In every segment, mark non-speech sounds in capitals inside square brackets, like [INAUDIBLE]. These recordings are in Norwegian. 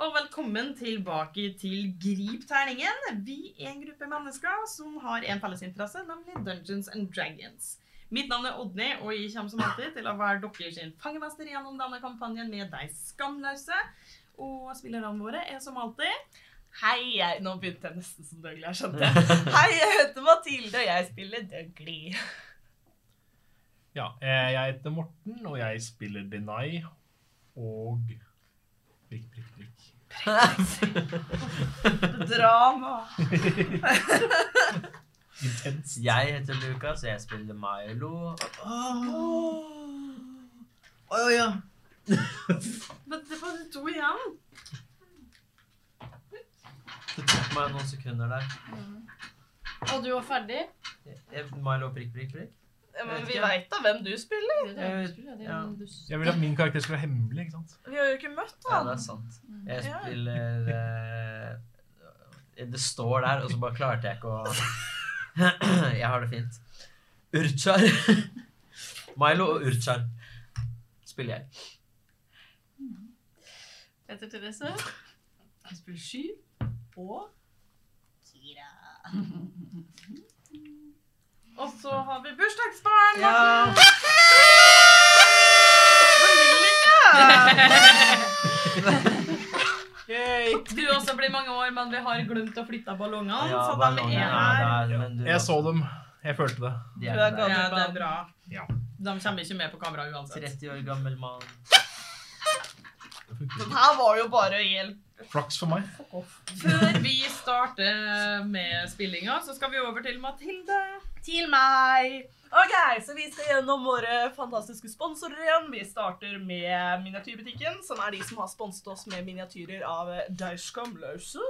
og velkommen tilbake til Grip terningen. Vi er en gruppe mennesker som har en fellesinteresse, nemlig Dungeons and Dragons. Mitt navn er Odny, og jeg kommer som alltid til å være dere sin fangemester gjennom denne kampanjen med de skamløse. Og spillerne våre er som alltid Hei, jeg Nå begynte jeg nesten som Dougley, jeg skjønte jeg. Hei, jeg heter Mathilde, og jeg spiller Dougley. Ja, eh, jeg heter Morten, og jeg spiller Denai og prikk, prikk, prikk. drama. Intens. [LAUGHS] Jeg heter Lukas, og jeg spiller Milo. Men det var de to igjen. Det tok meg noen sekunder der. Og du var ferdig? Jeg- Eh, Milo prikk, prikk, prikk. Men vi veit da hvem du spiller. Ja. Jeg vil at min karakter skulle være hemmelig, ikke sant? Vi har jo ikke møtt Ja, altså. det han. er sant. Mm. Jeg Ja. spiller eh, Det står der, og så bare klarte jeg ikke å [CLEARS THROAT] Jeg har det fint. Urchar. [LAUGHS] Milo og Urchar spiller jeg. Jeg heter Therese. Jeg spiller Sky. Og Kira. [LAUGHS] Og så har vi bursdagsbarn! Ja. Morten. Du også blir mange år, men vi har glemt å flytte ballongene. Ja, så de ballongen er er her. der, men du- Jeg så dem. Jeg følte det. De er Du er der. gammel. Ja, det er bra. Ja. De kommer ikke med på kamera uansett. 30 år gammel mann. Den her var jo bare hjelp. Flaks for meg. Før vi starter med spillinga, så skal vi over til Mathilde. Til meg. Ok, så vi skal gjennom våre fantastiske sponsorer igjen. Vi starter med Miniatyrbutikken, som er de som har sponset oss med miniatyrer av eh, Dei skamløse.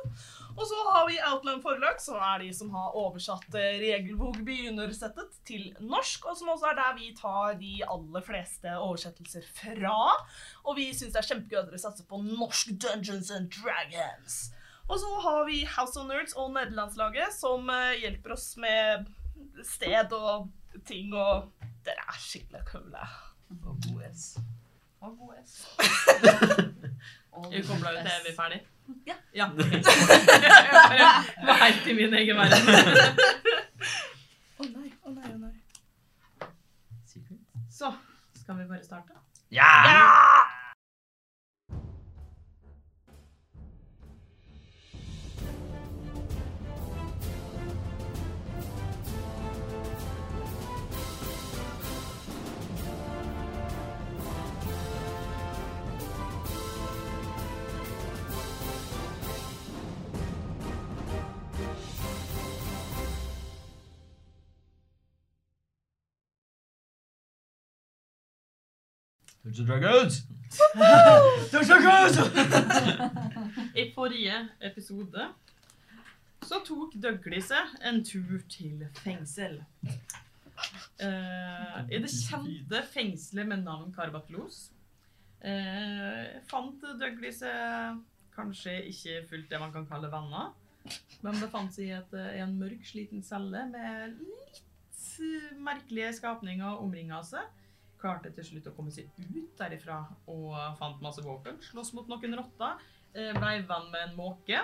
Og så har vi Outland Forlag, som er de som har oversatt eh, regelbok begynnersettet til norsk, og som også er der vi tar de aller fleste oversettelser fra. Og vi syns det er kjempegøy at dere satser på norsk Dungeons and Dragons. Og så har vi House of Nerds og nederlandslaget, som eh, hjelper oss med sted og ting og Dere er skikkelig kule. Og god S. Og god S. Vi kobla ut til vi er ferdig. Ja. ja. ok. [LAUGHS] Jeg var helt i min egen verden. Å nei, å nei, å nei. Secret. Så skal vi bare starte. Ja! Dungeons and Dragons! I forrige episode så tok Dougley seg en tur til fengsel. Eh, I det kjente fengselet med navn Karbatlos eh, fant Dougley seg kanskje ikke fullt det man kan kalle venner, men befant seg i et, eh, en mørk, sliten celle med litt eh, merkelige skapninger omringa seg. Klarte til slutt å komme seg ut derifra og fant masse våpen. Slåss mot noen rotter. Eh, Blei venn med en [LAUGHS] måke.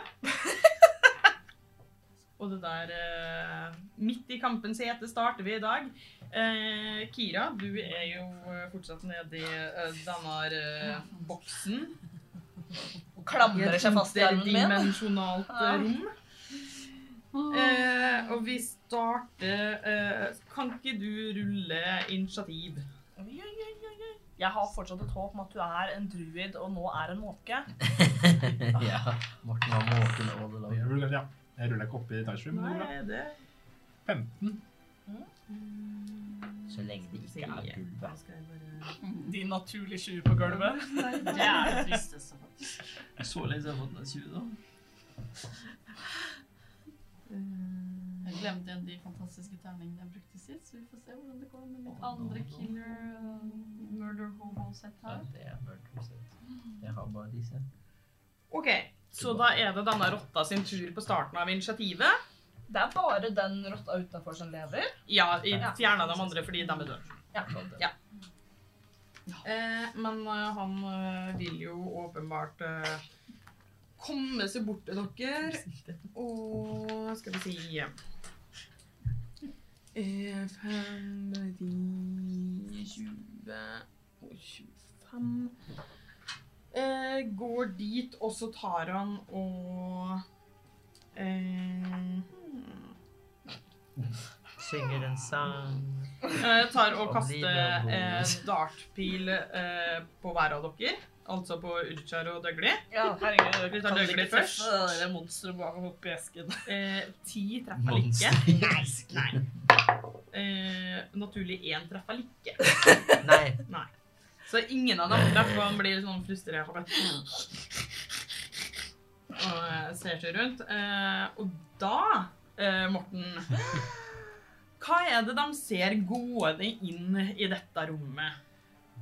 Og det der eh, Midt i kampens hete starter vi i dag. Eh, Kira, du er jo eh, fortsatt nede i eh, denne eh, boksen. Klamrer seg fast i armen min. Dimensjonalt eh, rom. Eh, og vi starter eh, Kan ikke du rulle initiativ? Oi, oi, oi, oi, oi. Jeg har fortsatt et håp om at du er en druid og nå er en måke. [LAUGHS] ja. Morten var våken all Jeg the long. ruller, ja. jeg ruller ikke opp i Tashroom, men det går bra. Nei, det 15. Så lenge det ikke er gull, da. Da skal jeg bare De naturlige 20 på gulvet. Det er det tristeste. Så lenge har jeg fått den 20, da. eh, Jeg glemte igjen de fantastiske terningene jeg brukte sist, så vi får se hvordan det går med mitt andre killer uh, murder hobo-sett Ja, her. det er mørkt. så Jeg har bare disse. OK. Så da er det denne rotta sin tur på starten av initiativet. Det er bare den rotta utafor som lever. Ja, jeg fjerna de andre fordi de er døde. Ja. Ja. Eh, men eh, han eh, vil jo åpenbart eh, komme seg bort til dere. Og skal vi si eh, Fem, ti, tjue og tjuefem. Eh, Går dit, og så tar han og eh, hmm. Synger en sang. [LAUGHS] Eh, tar og Og kaster livet er eh, vondt. dartpil eh, på hver av dere. Altså på Urchar og Døgli. Ja, herregud. Vi tar Døgli først. Det monsteret bak oppi esken. Eh, ti treffer Monster. ikke. [LAUGHS] Nei. Eh, naturlig én treffer ikke. Nei. Så ingen av dem treffer, og han blir sånn frustrert. Og eh, ser seg rundt. Eh, og da, eh, Morten Hva er det de ser gående inn i dette rommet?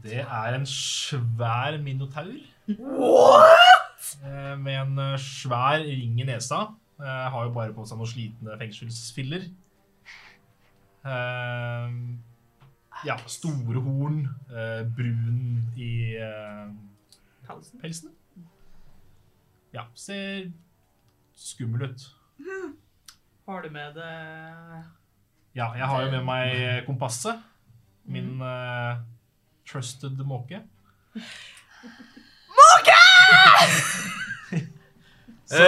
Det er en svær minotaur. Eh, Med en eh, svær ring i nesa. Eh, Har jo bare på seg noen slitne fengselsfiller. Eh, Ja, store horn. eh, Brun i eh, Pelsen? pelsen. Ja, ser skummel ut. Har du med det Ja, jeg har jo med meg kompasset. Min eh, trusted måke. Så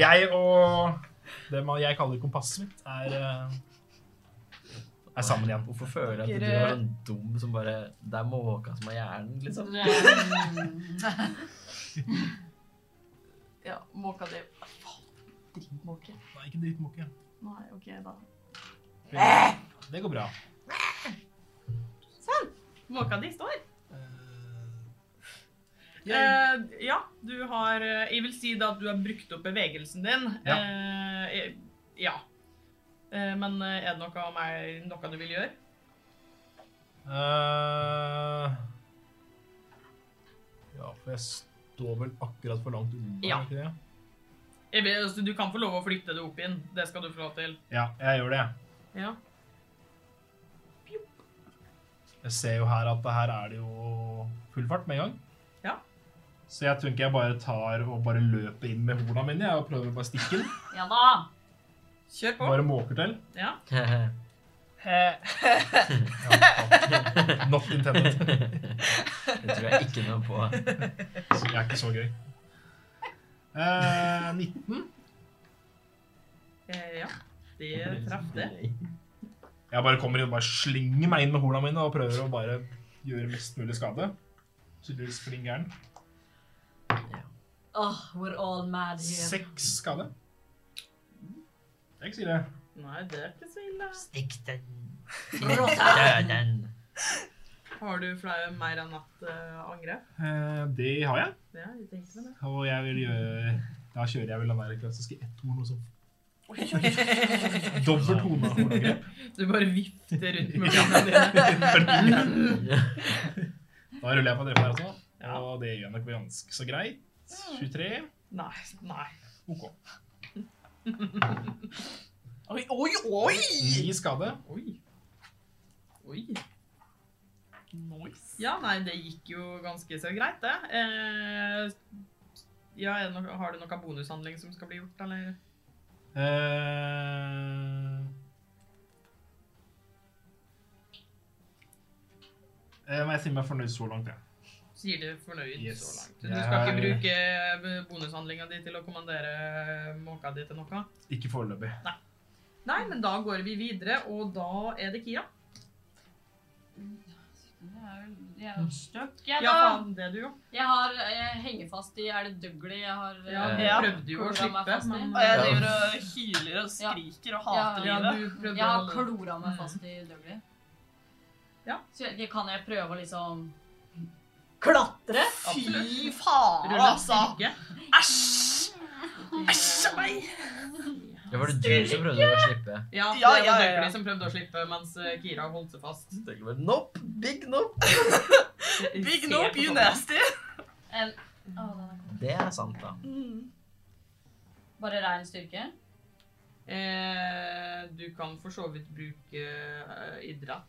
jeg og det man jeg kaller kompasset mitt, er, eh, er sammen igjen. Hvorfor føler jeg at du er sånn dum som bare Det er måka som har hjernen, liksom. ja, måka di. Faen, Drittmåke. Nei, ikke en drittmåke. Nei, OK, da. Eh! Det går bra. Måka di står? Eh, jeg- Eh, ja, du har eh, Jeg vil si da at du har brukt opp bevegelsen din. Ja. Eh, eh, ja. Eh, men eh, er det noe, av meg, noe du vil gjøre? Eh, ja, for jeg står vel akkurat for langt unna, Ja. ikke det? Jeg vil, altså, du kan få lov å flytte det opp inn. Det skal du få lov til. Ja, jeg gjør det. Ja. Jeg ser jo her at det her er det jo full fart med en gang. Ja. Så jeg tenker jeg bare tar og bare løper inn med horna mine jeg, og prøver å bare stikke den. Ja da. Kjør på. Bare måker til. Ja. Ja, faen. Not intended. [LAUGHS] Det tror jeg ikke noe på. Så det er ikke så gøy. Eh, 19. Eh, ja. Det traff det. Jeg bare kommer inn og bare slinger meg inn med horna mine og prøver å bare gjøre mest mulig skade. Tydeligvis klin gæren. Oh, we're all mad here. Seks skade. Jeg sier det. Nei, det er ikke så ille. Stikk den. Rotta. Død den. Har du flere mer enn ett eh, angrep? Eh, det har jeg. Ja, jeg tenkte med det. Og jeg vil gjøre Da kjører jeg vel den der klassiske etthorn og sånn. Dobbelt hornangrep. Du bare vifter rundt med beina dine. Da ruller jeg på å drepe her også, Ja. og det gjør jeg nok ganske så greit. Mm. 23. Nei, nei. OK. Oi, oi, oi! Ni skade. Oi. Oi. Nice. Ja, nei, det gikk jo ganske så greit, det. Eh, ja, er det noe, har du noe bonushandling som skal bli gjort, eller? Eh, Eh, men jeg sier meg fornøyd så langt, jeg. Sier du fornøyd Yes. så langt? Du Jeg skal har- ikke bruke bonushandlinga di til å kommandere eh, måka di til noe? Ikke foreløpig. Nei, men da går vi videre, og da er det Kia. Jeg er jo- Jeg er jo stuck, jeg, Ja, da. faen, det er du jo. Jeg har jeg henger fast i Er det Dougley jeg har Ja, eh, du Ja. prøvde jo å Klora slippe, meg fast i. men Og jeg driver og hyler og skriker og hater ja, livet. du prøvde Jeg å har holde klora meg fast i Dougley. Ja. Så jeg, kan jeg prøve å liksom Klatre? Fy faen, Rulle altså! styrke. Æsj! Æsj meg! Det var det du som prøvde å slippe. Ja, det Ja, var ja, ja, Dougley ja. som prøvde å slippe, mens eh, Kira holdt seg fast. Nope. Big nope. Big Se nope, på you sånne. nasty. En, Å, den er god. Det er sant, da. Bare rein styrke? Eh, du kan for så vidt bruke eh, idrett.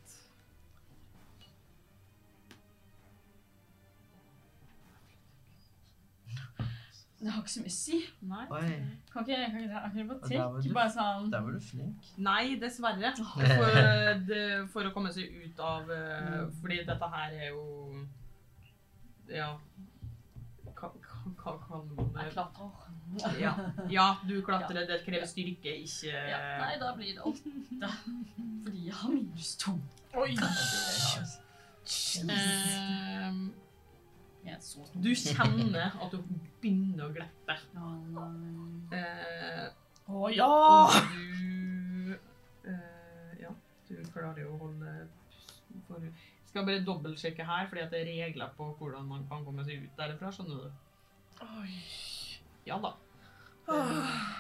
Det har ikke så mye å si. Nei. Oi. Kan ikke, kan ikke Ja, der var akrobatikk? du- Bare sånn Der var du flink. Nei, dessverre. For, eh, det, for å komme seg ut av eh, Mm. Fordi dette her er jo Ja. Hva hva- hva kaller man det? Jeg klatrer. Ja. ja, du klatrer. Det krever styrke, ikke eh, Ja, nei, da blir det åtte. Fordi jeg har minus to. Oi! Ehm, Jeg er så stor. Du kjenner at du begynner å gleppe. Ja. Eh, Å ja! og du eh, Ja, du klarer jo å holde pusten for Skal bare dobbeltsjekke her, fordi at det er regler på hvordan man kan komme seg ut derfra, skjønner du. Oi. Ja da. Ah.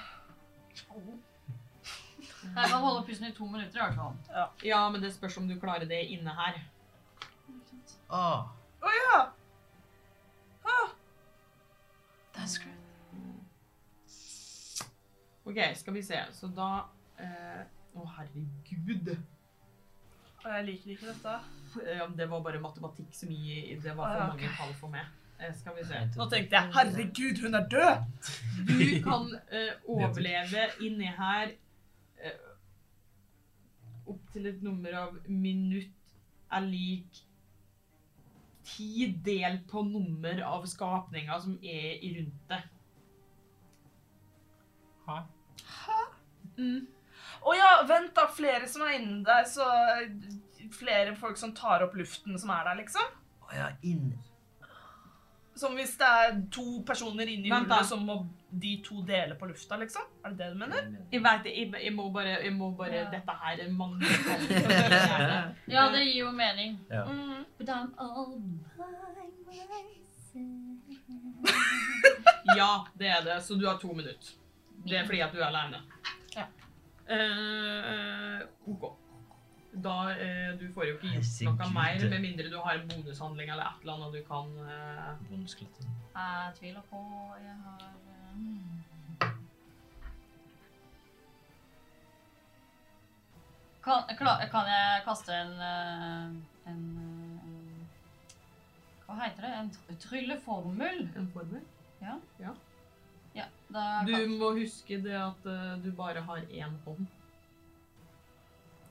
Jeg kan holde pusten i to minutter i hvert fall. Ja, men det spørs om du klarer det inne her. Åh. Å ja! That's great. OK, skal vi se. Så da eh, Å, herregud. Og jeg liker ikke dette. Ja, Det var bare matematikk som gi Det var for Ah, mange tall for meg. Eh, skal vi se. Nå tenkte jeg herregud, hun er død! Du kan eh, overleve inni her eh, opp til et nummer av minutt er lik ti del på nummer av skapninger som er i rundt deg. Hæ? Å ja, vent da, flere som er inni der, så eh, Flere folk som tar opp luften som er der, liksom? Å ja, inn. Som hvis det er to personer inni Vent da. hullet, så må de to dele på lufta, liksom? Er det det du mener? Jeg vet det, jeg, jeg må bare, jeg må bare Ja. Dette her er mange tall. for min hjerne. Ja, det gir jo mening. Ja. Mm. But I'm all Ja, det er det. Så du har to minutter. Det er fordi at du er alene. Ja. Eh, OK. Da eh, Du får jo ikke gitt Herregud. noe mer, med mindre du har en bonushandling eller et eller annet du kan eh, Bonusklatter. Jeg tviler på Jeg har eh, kan, kla- kan jeg kaste en, eh, en, eh, en Hva heter det? En tr- trylleformel? En formel. Ja, da Du kan, må huske det at eh, du bare har én hånd.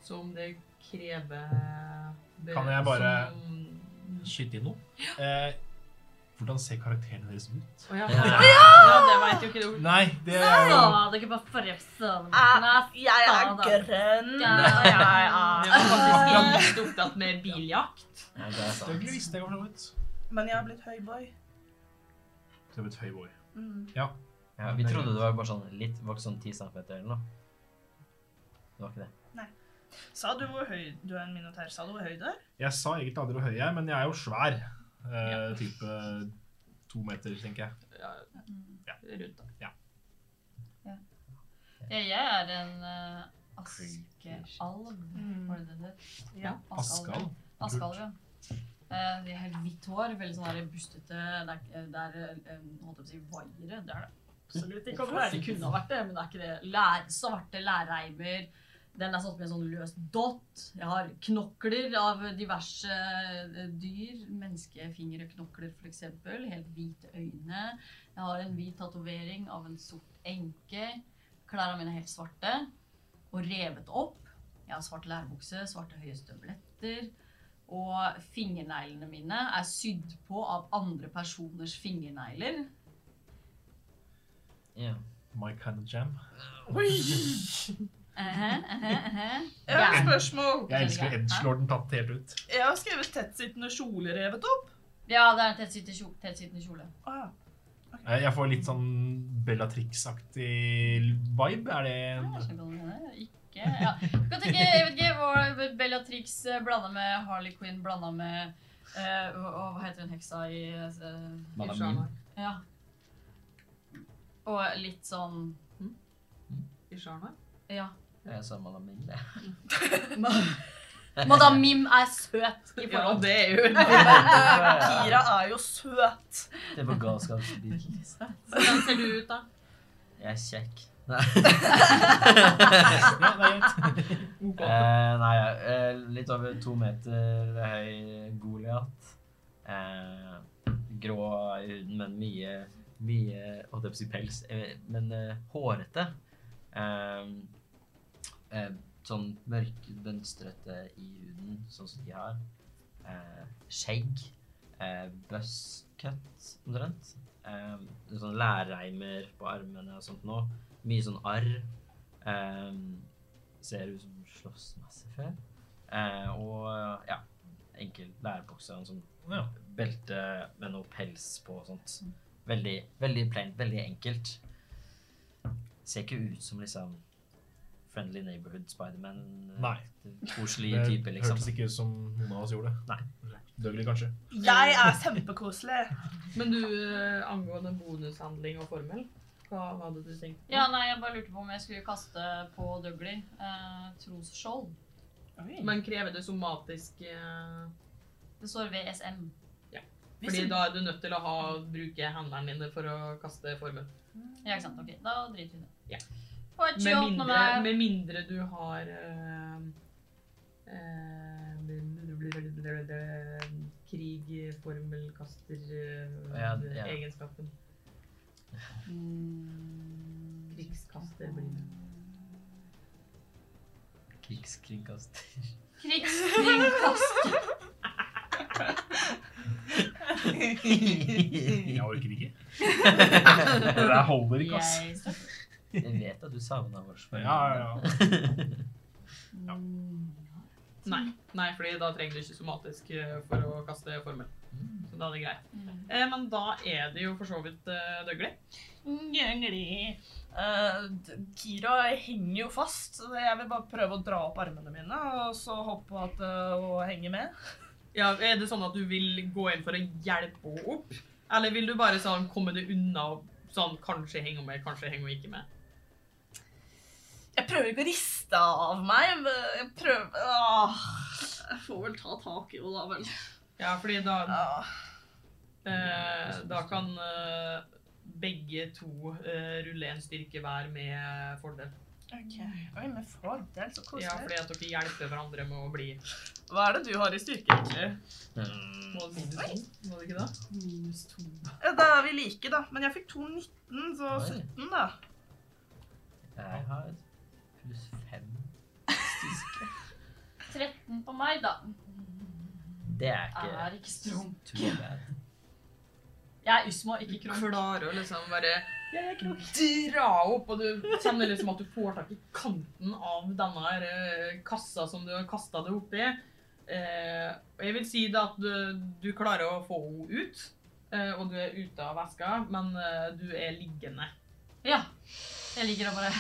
Så om det krever eh, Kan jeg bare- som- Skyte inn noe. Eh, hvordan ser karakterene deres ut? Å ja. Ja. [LAUGHS] ja, det veit jo ikke du. Nei, det er jo Å, det er ikke bare forrige episode. Ah, Jeg er faen, da. grønn. Ja. Jeg Jeg ah. er var faktisk litt opptatt med biljakt. Ja, det er sant. Døgnet visste jeg hvordan det ut. Men jeg har blitt høyboy. Det ble et høy år. Mm. Ja, vi trodde det var bare sånn litt voksen 10 cm eller noe. Det var ikke det. Sa du hvor høy du er en minotaur? Sa du hvor høy du er? Jeg sa egentlig aldri hvor høy jeg er, men jeg er jo svær. Eh, type to meter, tenker jeg. Ja, rundt da. Ja, jeg er en eh, askealv. Mm. Var det det det het? Ja. Askal. Askealv, ja. Eh, de har helt hvitt hår, veldig sånn der bustete Det er, ikke- det er eh, holdt jeg på å si, vaiere. Det er det absolutt ikke. å være. Det kunne ha vært det, men det er ikke det. Lær, svarte lærreimer. Den er satt med en sånn løs dott. Jeg har knokler av diverse eh, dyr. Menneskefingerknokler, f.eks. Helt hvite øyne. Jeg har en hvit tatovering av en sort enke. Klærne mine er helt svarte og revet opp. Jeg har svart lærbukse, svarte høye støvletter. Og fingerneglene mine er sydd på av andre personers fingernegler. Ja. My kind of jam. Ehe, ehe, ehe. Jeg har et Ja. spørsmål. Jeg elsker edgelorden tatt helt ut. Jeg har skrevet tettsittende kjole revet opp. ja, det er en tettsittende kjole. Tettsittende kjole. Å ja. Eh, Jeg får litt sånn Bellatrix-aktig vibe. Er Ja, jeg det skjønner hva du mener. Ikke ja. Du kan tenke, jeg vet ikke, hva Bellatrix blanda med Harley Quinn blanda med eh, og, og hva heter hun heksa i eh, I Madame Mim. Shana. Ja. Og litt sånn I Shana? Ja. Jeg sa Madame Mim, det. [LAUGHS] Madame Mim er søt i Ja, forhold det er jo Kira er jo søt. Det var galskapsbit. Hvordan ser du ut, da? Jeg er kjekk. Nei, Ja, det er greit. eh, nei jeg er litt over to meter høy Goliat. Eh, grå i huden, men mye mye holdt jeg på å si pels, eh, men eh, hårete. Ehm, eh, sånn mørkmønstrete i huden, sånn som de har. Eh, skjegg. Eh, Buzzcut, omtrent. Ehm, sånn lærreimer på armene og sånt nå. Mye sånn arr. Ehm, ser ut som hun slåss masse før. Eh, og ja, enkel lærebukse og en sånn Ja. belte med noe pels på og sånt. Veldig, veldig plaint, veldig enkelt. Ser ikke ut som liksom Friendly Neighborhood Spiderman. eh, Nei. Koselige Det typer, liksom. hørtes ikke ut som noen av oss gjorde. Nei. Døgelig, kanskje. Jeg er kjempekoselig. Men du, eh, angående bonushandling og formel, hva hva hadde du tenkt? Ja, nei, jeg bare lurte på om jeg skulle kaste på Dougley eh, trosskjold. Men krever det somatisk eh, Det står VSM. Fordi da er du nødt til å ha, bruke handleren dine for å kaste formel. Ja, ikke sant? Ok, da driter vi i det. Ja. På et Med 28 mindre, med med mindre du har eh, eh, Krig, formel, kaster eh, Ja, ja. egenskapen. Mm. Krigskaster blir det. Krigskringkaster. [LAUGHS] krigskringkast. Jeg orker ikke. Det der holder ikke, ass. Jeg støtter. Jeg vet at du savna oss. Ja, ja, ja. Ja. Nei, nei, fordi da trenger du ikke somatisk eh, for å kaste formel. Så da er det greit. Mm. Eh, men da er det jo for så vidt uh, døgelig. Gjengli. Eh, d- Kira henger jo fast, så jeg vil bare prøve å dra opp armene mine og så håpe at eh, hun henger med. Ja, er det sånn at du vil gå inn for å hjelpe henne opp? Eller vil du bare sånn komme det unna og sånn kanskje henge med, kanskje henge ikke med? Jeg prøver ikke å riste av meg. men Jeg prøver Åh. Jeg får vel ta tak i henne, da vel. Ja, fordi da Åh. Eh, da kan eh, begge to eh, rulle en styrke hver med fordel. Ok. Oi, men fordel, så Ja, koselig. fordi at dere hjelper hverandre med å bli Hva er det du har i styrke, egentlig? [LAUGHS] Mm. Må det si det sånn? Må det ikke det? Minus to. Ja, Da er vi like, da. Men jeg fikk 2,19, så Oi. 17, da. Jeg har pluss fem. 13 på meg, da. Det er ikke Er ikke strong. too bad. Jeg er Usma, Du ikke Krog. klarer å liksom bare dra opp, og du kjenner liksom at du får tak i kanten av denne her, eh, kassa som du har kasta det oppi. Eh, og jeg vil si da at du, du klarer å få henne ut, eh, og du er ute av veska, men eh, du er liggende. Ja. Jeg ligger og bare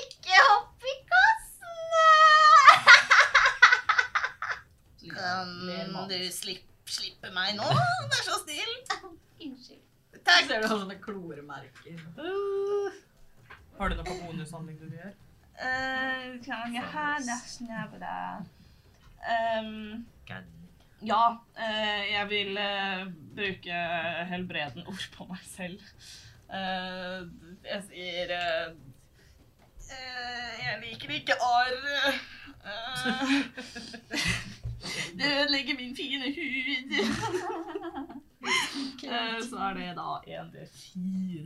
Ikke hopp i kassen! slippe, meg nå? Vær så snill. Unnskyld. Takk. Ser du sånne kloremerker? Uh. Har du noe bonushandling du vil gjøre? kan jeg ha næsnebla? Um, Kan- ja, eh, jeg vil eh, bruke helbreden ord på meg selv. Eh, jeg sier eh, eh, Jeg liker ikke arr. Eh, [LAUGHS] det ødelegger min fine hud. [LAUGHS] Eh, så er det da 1D4.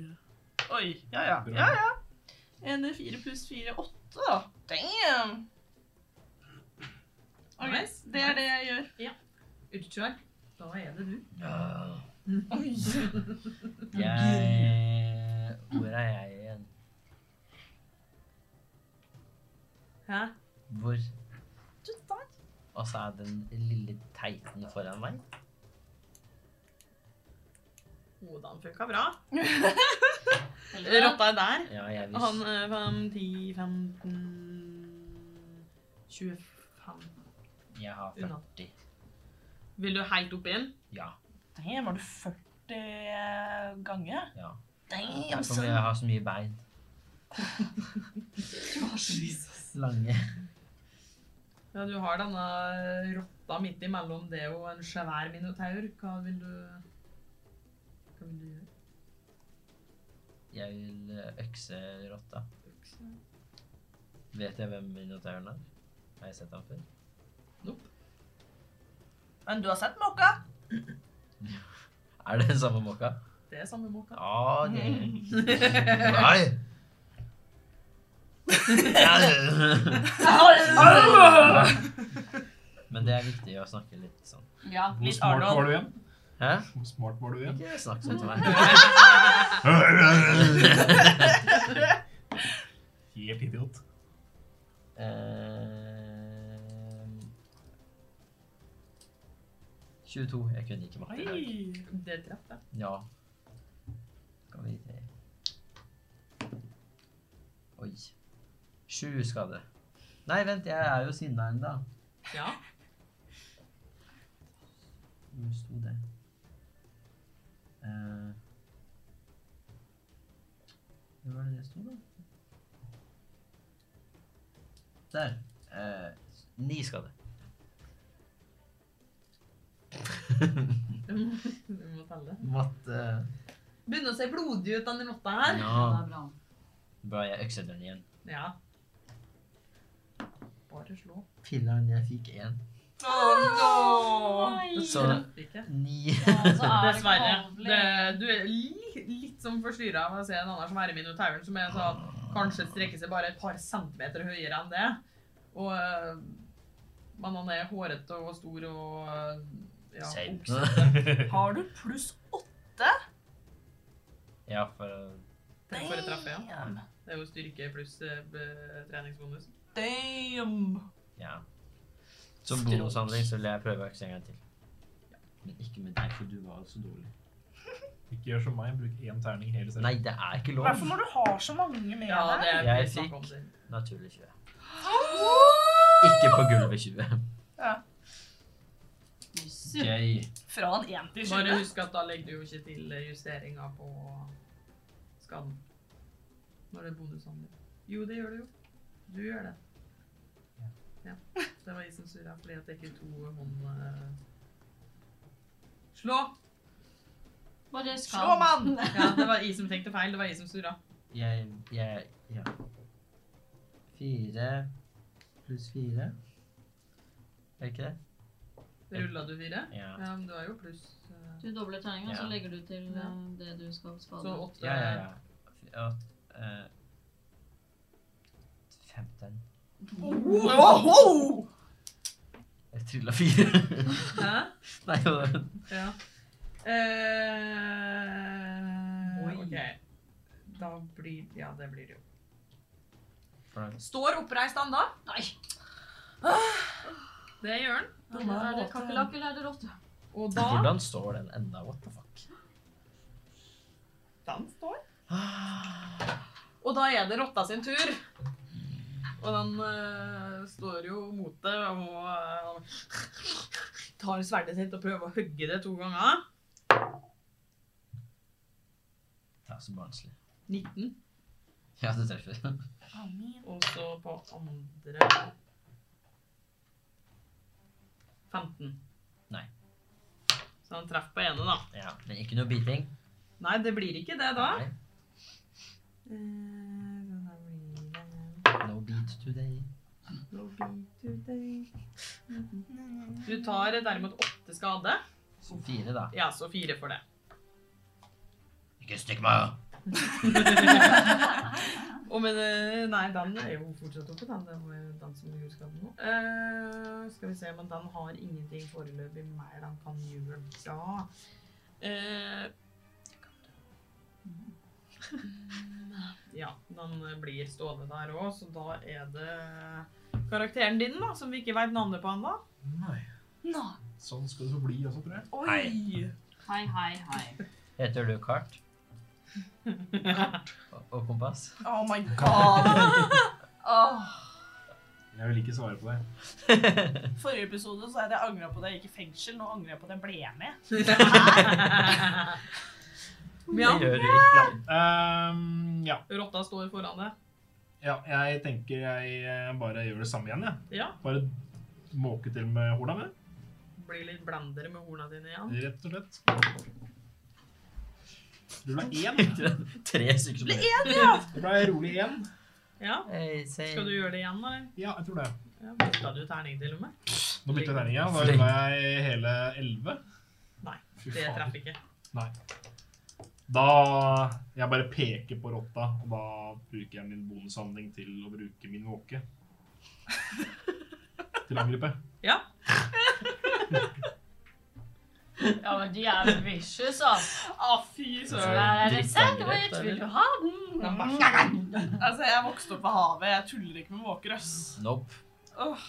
Oi. Ja, ja. Bra. ja, ja. 1D4 pluss 4 8, da. Damn! Ok, Nice, Det er det jeg gjør. Utkjør. Da er det du. Ja. Oi. Jeg Hvor er jeg igjen? Hæ? Hvor? Og så er den lille teiten foran meg. Hodene funka bra. Eller- Rotta er der. Ja, jeg Og han vil eh, 5, 10, 15 25 Jeg har 40. Vil du helt opp inn? Ja. Damn, var du eh, 40 ganger? ja. sånn, Damn, Derfor må jeg ha så mye bein. Lange. Ja, du har denne rotta midt imellom det og en svær minotaur. Hva vil du Hva vil du gjøre? [LAUGHS] Jeg vil eh, økse rotta. Vet jeg hvem minotauren er? Har jeg sett ham før? Men du har sett Mokka? Er det den samme mokka? Det er samme boka. Ja, det Nei! Ja. [LAUGHS] Men det er viktig å snakke litt sånn. Ja, Hvor litt smart var Arnold. du igjen? Hæ? Hvor smart var du igjen? Ikke snakk sånn til meg. [LAUGHS] Helt idiot. Ehm, 22. Jeg kunne ikke matte. i dag. Oi. Det traff jeg. Ja. Skal vi se Oi. Sju skade. Nei, vent, jeg er jo sinna ennå. Ja. Hvor sto det? Eh, Hvor var det det sto, da? Der. Eh, ni skade. Vi må- vi må telle. [LAUGHS] Matte Begynner å se blodig ut, denne rotta her. Ja, det Ja. er bra. Bra, jeg økser den igjen. Ja. Bare slå. Pilleren jeg fikk én. Oh, no. Nei! Så- Traff ikke. Ni. Dessverre. Det, du er li, litt som forstyrra av å se en annen som er i Minotauren, som er sånn kanskje strekker seg bare et par centimeter høyere enn det. Og eh, Men han er hårete og stor og eh, ja, Sein. oksete. [LAUGHS] Har du pluss åtte? Ja, for å Det er bare treffe, ja. Damn. Det er jo styrke pluss eh, be- treningsbonus. Damn. Ja. Som bonushandling så vil jeg prøve å økse en gang til. Men ikke med deg, for du var jo så dårlig. Ikke gjør som meg, bruk én terning hele serien. Nei, det er ikke I lov. hvert fall når du har så mange med Ja, det er Jeg vi snakker om det. Naturlig 20. Ikke på gulvet 20. Jøss. Gøy. Fra en 1 til 20. Bare husk at da legger du jo ikke til justeringa på skaden. Når det er bonushandel. Jo, det gjør du jo. Du gjør det. Ja. Det var jeg som surra fordi at jeg ikke to hånd eh, Slå! Bare skal. Slå, mann! Ja, det var jeg som tenkte feil. Det var jeg som surra. Jeg, jeg, ja. Fire pluss fire. Er det ikke det? Rulla du fire? Ja. Ja, men du har jo pluss eh, Du dobler terningen, og så Ja. legger du til Ja. eh, det du skal skade. Så åtte. Ja, ja, ja. F- ja eh, 15. Oho! Jeg trilla fire. Hæ? [LAUGHS] Nei, det var- Ja. Eh, Oi. OK. Da blir Ja, det blir det jo. for da- Står oppreist han da? Nei! Det gjør han. Er det kakerlakk eller er det rotte? Og da Hvordan står den enda? What the fuck? Den står. Og da er det rotta sin tur. Og den eh, står jo mot det og eh, tar sverdet sitt og prøver å hugge det to ganger. Det er så barnslig. 19. Ja, det treffer. Og så på andre 15. Nei. Så han treffer på ene, da. Ja, men ikke noe biting. Nei, det blir ikke det da. Nei. Eh, No beat today. Du tar derimot åtte skade. Så fire, da. Ja, så fire for det. Ikke stikk meg! Og men, eh, nei, den er jo fortsatt oppe, den, den, var- den som gjorde skaden nå. Eh, skal vi se, men den har ingenting foreløpig mer den kan gjøre. Ja. Eh, ja, den eh, blir stående der òg, så da er det karakteren din, da, som vi ikke veit navnet på ennå. Nei. Nå. Sånn skal det forbli også, tror jeg. Oi! Hei, hei, hei. Heter du Kart? Og, og Kompass? Oh my god! Åh. Jeg vil ikke svare på det. Forrige episode så hadde jeg angra på det jeg gikk i fengsel. Nå angrer jeg på det jeg ble [LAUGHS] med. ja, Det gjør du ikke. Ehm, ja. rotta står foran deg. ja. Jeg tenker jeg eh, bare gjør det samme igjen, jeg. Ja, Bare måke til med horna, med, blir litt blendere med horna dine igjen. rett og slett. Du ble [LAUGHS] én. [LAUGHS] Tre stykker som er Det ble rolig én. Ja, Hey, say- Skal du gjøre det igjen, eller? Ja, jeg tror det. Ja, Bytta du terning til og med? Nå bytter jeg terning igjen. Da rulla jeg hele elleve. Nei, Fy Det faen. treffer ikke. Da Jeg bare peker på rotta, og da bruker jeg min bonushandling til å bruke min [LAUGHS] måke. Til å angripe. Ja. Ja, men de er vicious, altså. Ah, fy Det søren. er en Drittangrep, sandwich, eller? vil du ha den? Den bare- Altså, jeg vokste opp på havet. Jeg tuller ikke med måker, ass. Nope. Åh,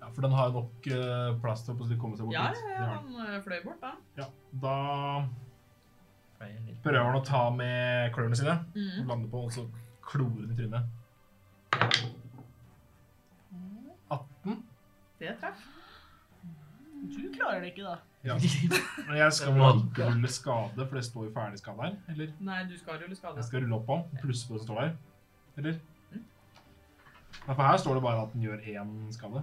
Ja, For den har jo nok eh, plass til å komme seg bort Ja, ja, dit. Det ja, har den. han eh, fløy bort, da. Da Prøver en liten- [LAUGHS] prøver han å ta med klørne sine. Mm. Og lander på, og så klorer den i trynet. 18. Det traff. du klarer det ikke, da. Ja. Men jeg skal vel ikke rulle skade, for det står jo ferdig skade her. Eller? Nei, du skal rulle skade. Jeg skal rulle opp på den, plusse på det som står der. Eller? Mm. Ja, for her står det bare at den gjør én skade.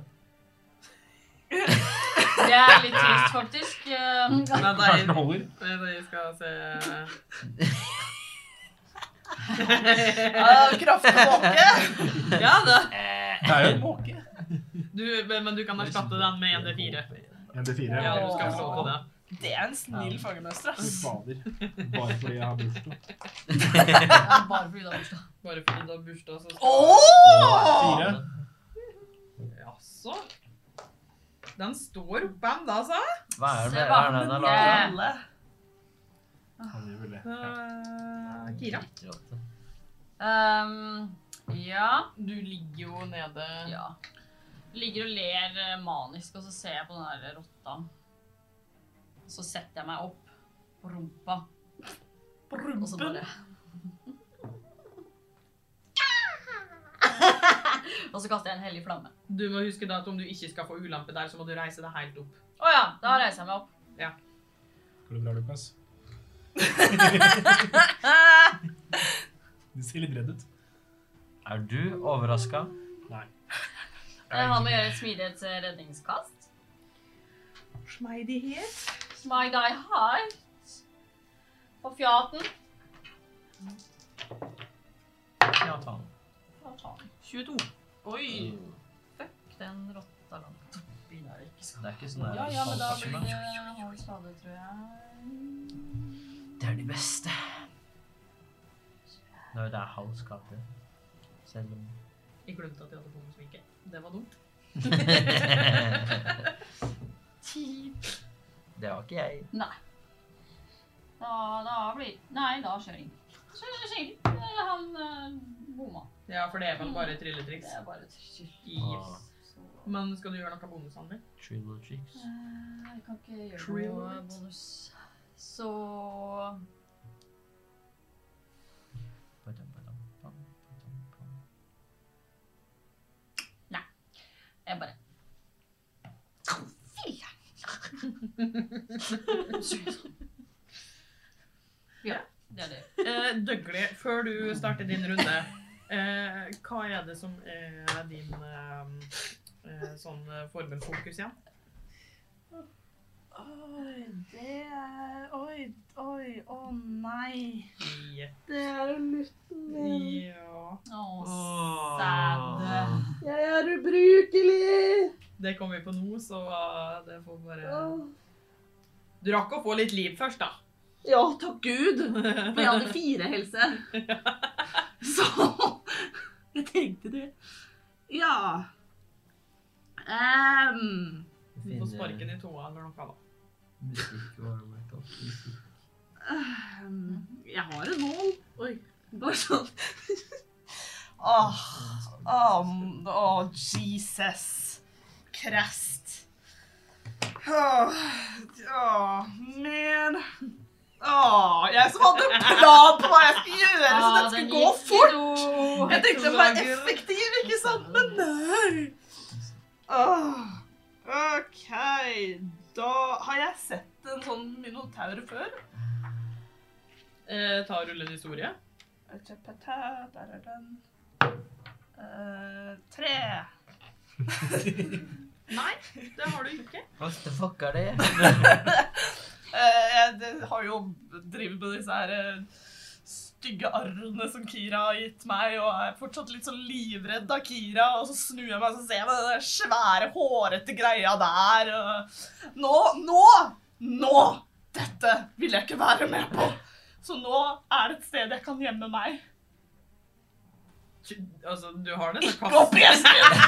Det er litt trist, [LAUGHS] faktisk. Eh, Nei, Kanskje den nei, holder? vi skal se Ja, kraftig måke. [LAUGHS] Ja da. Det er jo en måke. Du, men men du kan erstatte den med 1D4. En D4. Ja, Ja. du skal slå på det. Det er en snill fangemønster, Fy ass. Fader. Bare fordi jeg har bursdag. Bare fordi det er bursdag. Bare fordi du har bursdag, så Åh! Fire. Jaså? Den står oppe ennå, altså? Hva er det hva er det den har laget? Alle. Han gjør vel det. Ja. Eh, Kira. Um, ja. Du ligger jo nede ja. Ligger og ler eh, manisk, og så ser jeg på den der rotta. Så setter jeg meg opp på rumpa, På og så rumpen. bare [LAUGHS] [LAUGHS] Og så kaster jeg en hellig flamme. Du må huske da at om du ikke skal få ulempe der, så må du reise deg helt opp. Å ja, da reiser jeg meg opp. Går det [LAUGHS] bra, Lukas? Du ser litt redd ut. Er du overraska? Nei. Jeg har med å gjøre eh, et smidighetsredningskast. Smeidighet. Smai deg hard. På fjaten. Ja, faen. 22. Oi. Den rotta langt oppi der, ikke sant? Det er ikke sånn Ja, ja, men da blir det det hard skade, tror jeg. Det er de beste. Nei, det er halv skade. Selv om Jeg glemte at jeg hadde bonusvinke. Det var [LAUGHS] dumt. Det var ikke jeg. Nei. Da, da blir Nei, da kjører jeg. Så skjer det. Eh, Han eh, bomma. Ja, for det er vel bare trylletriks. Det er bare tull. Yes. Så Men skal du gjøre noe bonushandling? Trilogies. Eh, Jeg kan ikke gjøre Trill noe it. bonus. Så jeg bare [LAUGHS] Ja, det er det. Eh, Døgli, før du starter din runde, eh, hva er det som er din eh, eh, sånn eh, formelfokus igjen? Oi, det er Oi, oi, å nei. Ja. Det er jo lutten ja. Å, Åh. sad. Ah, Jeg er ubrukelig. Det kommer vi på nå, så eh, det får bare Du rakk å få litt liv først, da. Ja, takk [LAUGHS] Gud. For jeg hadde fire helse. Så [LAUGHS] jeg tenkte det. Ja. Ehm, Du får eh, sparken i tåa eller noe. da. ehm, jeg har et mål. Oi, bare sånn. Åh, åh, åh, Jesus. Krest. Åh, åh, man. Åh, jeg som hadde en plan på hva jeg skulle gjøre, så Ah, den den skulle gå gikk i fort. do. [LAUGHS] Jeg tenkte den var effektiv, ikke sant? Men nei! Åh, ok, da har jeg sett en sånn minotaur før. Eh, ta og rulle en historie. Eh, Tjepata, Der er den. Eh, tre. Nei, det har du ikke. What the fuck er det? Eh, jeg det har jo drevet med disse her eh, stygge arrene som Kira har gitt meg, og er fortsatt litt sånn livredd av Kira, og så snur jeg meg og så ser jeg den der svære, hårete greia der. Og... Nå, nå, nå Dette vil jeg ikke være med på. Så nå er det et sted jeg kan gjemme meg. Altså, du har det, så Ikke opp i esken!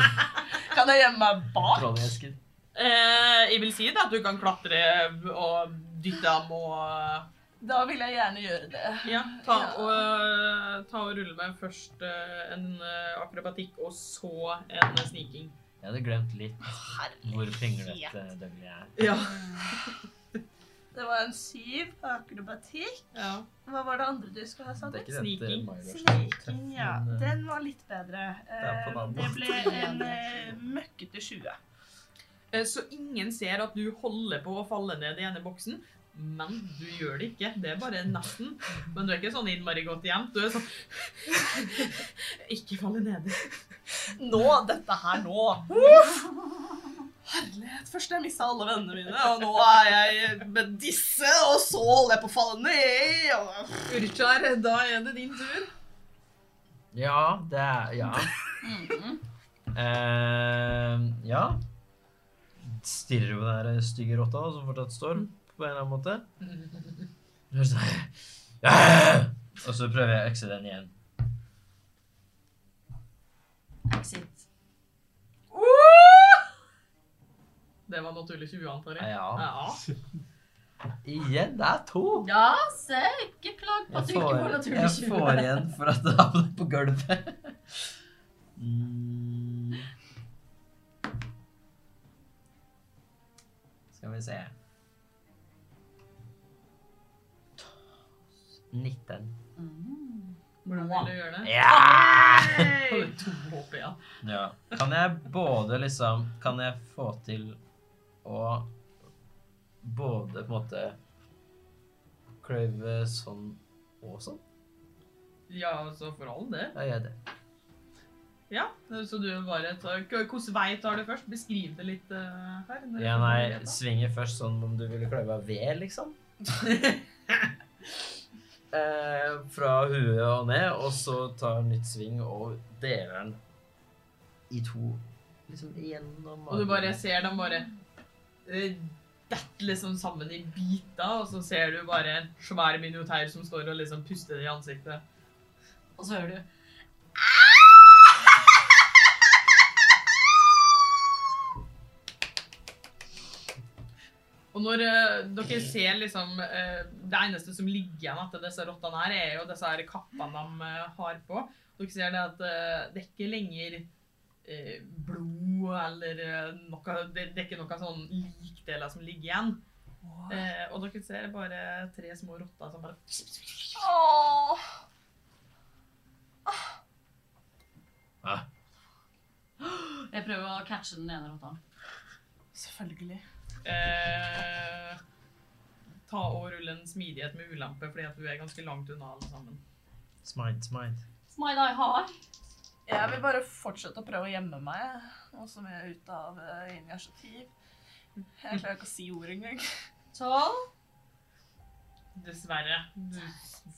[LAUGHS] Kan jeg gjemme meg bak? Trollesken. Eh, jeg vil si det at du kan klatre og dytte ham og Da vil jeg gjerne gjøre det. Ja, ta og, eh, ta og rulle med først eh, en eh, akrobatikk og så en eh, sniking. Jeg hadde glemt litt hvor pinglete Dougley er. Ja. Det var en syv på akrobatikk. ja. Hva var det andre du skulle Det er ha sagt? ikke dette Sniking. Milo er så tøff, Sniking, ja. men, eh, Den var litt bedre. er på Eh, navnet. Det ble en eh, møkkete 20. Eh, Så ingen ser at du holder på å falle ned i ene boksen. Men du gjør det ikke. Det er bare nesten. Men du er ikke sånn innmari godt gjemt. Du er sånn [LAUGHS] Ikke falle nedi. Nå, dette her nå. Uff! Herlighet. Først jeg mista alle vennene mine, og nå er jeg med disse, og så holder jeg på å falle ned. og- Urchar, da er det din tur. Ja, det er Ja. Mm-hmm. Eh, ja. Stirrer på den her stygge rotta som fortsatt Mm. står, på en eller annen [LAUGHS] måte. Og så- [LAUGHS] Ja! Og så prøver jeg å økse den igjen. Exit. Det var naturlig 20, antar jeg. Ja. Ja. Igjen. Det er to. Ja, se! Ikke klag på at du Jeg ikke får får, naturlig jeg får 20. igjen for at det havnet på gulvet. [LAUGHS] Mm. Skal vi se 19. Mm. Hvordan vil du gjøre det? Ja! Har du to HP igjen? ja! Kan jeg både liksom Kan jeg få til å både på en måte kløyve sånn og sånn? Ja, altså for all del. Ja, gjør jeg det. Ja, så du bare tar Hvilken vei tar du først? Beskriv det litt eh, her. når du Ja, får nei, muligheten. svinger først sånn om du ville kløyva ved, [LAUGHS] liksom. eh, fra huet og ned, og så tar nytt sving og deler den i to. Liksom igjennom Og du bare ser dem bare eh, dette liksom sammen i biter, og så ser du bare en svær minotaur som står og liksom puster i ansiktet. Og så hører du Og når eh, dere ser liksom eh, Det eneste som ligger igjen etter disse rottene her, er jo disse her kappene de eh, har på. Dere ser det at eh, det er ikke lenger eh, blod eller eh, noe Det, det er ikke noe sånn likdeler som ligger igjen. Eh, og dere ser bare tre små rotter som bare Åh. Jeg prøver å catche den ene rotta. Selvfølgelig. Eh, ta og rulle en smidighet med ulempe, fordi at du er ganske langt unna alle sammen. Smite, smite. Smile I har. Jeg vil bare fortsette å prøve å gjemme meg, og så må jeg ut av eh, initiativ. Jeg klarer ikke å si ordet engang. Tolv. Dessverre. Du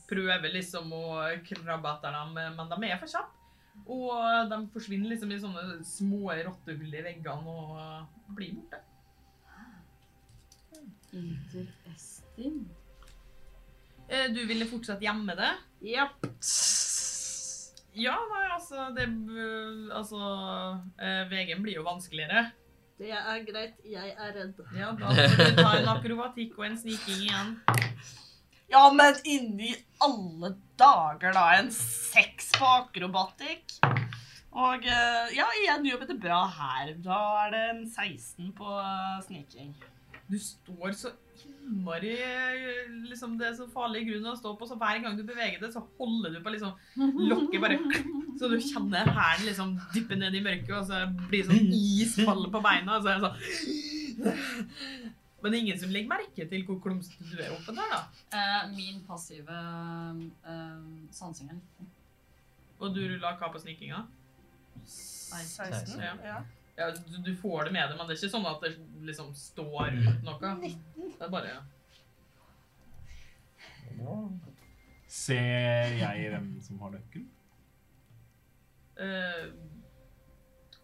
prøver liksom å krabbe etter dem, eh, men de er for kjappe. Og de forsvinner liksom i sånne små rottehull i veggene og eh, blir borte. Interesting. Eh, du ville fortsatt gjemme det? Ja, nei, altså det eh, Altså eh, Veien blir jo vanskeligere. Det er greit. Jeg er redd. Ja, da får du ta en akrobatikk og en sniking igjen. Ja, men inni alle dager, da. En seks på akrobatikk. Og eh, ja, igjen gjør vi det bra her. Da er det en 16 på eh, sniking. Du står så innmari liksom Det er så farlig grunn å stå på, så hver gang du beveger deg, så holder du på liksom Lokket bare [LAUGHS] Så du kjenner hælen liksom dyppe ned i mørket, og så blir det sånn isfall på beina. Og så er det sånn [LAUGHS] Men det er ingen som legger merke til hvor klumsete du er oppe der, da. Eh, min passive eh, sansing er 19. Og du ruller hva på snikinga? 16? ja. Ja. Ja, du, du får det med deg, men det er ikke sånn at det liksom står ut noe. Det er bare Ser jeg hvem som har nøkkelen? eh,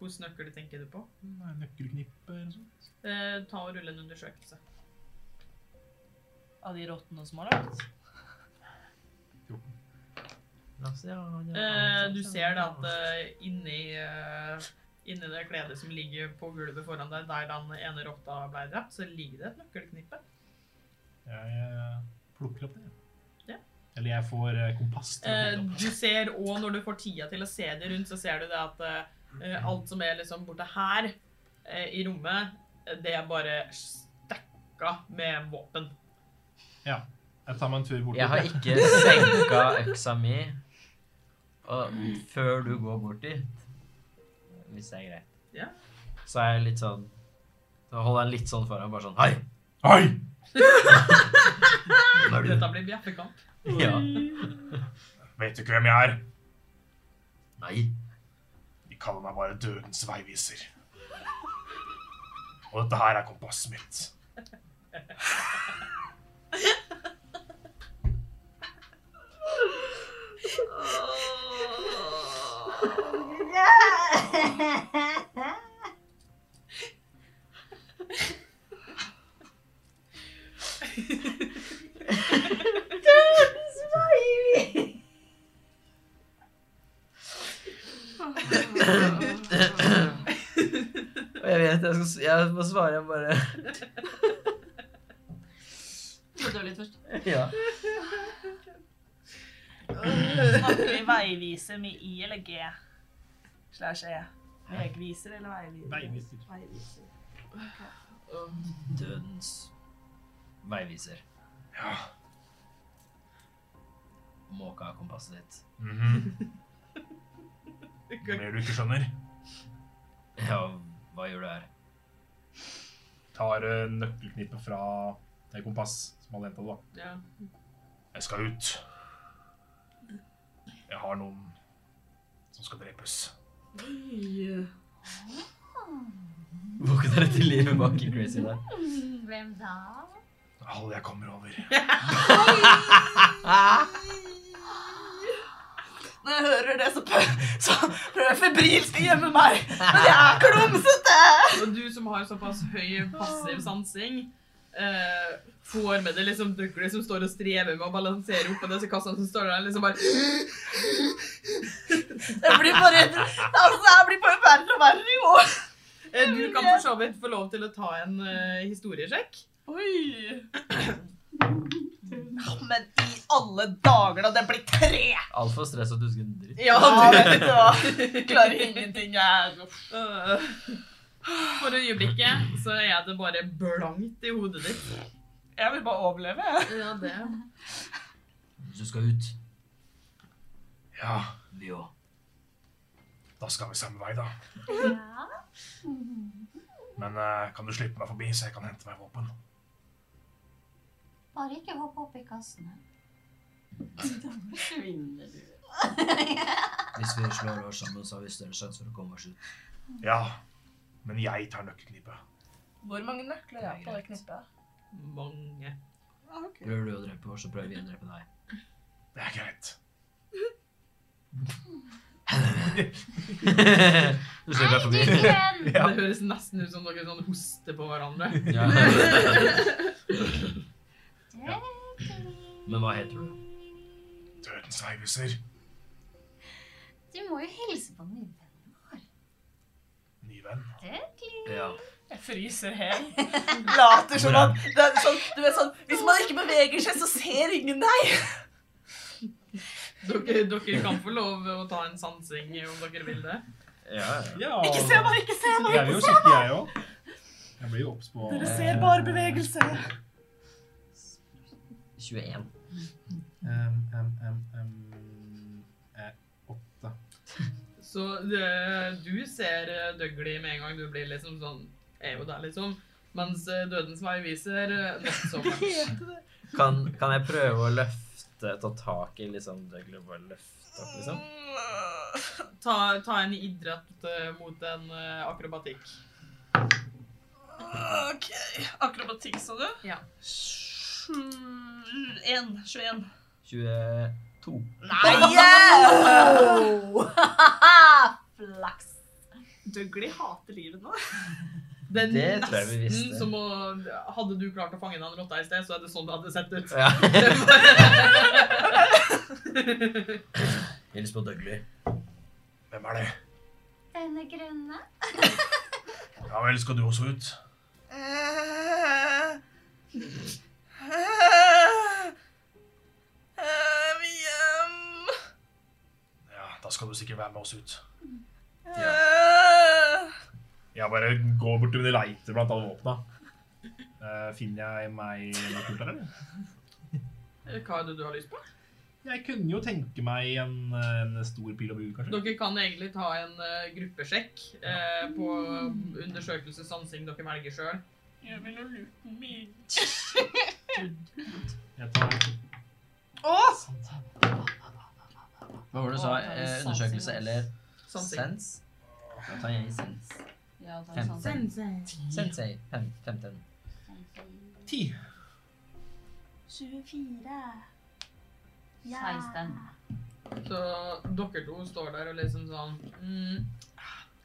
Hvilken nøkkel tenker du på? sånn? Nei, Nøkkelknippe eller noe sånt? Eh, ta og rulle en undersøkelse. av de rottene som har lagt. La oss se, ja, ja, Eh, du ser det at eh, inni, eh, inni det kledet som ligger på gulvet foran deg, der den ene rotta ble drept, så ligger det et nøkkelknippe. Jeg eh, plukker opp det. Ja. Eller jeg får eh, kompass til å Eh, plukke det opp. du ser òg, når du får tida til å se deg rundt, så ser du det at eh, alt som er liksom borte her eh, i rommet, det er bare stekka med våpen. Jeg tar meg en tur bort. Jeg har ikke senka øksa mi og, før du går bort dit, hvis det er greit. Ja. Så er jeg litt sånn Så holder jeg den litt sånn foran, bare sånn Hei! Oi! Hvem er Dette du? blir bjeffekamp. Ja. Vet du ikke hvem jeg er? Nei. De kaller meg bare Dødens veiviser. Og dette her er kompasset mitt. Og jeg vet jeg, skal, s- jeg må svare jeg bare Du dør litt først. Ja. Snakker vi veiviser med i eller g? Slash e. Vegviser eller veiviser? Veiviser. Veiviser. Dødens veiviser. Ja. Måka av kompasset ditt. Mhm. Noe mer du ikke skjønner? Ja, hva gjør du her? Tar eh, nøkkelknippet fra det kompass som hadde hentet det, da. Ja. Jeg skal ut. Jeg har noen som skal drepes. Våkne dere til livet bak i crazy der. Hvem da? Alle jeg kommer over. Når jeg hører det, så prø- så prøver jeg febrilsk å gjemme meg. Men jeg er klumsete! Og du som har såpass høy passiv sansing, eh, får med deg liksom døglet som står og strever med å balansere oppå disse kassene som står der, liksom bare Jeg blir bare altså, Jeg blir bare verre og verre i år. Eh, Du kan for så vidt få lov til å ta en eh, historiesjekk. Oi. Ja, men i alle dager, da! Det blir tre! Altfor stressa til å huske en dritt. Ja, Ja, du vet du hva. Klarer ingenting, jeg. Eh, For øyeblikket så er det bare blankt i hodet ditt. Jeg vil bare overleve, jeg. Ja, det. Du skal ut. Ja, Vi òg. da skal vi samme vei, da. Ja. Men eh, kan du slippe meg forbi, så jeg kan hente meg våpen? Bare ikke hopp opp i kassene. Da forsvinner du. Hvis vi slår oss sammen, så har vi større sjanse for å komme oss ut. Ja, men jeg tar nøkkelknippet. Hvor mange nøkler er på det knippet? Mange. Prøver du å drepe oss, så prøver vi å drepe deg. Det er greit. du ser meg forbi. Ja. Det høres nesten ut som dere sånn hoster på hverandre. Ja. Eh, Men hva heter du? Dødens veiviser. Du må jo hilse på nye venner. Ny venn. Dirkly. Ja. Jeg fryser helt. Later som at det er sånn, du vet sånn, Hvis man ikke beveger seg, så ser ingen deg. Dere, dere kan få lov å ta en sansing om dere vil det. ja, Ja. Ikke se meg, ikke se meg! Jeg vil jo sjekke, jeg òg. Jeg blir jo obs på eh, Dere ser bare bevegelse. 21. um, um, um, um, eh, Åtte. Så det, du ser eh, Dougley med en gang du blir liksom sånn Er jo der, liksom. Mens eh, Dødens vei viser eh, not so much. Kan, kan jeg prøve å løfte, ta tak i liksom det globale løftet opp, liksom? Ta, ta en idrett eh, mot en eh, akrobatikk. OK. Akrobatikk, sa du? Ja. Sju- En, 21. 22. Nei! [LAUGHS] Flaks. Dougley hater livet nå. Det er Det tror jeg vi nesten visste. som å Hadde du klart å fange den rotta i sted, så er det sånn det hadde sett ut. [LAUGHS] Ja. Det var- Hils på Dougley. Hvem er det? Denne grønne? Ja vel, skal du også ut? Eh, eh, eh, vi, ehm, Ja, da skal du sikkert være med oss ut. eh, Jeg bare går bort og leiter blant alle våpna. Eh, finner jeg meg noe kult her, eller? Eh, Hva er det du har lyst på? Jeg kunne jo tenke meg en, en stor pil og bue, Mm. kanskje. Dere kan egentlig ta en eh, gruppesjekk eh, på undersøkelse sansing dere velger sjøl. Jeg vil ha luten min. Jeg tar Å, Hva var det du sa? Eh, undersøkelse eller Sansing. sens? Da tar jeg sens. Ja, da er det Fem. sant. Sensei. Fem, femten. ti. 24. 16. Så dere to står der og liksom sånn mm,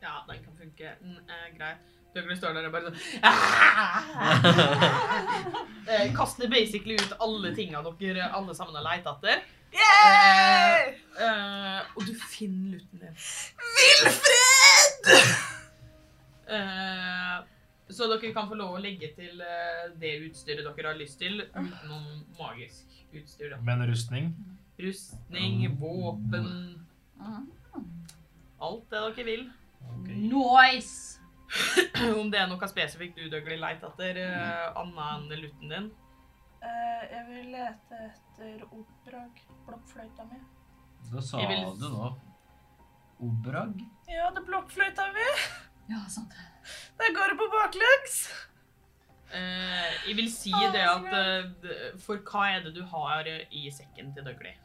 Ja, den kan funke. Mm, eh, greit. Dere står der og bare sånn [LAUGHS] eh, Kaster basically ut alle tinga dere alle sammen har leita etter. Yay! Eh, og du finner luten din. Wilfred! Eh, så dere kan få lov å legge til eh, det utstyret dere har lyst til, utenom magisk utstyr. da. Med en rustning. Rustning, våpen Mm. Alt det dere vil. [CLEARS THROAT] Nice! Om det er noe spesifikt du Dougley leit etter, eh, annet enn luten din. Eh, jeg vil lete etter oppdrag, blokkfløyta mi. Da sa Jeg vil- du nå Obrag? Ja, det er blokkfløyta mi. Ja, sant. Der går det på baklengs. Eh, jeg vil si det at eh, d- For hva er det du har i sekken til Dougley?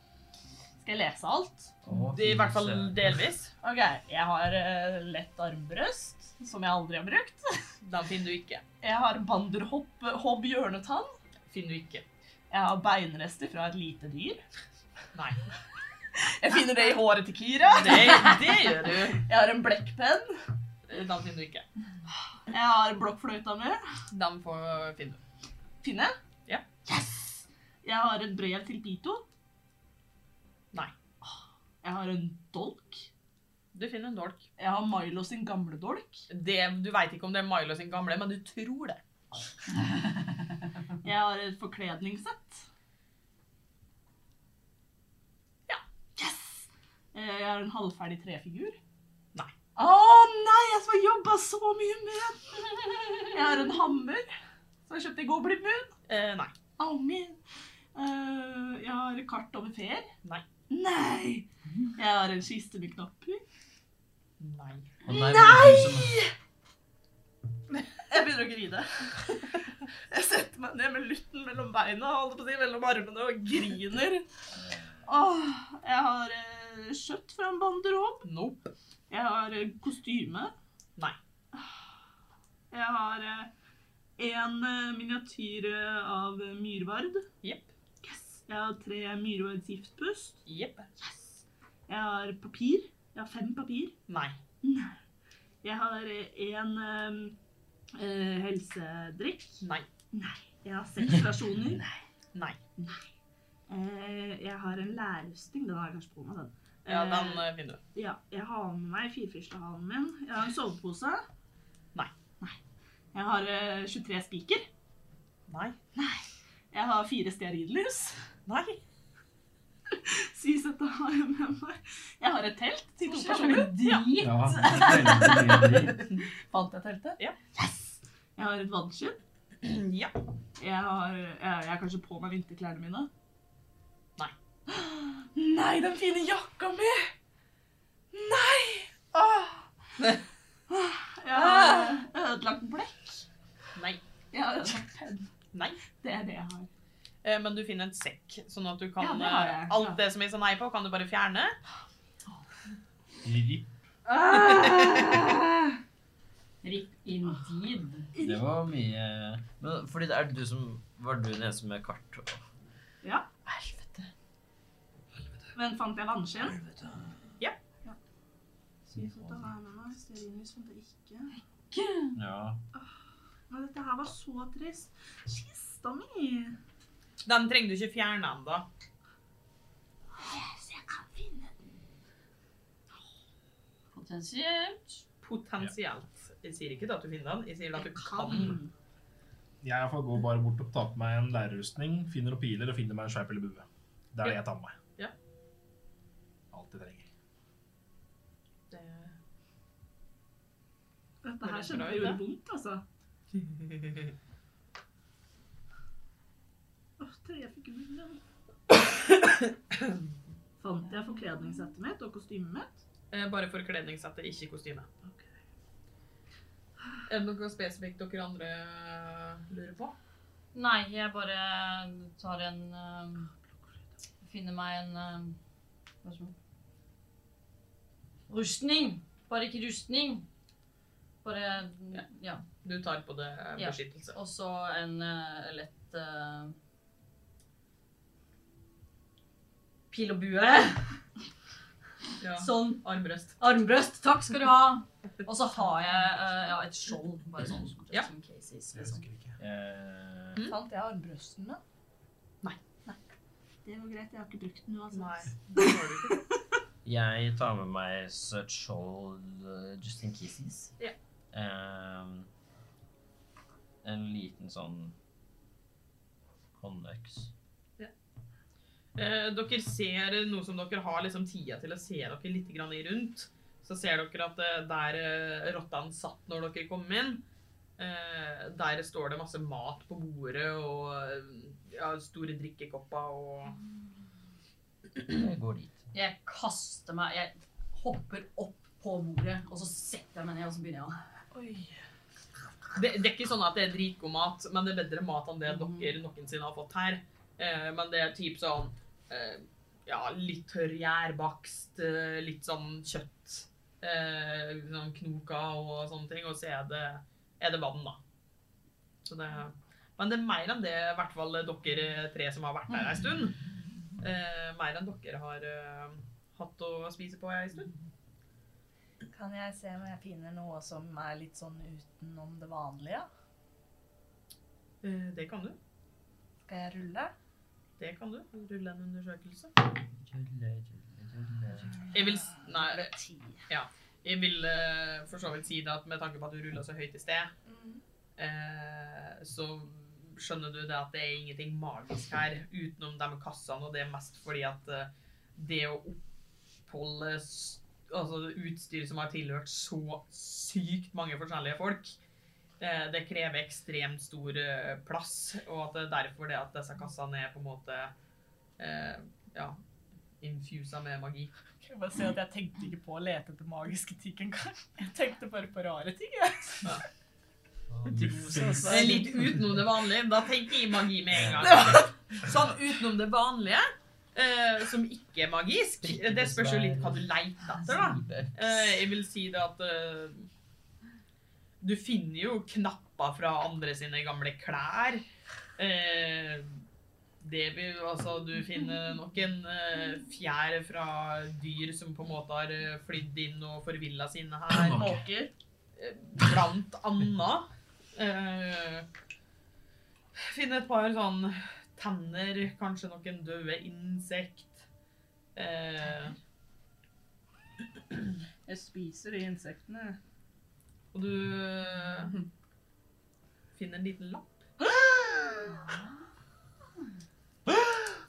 Skal jeg lese alt? Å, Det er I hvert fall fy søren. delvis. Ok, jeg har eh, lett armbrøst, som jeg aldri har brukt. Den finner du ikke. Jeg har banderhopp, hobb hjørnetann. Finner du ikke. Jeg har beinrester fra et lite dyr. [LAUGHS] Nei. Jeg finner det i håret til Kira. Det, det gjør du. Jeg har en blekkpenn. Den finner du ikke. Jeg har blokkfløyta mi. Den får finne du. Finne. Ja. Yes! Jeg har et brev til Pito. Nei. Jeg har en dolk. Du finner en dolk. Jeg har Milo sin gamle dolk. Det, du veit ikke om det er Milo sin gamle, men du tror det. Jeg har et forkledningssett. Ja. Yes! Eh, Jeg har en halvferdig trefigur. Nei. Å nei, jeg som har jobba så mye med den. Jeg har en hammer som jeg kjøpte i Goblin-byen. Eh, nei. Au min. Eh, jeg har kart over feer. Nei. Nei! Jeg har en kiste med knapper. Nei. Å nei! var det du som- Jeg begynner å grine. Jeg setter meg ned med lutten mellom beina holdt på å si, mellom armene og griner. Åh, jeg har eh, kjøtt fra en banderob. Nope. Jeg har eh, kostyme. Nei. Jeg har eh, en eh, miniatyr eh, av eh, myrvard. Jepp. Yes. Jeg har tre myrvards giftpust. Jepp. Jeg har papir. Jeg har fem papir. Nei. Jeg har eh, én eh, helsedrikk. Nei. Nei. Jeg har seks stasjoner. Nei. Eh, jeg har en lærrustning. Den har jeg kanskje på meg, den. Ja, den Eh, eh, finner du. ja, jeg har med meg firfyrstehalen min. Jeg har en sovepose. Nei. Nei. Jeg har eh, 23 spiker. Nei. Jeg har fire stearinlys. [LAUGHS] Nei. [CLEARS THROAT] Sysete har jeg med meg. Jeg har et telt til to Hvorfor personer. er det drit? Ja, veldig mye dritt. Fant jeg teltet? Ja. Yes! Jeg har et vannskydd. Ja. Jeg har, jeg, jeg har kanskje på meg vinterklærne mine. Nei. Nei, den fine jakka mi! Nei! Åh. Ah. Åh, [LAUGHS] Jeg har ødelagt blekk. Nei. Jeg har ødelagt penn. Nei. Det er det jeg har. Eh, Men du finner en sekk, sånn at du kan Ja, det har jeg. eh, Alt det som jeg sa nei på, kan du bare fjerne. Ripp. Ah. Rip indeed. Det var mye Men fordi det er du som Var du den eneste med kart? og- Ja, Helvete. men fant jeg vannskinn? Ja. Ja. Synes at det var med meg. Stearinlys fant jeg ikke. Ja. Men dette her var så trist. Kista mi! Den trenger du ikke fjerne ennå. Så jeg kan finne den. Potensielt. Potensielt. Jeg sier ikke at du finner den, jeg sier at du kan. Jeg i hvert fall går bare bort og tar på meg en lærerrustning, finner opp piler og finner meg en skjerp eller bue. Det er det jeg tar med meg. Ja. Alt jeg trenger. Dette Var her det bra, kjente jeg gjorde Ida? vondt, [LAUGHS] altså. Det- Åh, tre figurer. [COUGHS] Fant jeg forkledningssettet mitt og kostymet mitt? Eh, Bare forkledningssettet, ikke kostyme. Ok. Er det noe spesifikt dere andre lurer på? Nei, jeg bare tar en ehm, Finner meg en ehm, Hva som Rustning! Bare ikke rustning. Bare Ja. Ja. Du tar på det Ja. beskyttelse. Og så en eh, lett eh, Pil og bue. Ja. Sånn. Armbrøst. Armbrøst, takk skal du ha. Og så har jeg eh, ja, et skjold. Bare sånn. Ja. Just in cases, liksom. Eh, Mm. Fant jeg armbrøsten da? Nei. Det var greit, jeg har ikke brukt den nå, altså. Nei. det har du ikke. Jeg tar med meg Search Hold eh, Justin Kisses. Eh, Ja. en liten sånn håndøks. [CLEARS THROAT] Eh, Dere ser noe som dere har liksom tida til å se dere litt grann i rundt. Så ser dere at eh, der eh, rottene satt når dere kom inn, eh, der står det masse mat på bordet og eh, ja, store drikkekopper og Jeg går dit. Jeg kaster meg Jeg hopper opp på bordet, og så setter jeg meg ned, og så begynner jeg å Oi. Det, det er ikke sånn at det er dritgod mat, men det er bedre mat enn det Mhm. dere noensinne har fått her. Eh, men det er typ sånn eh, ja, litt tørr gjærbakst, eh, litt sånn kjøtt, eh, sånn knoker og sånne ting, og så er det, er det vann, da. Så det, men det er mer enn det, i hvert fall eh, dere tre som har vært her en stund. Eh, mer enn dere har eh, hatt å spise på en stund. Kan jeg se om jeg finner noe som er litt sånn utenom det vanlige? Eh, det kan du. Skal jeg rulle? Det kan du. Rulle en undersøkelse. Rulle, rulle, rulle. Jeg vil, s- nei, det- Ti. Jeg vil eh, for så vidt si det at med tanke på at du rulla så høyt i sted, eh, så skjønner du det at det er ingenting magisk her utenom de kassene, og det er mest fordi at eh, det å oppholde s- altså utstyr som har tilhørt så sykt mange forskjellige folk, eh, det krever ekstremt stor eh, plass, og at det er derfor det at disse kassene er på en måte eh, ja, infusa med magi. Kan jeg bare si at jeg tenkte ikke på å lete etter magiske ting engang. Jeg tenkte bare på rare ting, jeg. Eh, Litt utenom det vanlige. Da tenker jeg magi med en gang. Sånn utenom det vanlige, eh, som ikke er magisk. Det spørs jo litt hva du leter etter, da. Eh, jeg vil si det at eh, Du finner jo knapper fra andre sine gamle klær. Eh, det vil, altså, du finner nok en eh, fjær fra dyr som på en måte har eh, flydd inn og forvilla sine her. Måker. Eh, blant annet eh, finne et par sånn tenner, kanskje noen døde insekt. Eh, Jeg spiser de insektene. og du eh, finner en liten lapp.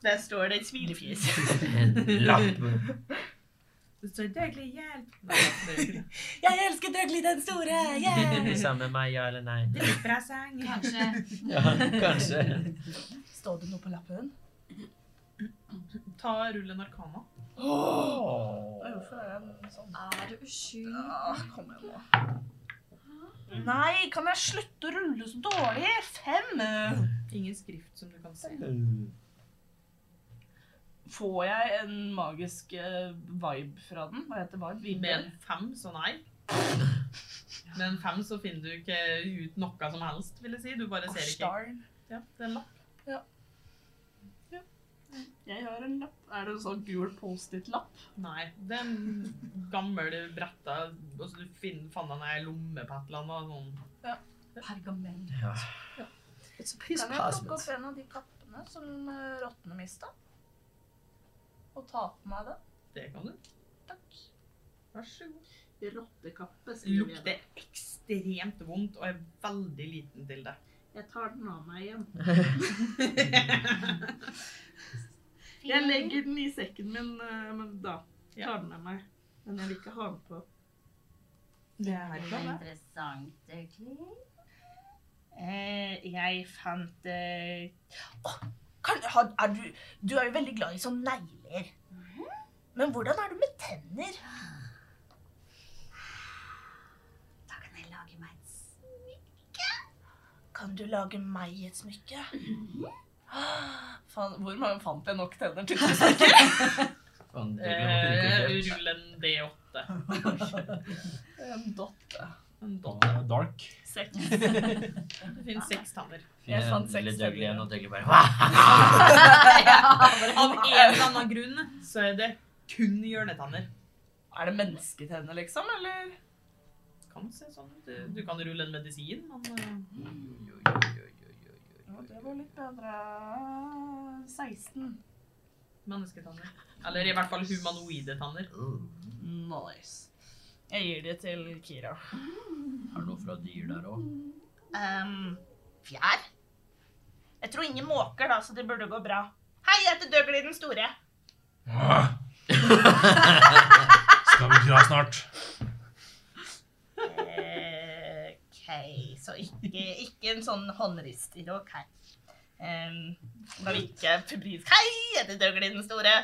Der står det et smilefjes. En lapp. Det står 'dødelig hjelp'. Nei, det er ikke det. Jeg elsker Dougley den store! Er du Yeah! sammen med meg, ja eller nei? Dritpresang. Kanskje Ja, kanskje. Står det noe på lappen? Ta rullen arkana. Hvorfor er den sånn? er du uskyldig. Ah, kom igjen nå. Nei, kan jeg slutte å rulle så dårlig? Fem! Ingen skrift som du kan se. Får jeg en magisk eh, vibe fra den? Hva heter vibe? Med Vibber? en fem, så nei. Med en fem så finner du ikke ut noe som helst, vil jeg si. Du bare ser ikke. Korsdarn. Ja, det er en lapp. Jeg har en lapp. Er det en sånn gul Post-It-lapp? Nei, det er en gammel bretta altså Du finner, fant den i ei lomme på et eller annet. og Sånn. Ja. Pergament. Ja. It's a Kan jeg plukke opp en av de kappene som eh, rottene mista? Og ta på meg den? Det kan du. Takk. Vær så god. Rottekappe. skriver jeg da. Lukter ekstremt vondt og er veldig liten til det. Jeg tar den av meg [LAUGHS] igjen. Jeg Fin. legger den i sekken min, eh, men da Ja. tar den med meg. Men jeg vil ikke ha den på. Det Det er var interessant, egentlig. Eh, jeg fant eh... Åh, kan, har, er du, du er jo veldig glad i sånne negler. Mhm. Men hvordan er du med tenner? Da kan jeg lage meg et s- Kan du lage meg et smykke? Mhm. Ah, [GASPS] Faen, hvor mange fant jeg nok tenner til? [LAUGHS] Faen, det blir Eh, nok ikke Rull en D8. En dotte. En dott. Dark. Seks. Det finnes seks tanner. Jeg Jeg fant lille seks Dougley igjen, tenner. og Dougley bare Hva? [LAUGHS] Av en eller annen grunn så er det kun hjørnetanner. [LAUGHS] Er det mennesketenner, liksom? Eller? Kan se sånn ut. Du- Du kan rulle en medisin, men eh, Ja, det var litt bedre. 16. mennesketanner. Eller i hvert fall humanoide tanner. Nice. Jeg gir det til Kira. Er det noe fra dyr der òg? Ehm, fjær? Jeg tror ingen måker, da, så det burde gå bra. Hei, jeg heter Døgli den store. Skal vi dra snart? Eh, OK, så ikke, ikke en sånn håndrister. OK. Um, da vil ikke febrilsk Hei, jeg heter Døgli den store.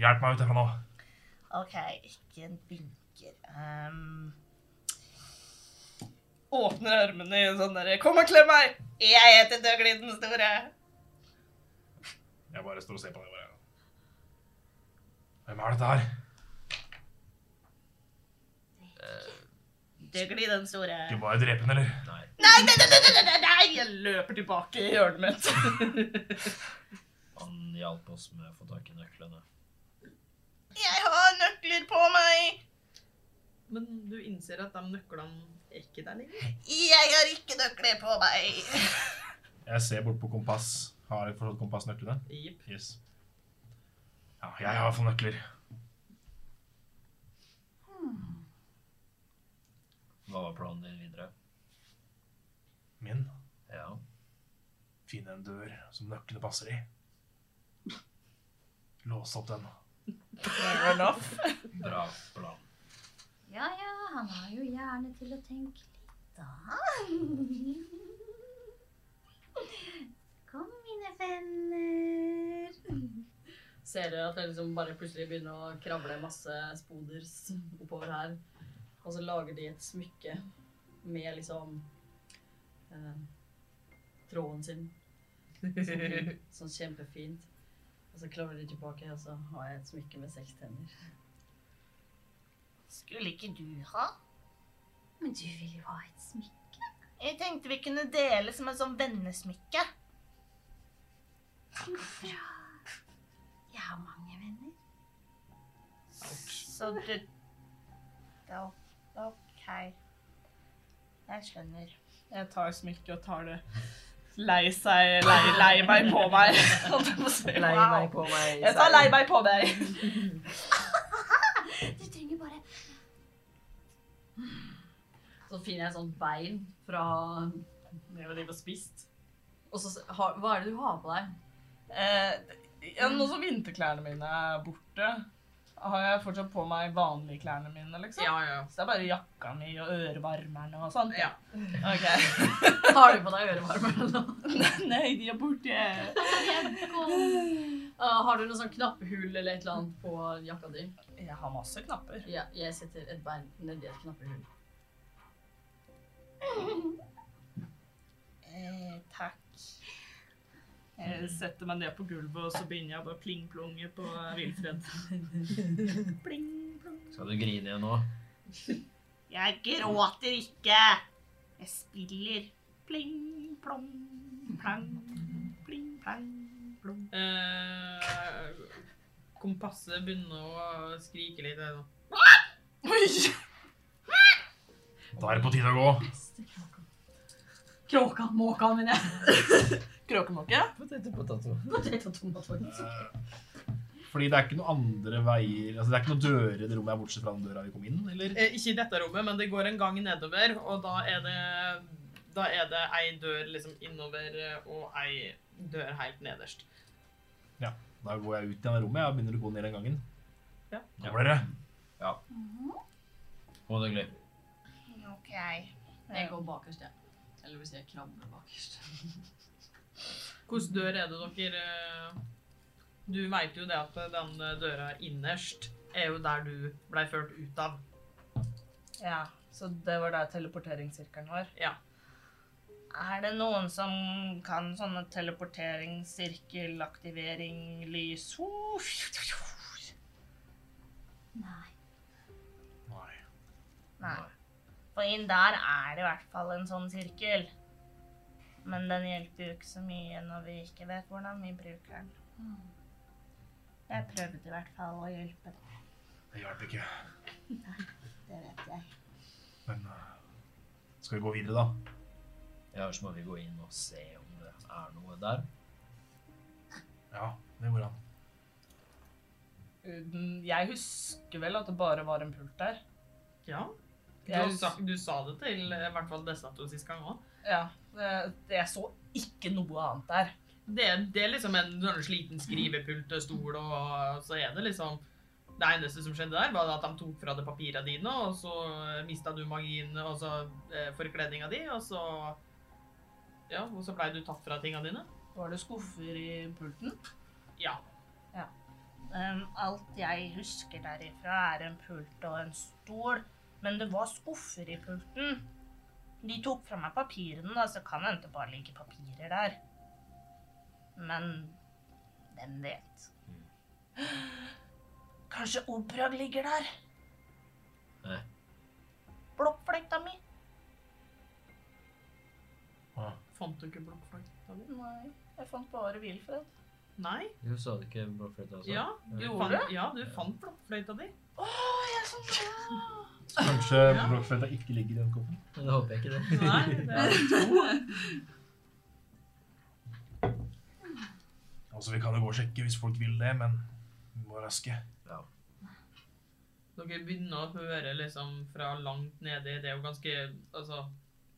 Hjelp meg ut herfra nå. OK, ikke en vinker. Ehm, åpner armene i en sånn derre Kom og klem meg! Jeg heter Døgli den store. Jeg bare står og ser på deg. bare. Hvem er dette her? Døgli den store. Du bare drepe den, eller? Nei. Nei, nei, nei, nei, nei, nei, nei! Jeg løper tilbake i hjørnet mitt. Han hjalp oss med å få tak i nøklene. Jeg har nøkler på meg! [LAUGHS] Men du innser at de nøklene er ikke der lenger. Jeg har ikke nøkler på meg. Jeg ser bort på kompass. Har jeg forstått kompassnøklene? Jepp. Yes. Ja, jeg har fått nøkler. Hva var planen din videre? Min. Ja. Finne en dør som nøklene passer i. Låse opp den. Fair enough. Bra plan. Ja ja, han har jo hjerne til å tenke litt, da. Kom, mine venner. Ser dere at jeg liksom bare plutselig begynner å kravle masse spoder s- oppover her. Og så lager de et smykke med liksom eh, tråden sin. [LAUGHS] Sånn, sånn kjempefint. Og så kravler de tilbake, og så har jeg et smykke med seks tenner. Skulle ikke du ha? Men du vil jo ha et smykke. Jeg tenkte vi kunne dele som en sånn vennesmykke. Bra. Jeg har mange venner. Så du Da OK. Jeg skjønner. Jeg tar smykket og tar det lei seg Lei, lei meg på [LAUGHS] meg. Lei meg på meg. Jeg tar lei meg på meg. Du trenger bare Så finner jeg et sånt bein fra det jeg driver og spist. Og så s- har, Hva er det du har på deg? Eh, ja, nå som vinterklærne mine er borte, har jeg fortsatt på meg vanlige klærne mine, liksom? Ja, ja. Så det er bare jakka mi og ørevarmerne og sånt? Ja. Ok. [LAUGHS] Har du på deg ørevarmer eller noe? Nei, de er borte. Eh, har du noe sånn knappehull eller et eller annet på jakka di? Jeg har masse knapper. Ja, jeg setter et bein nedi et knappehull. Eh, takk. Jeg setter meg ned på gulvet, og så begynner jeg å bare pling-plonge på [LAUGHS] Wilfred. Pling-plong. Skal du grine igjen nå? Jeg gråter ikke. Jeg spiller. Pling-plong, plang, pling-plang, plong. Eh, kompasset begynner å skrike litt. her nå. Oi! Da er det på tide å gå. Kråka, måka, men jeg. Kråkemåke. Poteter, potato. Potet og tomat, faktisk. Fordi det er ikke noen andre veier altså Det er ikke noen dører i det rommet her bortsett fra den døra vi kom inn, eller? Eh, Ikke i dette rommet, men det går en gang nedover, og da er det, da er det ei dør liksom innover eh, og ei dør helt nederst. Da går jeg ut i det rommet jeg begynner å gå ned den gangen. Ja. Kommer dere? Hodegløy. Ok. Jeg går bakerst, jeg. Eller hvis jeg krabber bakerst. [LAUGHS] Hvilken dør er det dere eh, Du veit jo det at den eh, døra innerst er jo der du blei ført ut av. Ja, så det var der teleporteringssirkelen var. Ja. Er det noen som kan sånne teleporteringssirkel, aktivering, lys Nei. Nei. Nei. For inn der er det i hvert fall en sånn sirkel. Men den hjelper jo ikke så mye når vi ikke vet hvordan vi bruker den. Jeg prøvde i hvert fall å hjelpe deg. Det hjalp ikke. Det vet jeg. Men eh, skal vi gå videre, da? Ja, så må vi gå inn og se om det er noe der. Ja, det går an. Mm, Jeg husker vel at det bare var en pult der. Ja. Du, Jeg har hus- sagt- du sa det til eh, i hvert fall disse to sist gang òg. Ja, det- Jeg så ikke noe annet der. Det, det er liksom en sånn sliten skrivepult og stol, og så er det liksom Det eneste som skjedde der, var at de tok fra deg papirene dine, og så mista du magien og så eh, forkledninga di, og så Ja, og så blei du tatt fra tinga dine. Var det skuffer i pulten? Ja. Um, alt jeg husker derifra, er en pult og en stol. Men det var skuffer i pulten. De tok fra meg papirene, da, så kan det hende det bare ligger papirer der. Men hvem vet? Kanskje Obrag ligger der? Nei. Blokkfløyta mi? Fant du ikke blokkfløyta di? Nei, jeg fant bare Wilfred. Nei? Du sa det ikke blokkfløyte også? Ja, du Gjorde fant, det? ja, du fant blokkfløyta di. Å, jeg er så glad! Så kanskje blokkfløyta ikke ligger i den koppen? Men det håper jeg ikke det. Nei, det er to. Altså, Vi kan jo gå og sjekke hvis folk vil det, men vi må raske. Ja. Dere begynner å høre liksom fra langt nede. Det er jo ganske altså,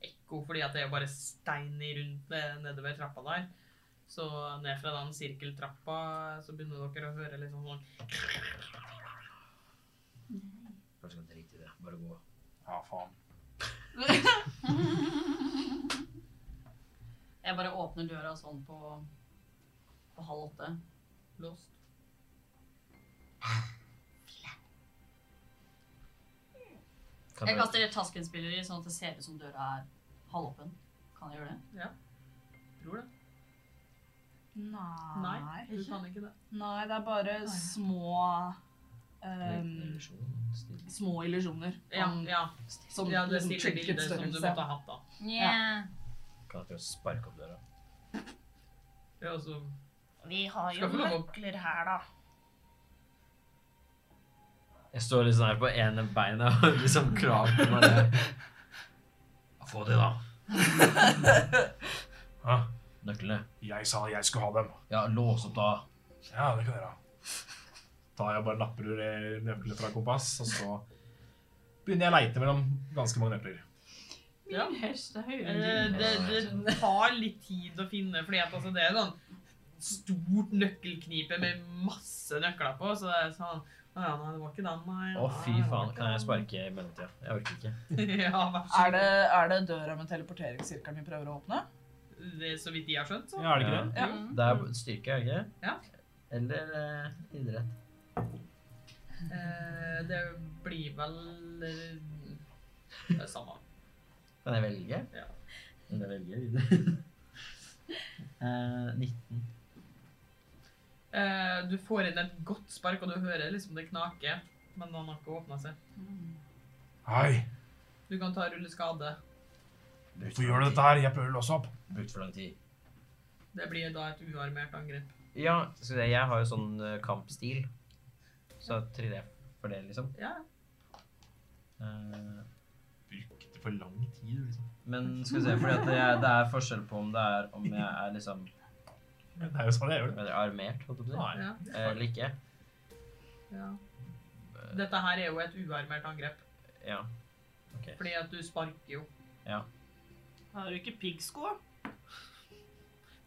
ekko, fordi at det er jo bare stein i rundt ne- nede ved trappa der. Så ned fra den sirkeltrappa så begynner dere å høre liksom sånn Kanskje kan drite i det. Bare gå. Ja, faen. Jeg bare åpner døra sånn på, på halv åtte. Låst. Kan Jeg jeg- kaster taskenspiller i, sånn at det ser ut som døra er halvåpen. Kan jeg gjøre det? Tror det. Nei. du kan ikke det. Nei, det er bare ja. små um, Illusjon, stil. små illusjoner. Ja, Om- ja. Sånn, ja det liksom, stiller bildet som du trinket-størrelse. måtte ha hatt, da. Nja. Kan jeg prøve å sparke opp døra? Det er også Vi har jo Skal få lov å- nøkler her, da. Jeg står litt sånn her på ene beina og [LAUGHS] liksom klarer på meg det. Få de, da. Hæ? Nøklene. Jeg sa jeg skulle ha dem. Ja, lås opp da. Ja, det kan dere ha. Da jeg bare napper ur nøklene fra kompass, og så begynner jeg å leite mellom ganske mange nøkler. Ja. hest er høyere Eh, enn din. Det, det tar litt tid å finne, fordi at altså, det er sånn stort nøkkelknipe med masse nøkler på, så det er sånn Å ja, nei, det var ikke den, nei. Å, fy Ah, faen. Kan jeg sparke i mellomtida? Jeg orker ikke. sparke? [LAUGHS] ja, vær så Er god. det, er det døra med teleporteringssirkelen vi prøver å åpne? Det er så vidt de har skjønt, så. Ja, er det ikke det? Ja. Jo. Det er styrke, er det ikke? Ja. Eller eh, idrett. Eh, Det blir vel eh, Det er samme. Kan jeg velge? Ja. Eller velge [LAUGHS] idrett? Eh, 19. Eh, Du får inn et godt spark, og du hører liksom det knaker, men han har ikke åpna seg. Hei, Du kan ta rulle skade. Brukt hvorfor gjør du dette her? Jeg prøver å låse opp. Brukt for lang tid. Det blir da et uarmert angrep. Ja, skal vi se, jeg har jo sånn eh, kampstil. Så triller jeg for det, liksom. Ja, Eh, Brukte for lang tid. Liksom. Men skal vi se, fordi at det er, det er forskjell på om det er om jeg er liksom Det er jo sånn jeg gjør det. hva er det, armert, holdt jeg på å si, Nei. Ja, eh, eller ikke. ja. Dette her er jo et uarmert angrep, Ja. fordi at du sparker jo. Har du ikke piggsko?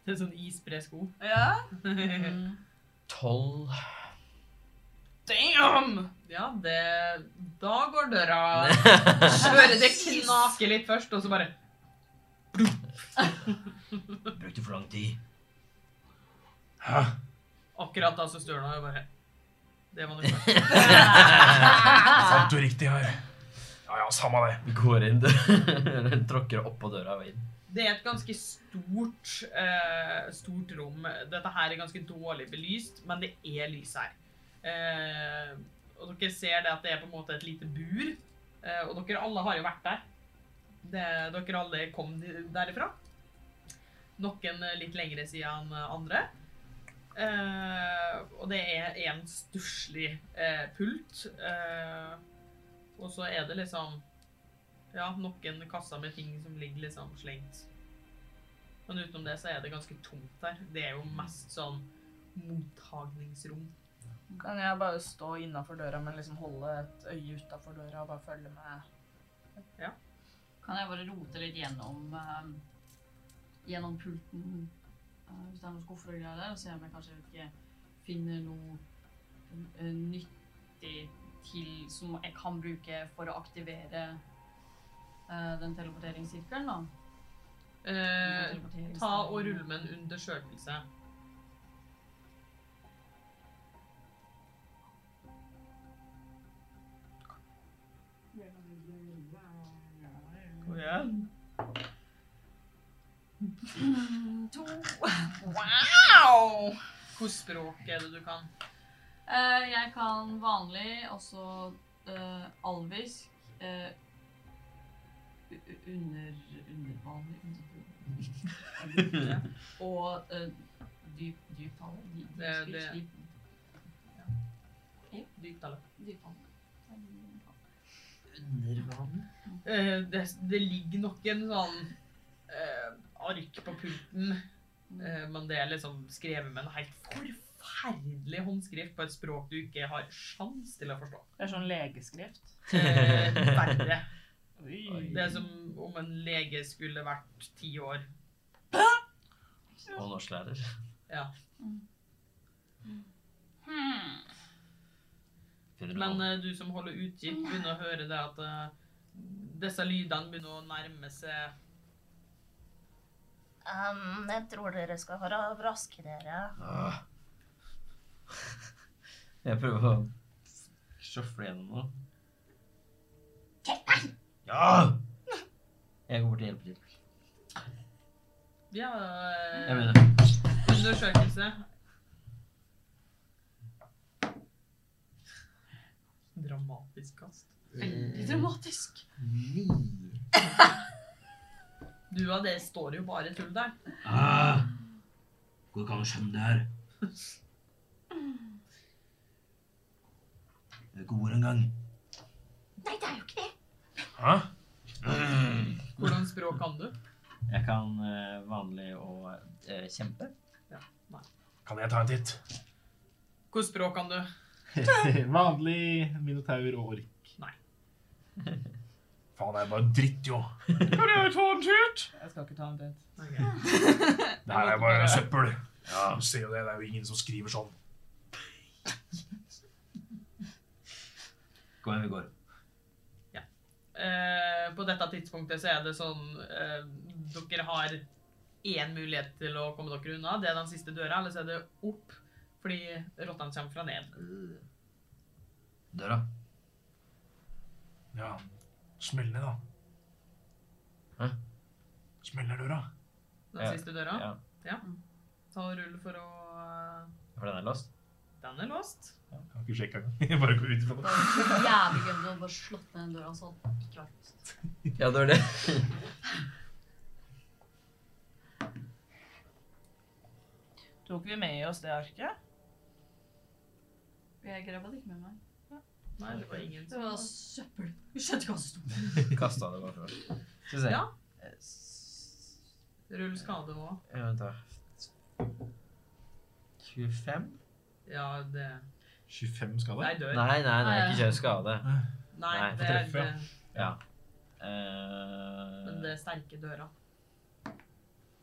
Det er sånn isbresko. Ja. Tolv Damn! [LAUGHS] Ja, det Da går døra Hører det knake litt først, og så bare Brukte for lang tid. Hæ? Akkurat da så størna jo bare Det var noe først. Sant og riktig her. Ja ja, samme det. Vi går [LAUGHS] inn døra, tråkker oppå døra og inn. Det er et ganske stort, eh, stort rom. Dette her er ganske dårlig belyst, men det er lys her. Eh, og dere ser det at det er på en måte et lite bur. Eh, og dere alle har jo vært der. Det, dere alle kom de- derifra. Noen eh, litt lengre siden enn andre. Eh, og det er en stusslig eh, pult. Eh, og så er det liksom ja, noen kasser med ting som ligger liksom slengt. Men utenom det så er det ganske tomt der. Det er jo mest sånn mottagningsrom. Kan jeg bare stå innafor døra, men liksom holde et øye utafor døra og bare følge med? Kan jeg bare rote litt gjennom, eh, gjennom pulten, eh, hvis det er noen skuffer og greier der, og se om jeg kanskje ikke finner noe eh, nyttig til som jeg kan bruke for å aktivere eh, den teleporteringssirkelen, da. Eh, Den teleporterings- ta og rull med en undersøkelse. Kom igjen. To. Wow! Hvilket språk er det du kan? Eh, jeg kan vanlig, også eh, alvisk, eh, u- u- under, undervanlig, undervanlig, og eh, dyp, dyptale, dyp, dyp, Det- dyp, det- dyp, Dyptale. dyptale. Undervann? Eh, det, det ligger nok en sånn eh, ark på pulten, eh, men det er liksom skrevet med en helt forferdelig håndskrift på et språk du ikke har sjans til å forstå. Det er sånn legeskrift. Eh, verre. Oi. Det er som om en lege skulle vært ti år. Og norsklærer. Hmm. Men eh, du som holder utkikk, begynner å høre det at eh, disse lydene begynner å nærme seg Um, jeg tror dere skal ra- raske dere. Ah. Jeg prøver å sjøfle gjennom nå. Ja! Jeg går bort og hjelper til. Ja, eh, Jeg mener undersøkelse. Dramatisk kast. Veldig dramatisk. Ni. Du og det står jo bare tull der. Ah. Går ikke an å skjønne det her. Det er ikke ord engang. Nei, det er jo ikke det! Hæ? Hvordan språk kan du? Jeg kan eh, vanlig og eh, [LAUGHS] kjempe. Kan jeg ta en titt? Hvilket språk kan du? Vanlig minotaur og ork. Nei. Faen, det er bare dritt, jo. Kan jeg ta en titt? Jeg skal ikke ta en titt. Det her er bare søppel. Ja, du ser jo det. Det er jo ingen som skriver sånn. Kom igjen, vi går. Eh, på dette tidspunktet så er det sånn eh, Dere har én mulighet til å komme dere unna. Det er den siste døra, eller så er det opp. Fordi rottene kommer fra ned. Døra. Ja, smell ned, da. Hæ? Smell ned døra. Den Ja, siste døra. ja. Ta og rull for å eh, For den er låst. Den er låst. Kan ikke sjekke engang. [LAUGHS] Bare gå ut ifra det. Det var jævlig gøy om du hadde bare slått ned den døra sånn. Ikke vært. Ja, det var det. Tok vi med oss det arket? Jeg grabba det ikke med meg. Nei, det var ingen Det som var søppel. Jeg skjønte ikke hva det sto. Kasta det bare før. Skal vi se. Ja. Eh, s- Rull skade òg. ja, Vent, da. 25? Ja, det 25 skade? Nei, dør. Nei, nei, nei, ikke kjør skade. Nei, Nei, det, treffer, det, ja. men Eh, det sterke døra.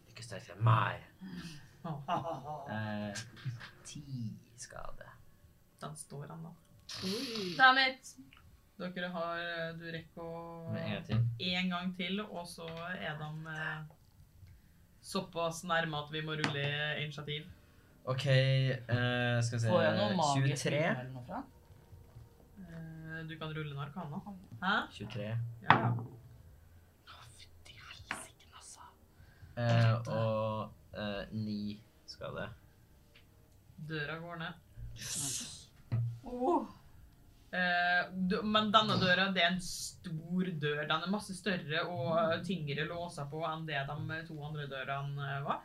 ikke sterkere enn meg. [LAUGHS] Den Eh, Ti skade. står han, da. Oi. Damn it! Dere har eh, Du rekker å Med en gang til. én gang til, og så er de eh, såpass nærme at vi må rulle initiativ. OK, eh, skal vi se Får jeg noe magisk 23? eller noe fra? Eh, Du kan rulle en arkana. Hæ? 23. Ja. Eh, og eh, 9 skade. Døra går ned. Åh. Eh, du, men denne døra det er en stor dør. Den er masse større og tyngre låser på enn det de to andre dørene eh, var.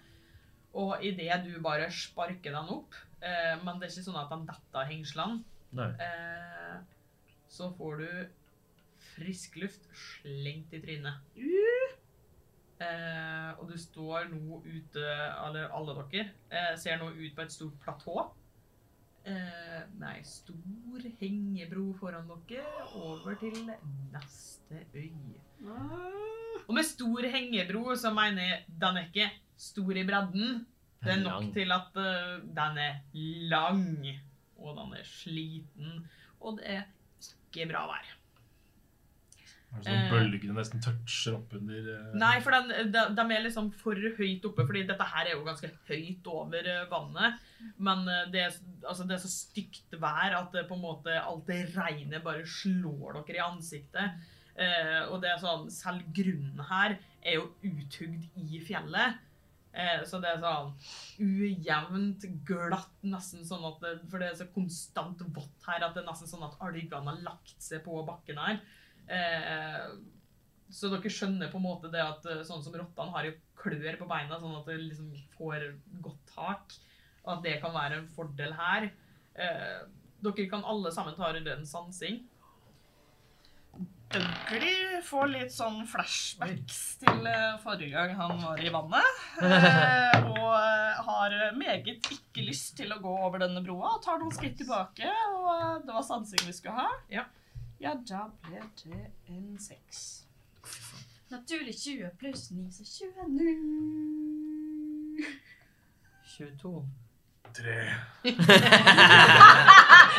Og idet du bare sparker den opp eh, Men det er ikke sånn at de detter av hengslene. Nei. Eh, så får du frisk luft slengt i trynet. Eh, og du står nå ute, eller alle dere, eh, ser nå ut på et stort platå. Eh, nei, stor hengebro foran dere, over til neste øy. Og med stor hengebro så mener jeg den er ikke stor i bredden. Det er nok Lang. til at eh, den er lang, og den er sliten, og det er ikke bra vær. Er det sånn Eh. Bølgene nesten toucher oppunder eh, Nei, for den, de, de er liksom for høyt oppe, fordi dette her er jo ganske høyt over eh, vannet. Men eh, det er, s- altså, det er så stygt vær at det på en måte alt det regnet bare slår dere i ansiktet. Eh, og det er sånn, selv grunnen her er jo uthugd i fjellet. Eh, så det er sånn ujevnt, glatt, nesten sånn at det, For det er så konstant vått her at det er nesten sånn at algene har lagt seg på bakken her. Eh, så dere skjønner på en måte det at eh, sånn som rottene har jo klør på beina, sånn at det liksom får godt tak. Og at det kan være en fordel her. Eh, dere kan alle sammen ta en sansing. Dougley får litt sånn flashbacks til eh, forrige gang han var i [LAUGHS] vannet. eh, Og eh, har meget ikke lyst til å gå over denne broa og tar noen skritt tilbake. Og eh, det var sansing vi skulle ha. Ja. Ja, da ble det en seks. Naturlig 20 pluss 9, så 29. 22. tre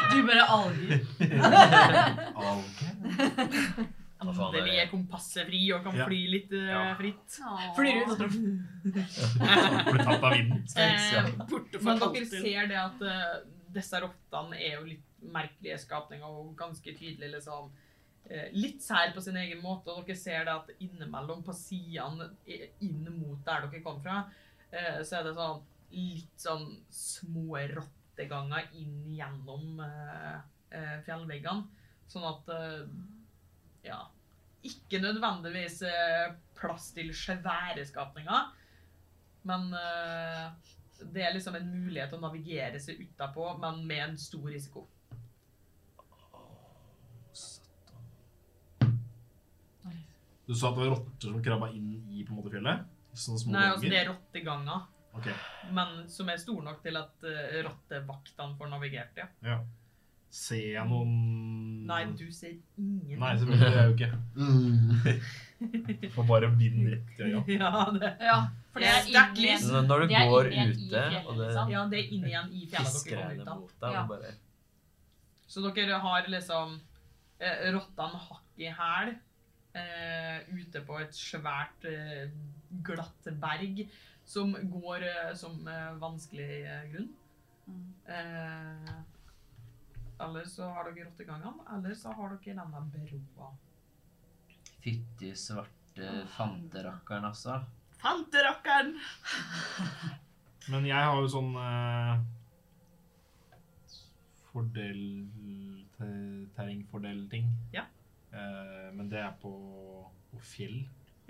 Du bare alger. alger. Hva faen er Endelig det? er kompasset fri og kan Ja. fly litt eh, Ja. fritt. Flyr ut. Blir tatt av vinden. Eh, Borte men dere ser det at eh, disse rottene er jo litt merkelige skapninger og ganske tydelige liksom eh, litt sær på sin egen måte, og dere ser det at innimellom på sidene eh, inn mot der dere kom fra, eh, så er det sånn litt sånn små rotteganger inn gjennom eh, eh, fjellveggene, sånn at eh, ja, ikke nødvendigvis eh, plass til svære skapninger, men eh, det er liksom en mulighet å navigere seg utapå, men med en stor risiko. Du sa at det var rotter som krabba inn i på en måte fjellet? Sånne små Nei, altså det ganger? er rotteganger, Ok, men som er stor nok til at eh, rottevaktene får navigert det. ja. Ser jeg noen Nei, du ser ingen. Mm. [LAUGHS] Nei, selvfølgelig. Det er jo ikke Får bare vind rett i øya. ja, det, Ja, for det er Sterkt inni- lys. Så når du Det er går inn i ute, fjellet, og det liksom. ja, det er inn igjen i fjellet fisker dere henne kommer ut av. mot deg, Ja. og bare Så dere har liksom eh, rottene hakk i hæl eh, ute på et svært eh, glatt berg som går eh, som eh, vanskelig eh, grunn. Eh, eller så har dere rottegangene, eller så har dere denne broa. Fytti svarte fanterakkeren, altså. Fanterockeren! Men jeg har jo sånn eh, Fordel te- Terrengfordel-ting. Ja. Eh, men det er på, på fjell.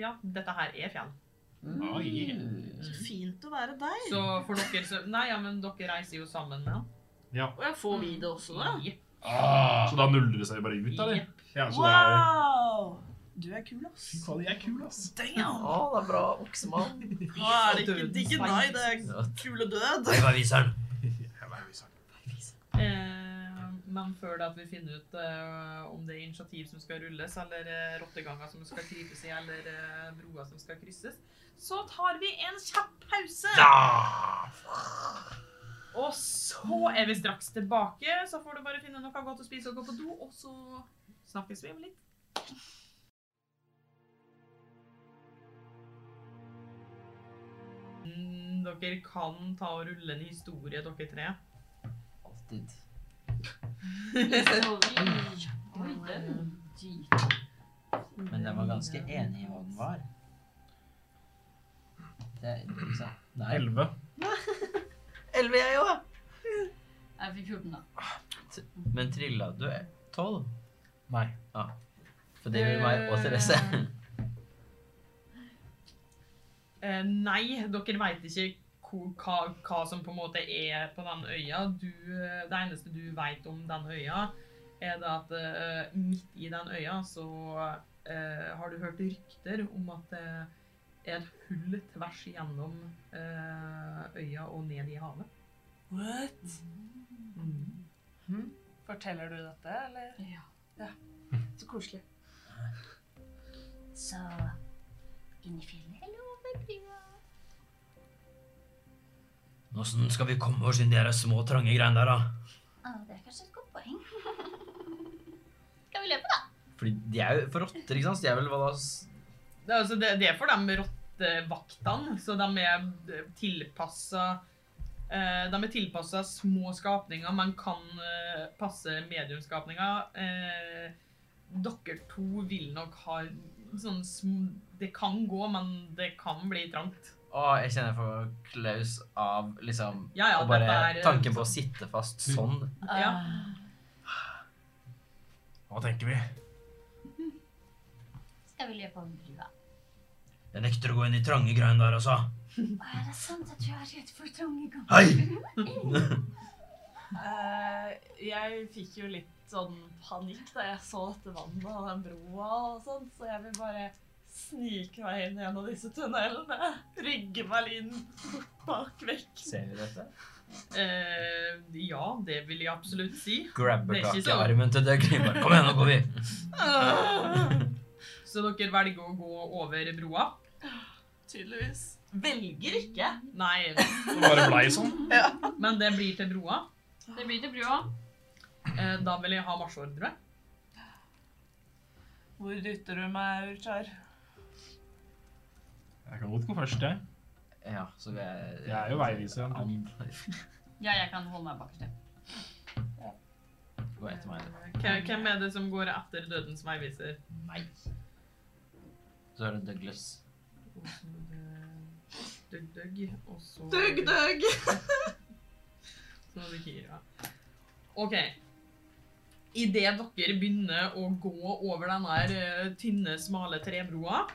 Ja, dette her er fjell. Mm. Oi. Mm. Så fint å være deg. Så for dere så Nei, ja, men dere reiser jo sammen med han. Ja. Og jeg får vi det også, da? Jepp. Så da nuller det seg bare ut, eller? Jepp. Ja, så det er, Wow! Du er kul, ass. Fy faen, jeg er kul, ass. Ja, det er bra [LAUGHS] oksemann. Nå er det ikke digg, nei. Det er kule død. Jeg var viseren. Jeg var jo sagt. Eh, men før det at vi finner ut eh, om det er initiativ som skal rulles, eller eh, rotteganger som skal krypes i, eller eh, broer som skal krysses, så tar vi en kjapp pause. Og så er vi straks tilbake, så får du bare finne noe godt å spise og gå på do, og så snakkes vi om litt. Mm, Dere kan ta og rulle en historie, dere tre. Alltid. Oi, den. Men jeg var ganske enig i hva den var. Det er interessant. Nei. Elleve. Elleve, jeg òg. Jeg fikk 14, da. Men trilla du er tolv? Nei. For det gjorde meg og Therese. [LAUGHS] Eh, nei, dere veit ikke hvor, hva, hva som på en måte er på den øya. Du, eh, det eneste du veit om den øya, er det at eh, midt i den øya så eh, har du hørt rykter om at det er et hull tvers igjennom eh, øya og ned i havet. Mm. What? Forteller du dette, eller? Ja. Så koselig. Så inn i fjellet eller over brua? Åssen skal vi komme oss inn i de små, trange greiene der, da? Å, Ah, det er kanskje et godt [LAUGHS] poeng. Skal vi løpe, da? Fordi de er jo for rotter, ikke sant? Så de er vel hva da s- Det, er altså, det, det er for de rottevaktene, så de er tilpassa eh, De er tilpassa små skapninger, men kan eh, passe mediumskapninger. Eh, dere to vil nok ha sånn sm Det kan gå, men det kan bli trangt. Å, jeg kjenner jeg får klaus av liksom Ja, ja, Og bare dette er, eh, tanken på å sitte fast sånn. Ja. Ah, Eh, Hva tenker vi? Skal vi løpe over brua? Jeg nekter å gå inn i trange greiene der, altså. Mm. Å, er det sant? Jeg tror jeg er redd for trange ganger. Hei! Eh, jeg fikk jo litt sånn panikk da jeg så dette vannet og den broa og sånn, så jeg vil bare snike meg inn gjennom disse tunnelene. Rygge meg inn bak vekk. Ser vi dette? Eh, ja, det vil jeg absolutt si. Grabber Det er tak ikke i så- armen til Dougley. bare, Kom igjen, nå går vi! Så dere velger å gå over broa? Tydeligvis. Velger ikke. Nei, Det bare blei sånn. men det blir til broa. Det blir til brua. Eh, da vil jeg ha marsjordre. Hvor dytter du meg, Urchar? Jeg kan godt gå først, jeg. Ja, så vi er Jeg er jo veiviser. Ja, jeg kan holde meg bakerst. ja. Gå etter meg. Hvem hvem er det som går etter dødens veiviser? Nei. Så er det Douglas. Døgg, døgg, og så Dugg, dugg! Så er det Kira. OK. Idet dere begynner å gå over denne her, eh, tynne, smale trebroa,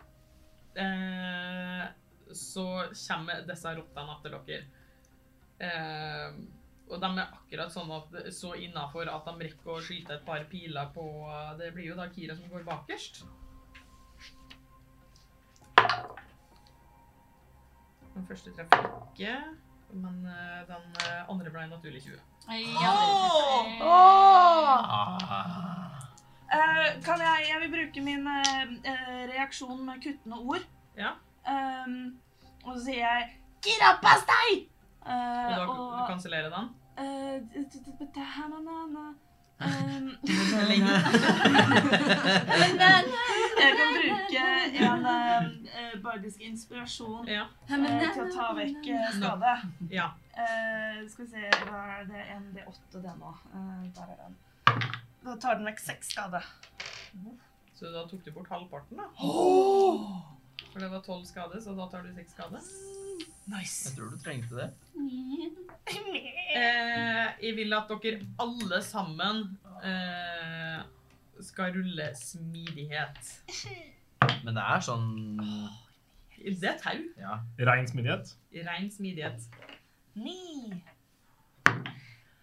eh, så kommer disse rottene etter dere. Eh, og de er akkurat sånn at, så innafor at de rekker å skyte et par piler på eh, Det blir jo da Kira som går bakerst. Den første treffer ikke, men eh, den eh, andre ble en naturlig 20. Jeg Åh! hadde- Ah. Eh, kan jeg, jeg vil bruke min eh, eh, reaksjon med kuttende ord. Ja. Ehm, og så sier jeg Gira, pass deg! Eh, Og da og, k- kansellere den. eh, d- d- d- d- ha, na, na, na. Ehm, jeg kan bruke en eh, eh, bardisk inspirasjon Ja. eh, til å ta vekk eh, skade. ja. Eh, skal vi se, hva er det? En D8, det nå. Eh, der er den. Da tar den vekk seks skade. Så da tok du bort halvparten, da. For det var 12 skade, så da tar du 6 skade. Jeg tror du trengte det. Eh, jeg vil at dere alle sammen eh, skal rulle smidighet. Men det er sånn Det er tau. Ja. Rein smidighet. Rein smidighet. Ni.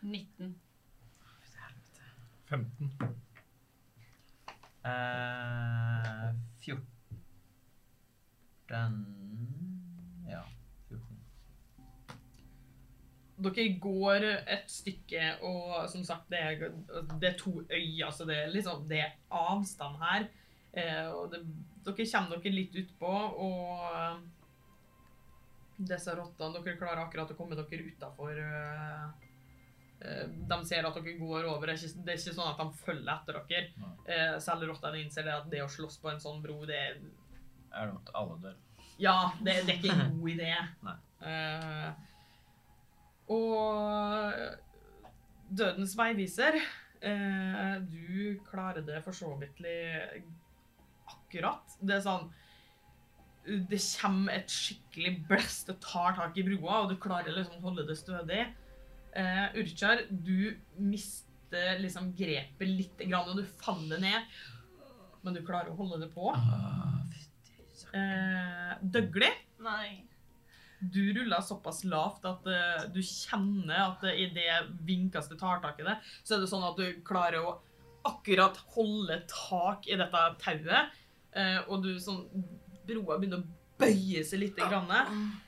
19. 15. Eh, 14 Ja, 14. Dere går et stykke, og som sagt, det er, det er to øy, altså det er liksom, det er avstand her. Eh, og det, dere kommer dere litt utpå, og eh, disse rottene, dere klarer akkurat å komme dere utenfor. Eh, eh, de ser at dere går over, det er ikke, det er ikke sånn at de følger etter dere. Eh, selv rottene innser det at det å slåss på en sånn bro, det er Er det mot alle dør? ja, det, det er ikke en god [LAUGHS] idé. Nei. Eh, og Dødens veiviser eh, Du klarer det for så vidt li- akkurat. Det er sånn Det kommer et skikkelig blest, det tar tak i broa, og du klarer liksom å holde det stødig. Uh, Urkjar, du mister liksom grepet lite grann, og du faller ned, men du klarer å holde det på. Ah, Uh, Døgli Nei. du ruller såpass lavt at eh, du kjenner at eh, i det vinkeste tar tak i det, så er det sånn at du klarer å akkurat holde tak i dette tauet, eh, og du sånn Broa begynner å bøye seg litt, grann,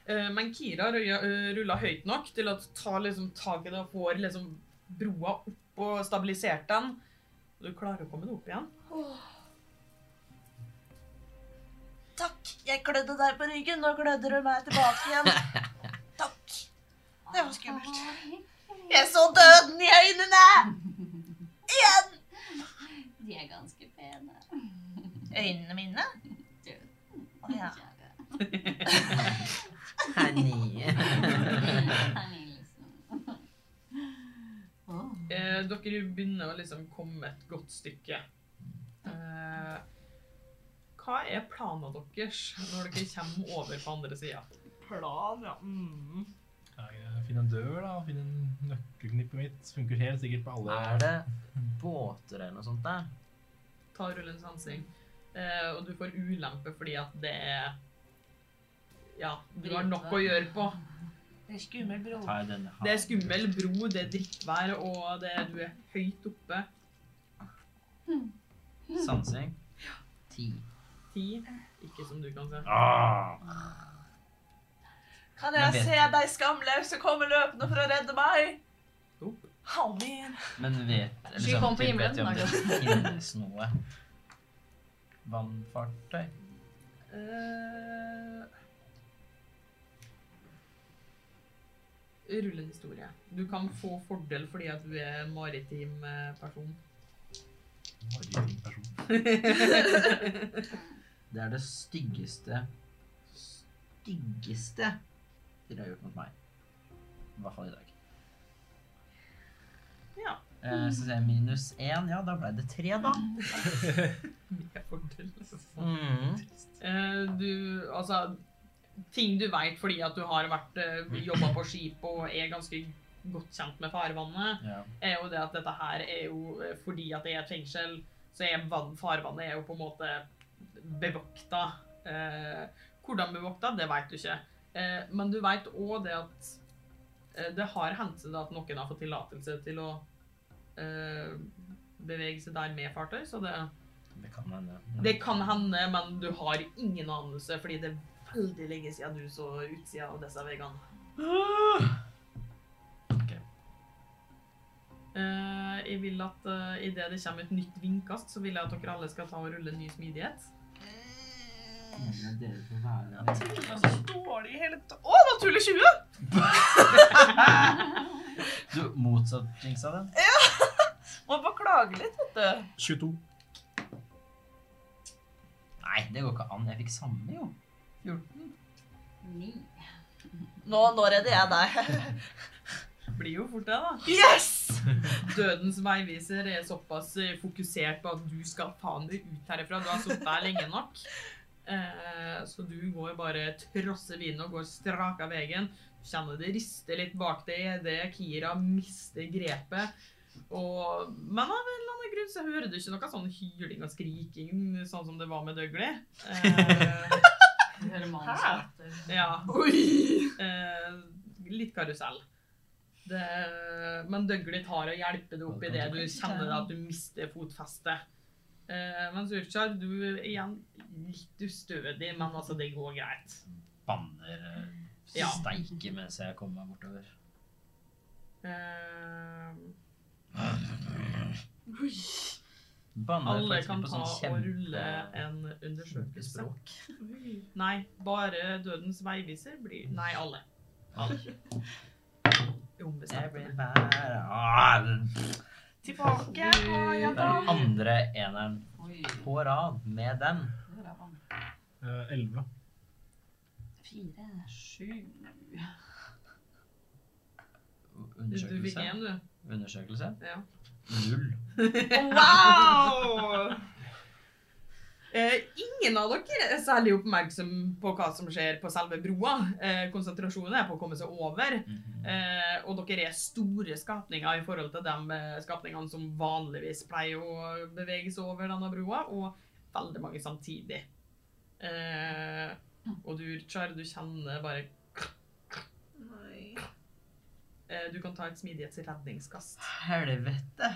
eh, men Kira røya- ruller høyt nok til at tar liksom tak i det og får liksom broa opp og stabilisert den. Og du klarer å komme deg opp igjen. Takk, jeg klødde deg på ryggen, nå klødder du meg tilbake igjen. Takk. Det var skummelt. Jeg så døden i øynene! Igjen! De er ganske pene. Øynene mine? Å ja. Kjære. fy- Her ligger liksom. Åh. Eh, dere begynner å liksom komme et godt stykke. Eh, hva er planen deres når dere kommer over på andre sida? Plan, ja. Mm. Finn en dør, da. Finn en nøkkelknippet mitt. Funker helt sikkert på alle. [LAUGHS] Er det båter eller noe sånt der? Ta rullens sansing. Eh, og du får ulempe fordi at det er Ja, du har nok å gjøre på. Det er skummel bro. Tar jeg denne her? Det er skummel bro, det er drittvær, og det, du er høyt oppe. Sansing? Ti. Ti. Ikke som du kan se. Ah, Kan Men jeg vet- se deg skamløse komme løpende for å redde meg? Jo. Halvin. Men vet Sky kom på himmelen, vet vi om det finnes noe vannfartøy? Eh, Rull en historie. Du kan få fordel fordi at du er maritim eh, person. maritim person. Det er det styggeste Styggeste dere har gjort mot meg. I hvert fall i dag. Ja. Eh, så sier jeg minus én. Ja, da ble det tre, da. Med fordel. Mm. [LAUGHS] Eh, du, altså Ting du veit fordi at du har vært uh, jobba på skip og er ganske godt kjent med farvannet, Ja. er jo Eh, det at dette her er jo eh, fordi at det er et fengsel, så er vann, farvannet er jo på en måte bevokta. Eh, hvordan bevokta, det vet du ikke. Eh, men du vet òg det at eh, det har hendt det at noen har fått tillatelse til å eh, bevege seg der med fartøy, så det, Det kan hende. det kan hende, men du har ingen anelse, fordi det er veldig lenge siden du så utsida av disse veggene. Ok. Eh, jeg vil at uh, idet det kommer et nytt vindkast, så vil jeg at dere alle skal ta og rulle ny smidighet. Men dere får være Dårlig i hele tatt. Å, naturlig 20! [LAUGHS] Du, motsetnings av det. Må bare klage litt, vet du. 22. Nei, det går ikke an. Jeg fikk samme, jo. 14. Ni. Nå, nå redder jeg deg. [LAUGHS] Blir jo fort det, da. Yes! Dødens veiviser er såpass eh, fokusert på at du skal faen deg ut herifra. Du har sittet her lenge nok. Eh, så du går bare trosser vinden og går straka veien. Du kjenner det rister litt bak deg idet Kira mister grepet. Og, men av en eller annen grunn så hører du ikke noe sånn hyling og skriking sånn som det var med Dougley. Eh, Du hører mannen som latter. Ja. Oi! Eh, litt karusell. Det, men Døgli tar og hjelper deg opp i det du kjenner da, at du mister fotfestet. Eh, mens Urchar, du er igjen litt ustødig, men altså, det går greit. Banner eh, Ja. steike mens jeg kommer meg bortover. Eh, Banner alle faktisk kan på ta sånn og kjempe- rulle en undersøkelse. språk. Nei, bare Dødens veiviser blir Nei, alle. Alle. Ombestemte. Ah, Tilbake. Den andre eneren Oi, På rad med den. det er vann. Eh, 11. Fire, sju Du du fikk Undersøkelse. én, du. Undersøkelse. Ja. Null. Wow! Eh, ingen av dere er særlig oppmerksom på hva som skjer på selve broa. Eh, konsentrasjonen er på å komme seg over. Mhm. Eh, og dere er store skapninger i forhold til de eh, skapningene som vanligvis pleier å bevege seg over denne broa, og veldig mange samtidig. Eh, og du, Urchar, du kjenner bare Nei. eh, Du kan ta et smidighetsredningskast. Helvete.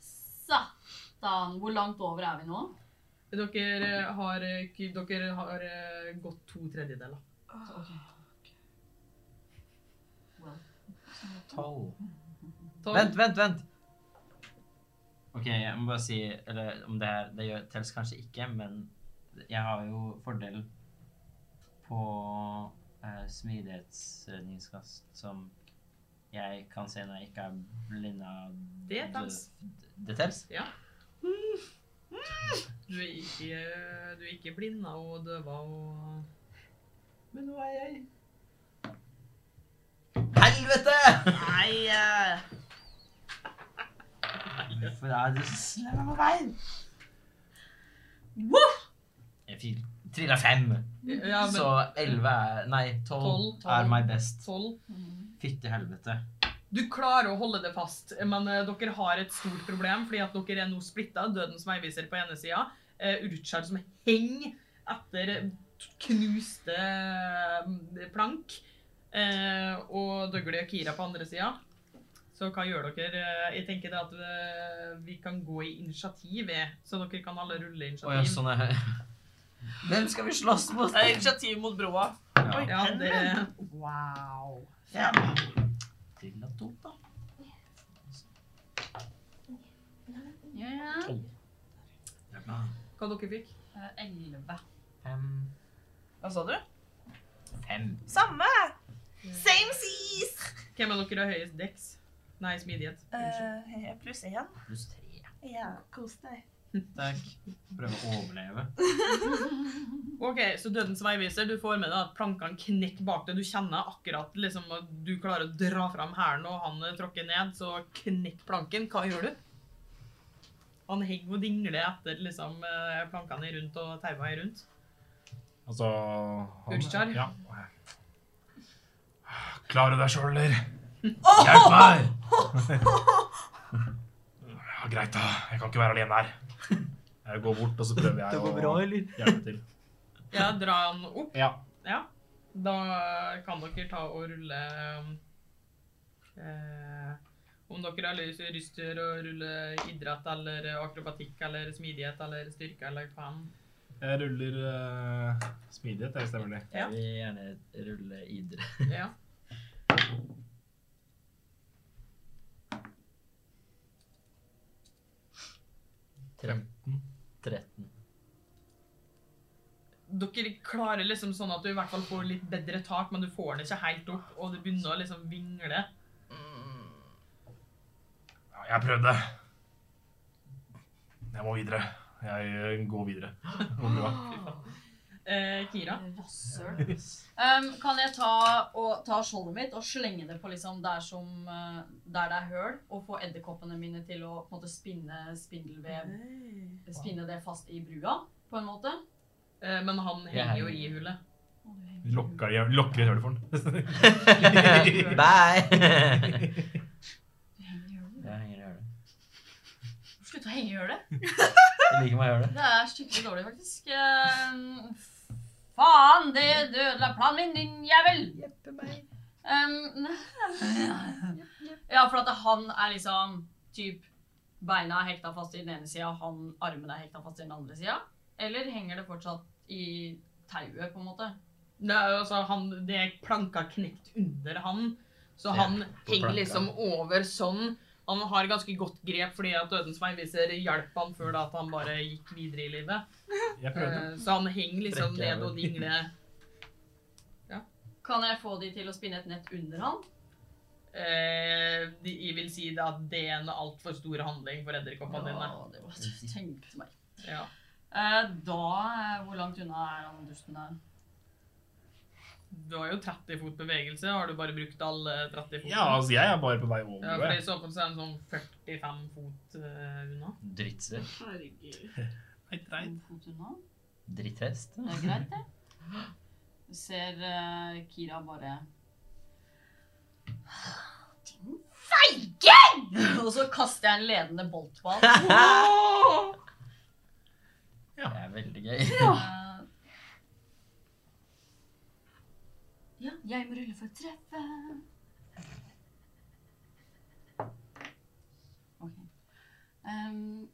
Satan! Hvor langt over er vi nå? Dere eh, har, eh, k- dere har eh, gått to tredjedeler. Tolv. Tolv. Vent, vent, vent. Ok, jeg må bare si Eller om det her Det gjør tels kanskje ikke, men jeg har jo fordel på eh, smidighetsredningskast som jeg kan se når jeg ikke er blind av Det tels. Det tels? Du er ikke, du er ikke blinda og døva og Men nå er jeg Helvete! Nei. eh, Hvorfor er du slem på meg? Woof! Jeg fikk trilla fem, Ja, men så elleve er Nei, tolv Tolv, tolv. er my best. tolv. Fytti helvete. Du klarer å holde det fast, men eh, dere har et stort problem, fordi at dere er nå splitta. Dødens veiviser på ene sida, uh, Urchar som henger etter knuste eh, plank, eh, og Dougley og Kira på andre sida. Så hva gjør dere? Eh, Jeg tenker det at eh, vi kan gå i initiativ, eh, så dere kan alle rulle initiativ. Å ja, sånn er Hvem skal vi slåss mot? det er Initiativ mot broa. Ja. Ja, det Wow. Trilla to, da. Ja. Hva dere fikk? Eh, Elleve. Fem. Hva sa du? Fem. Samme. Same seas. Hvem av dere har høyest dex? Nei, smidighet. Unnskyld. Eh, pluss én. Pluss tre. Ja, kos deg. Takk. Prøve å overleve. OK, så Dødens veiviser, du får med deg at plankene knekker bak deg. Du kjenner akkurat liksom at du klarer å dra fram hælen, og han eh, tråkker ned, så knekk planken. Hva gjør du? Han henger og dingler etter liksom eh, plankene er rundt og taua er rundt. Altså han- Urskar? Ja. Klarer du deg sjøl, eller? Hjelp meg! Ja, greit, da. Jeg kan ikke være alene her. Jeg går bort, og så prøver jeg å eller? hjelpe til. Ja, dra han opp. Ja. Da kan dere ta og rulle eh, Om dere har lyst lyst til å rulle idrett eller akrobatikk eller smidighet eller styrke eller hva enn. Jeg ruller eh, smidighet, det stemmer det. Ja. Jeg vil gjerne rulle idrett. Ja. Tre- [LAUGHS] 13. Dere klarer liksom sånn at du i hvert fall får litt bedre tak, men du får den ikke helt opp, og det begynner å liksom vingle. Ja, jeg prøvde. Jeg må videre. Jeg eh, går videre. Går bra. Eh, Kira? Rasshøl. Um, kan jeg ta, og, ta skjoldet mitt og slenge det på liksom der, som, eh, der det er høl, og få edderkoppene mine til å på en måte spinne spindelvev Spinne det fast i brua, på en måte? Eh, men han henger jo i hullet. Lokker de- Lokker de hølet for den? [LAUGHS] Bye! Jeg henger i hølet. Slutt å henge i hølet! Jeg liker meg i hølet. Det er skikkelig dårlig, faktisk. Eh, faen, det du ødela planen min, din jævel! Um, [LAUGHS] ja, for at han er liksom typ Beina er hekta fast i den ene sida, han armene er hekta fast i den andre sida? Eller henger det fortsatt i tauet, på en måte? Det er jo altså han, det er planka knekt under han, så han på henger planka. liksom over sånn. Han har ganske godt grep fordi at Dødens vei viser hjalp han før da at han bare gikk videre i livet. [LAUGHS] Jeg prøvde. Eh, Så han henger liksom Brekker jeg ned og vel. dingler. Kan jeg få de til å spinne et nett under han? Eh, de, jeg vil si da at det er en altfor stor handling for edderkoppene dine. Ja, det var det jeg tenkte meg. Ja. Eh, da eh, Hvor langt unna er han dusten der? Du har jo 30 fot bevegelse. Har du bare brukt eh, alle 30 fotene? Ja, altså, jeg er bare på vei over. Ja, jo, for jeg. i så fall så er den sånn 45 fot eh, unna. Drittsekk. Herregud. Nei, nei. To fot unna? Dritthest. Det er greit, det. Du ser eh, Kira bare Din feige! [LAUGHS] Og så kaster jeg en ledende bolt på [LAUGHS] han. Det er veldig gøy. Eh, ja, jeg må rulle for å treffe. Ok. Ehm,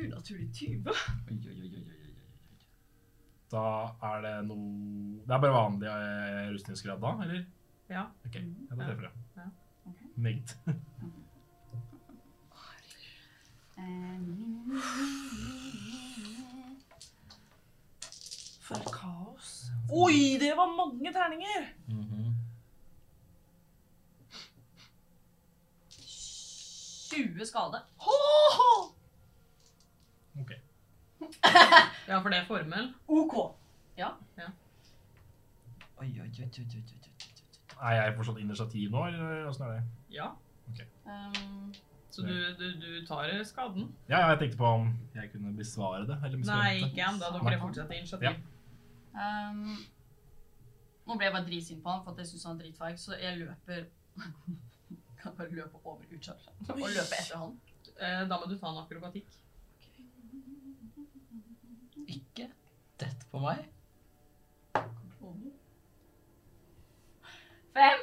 Unaturlig 20. [LAUGHS] Oi, oi, oi, oi, oi, oi. Da er det noe Det er bare vanlig eh, rustningsgrad da, eller? Ja. Ok, ja, da treffer Ja. jeg. Ok. Meget. ehm, For et kaos. Oi, det var mange terninger! Mhm. 20 skade. Ho, ho. Ok. ja, for det er formel. OK. Oi, oi, oi, oi, oi, oi, oi. Er jeg fortsatt initiativ nå, eller åssen er det? Ja. Ehm, Så du, du, du tar skaden? Ja, jeg tenkte på om jeg kunne besvare det. Eller besvare Nei, det. ikke ennå. Dere fortsetter Ja. initiativ. ehm, nå ble jeg bare dritsint på han, for at jeg synes han er dritfeig, så jeg løper [LAUGHS] Kan bare løpe over Uchar og løpe etter han. Eh, Da må du ta en akrobatikk. Ikke dett på meg. Fem!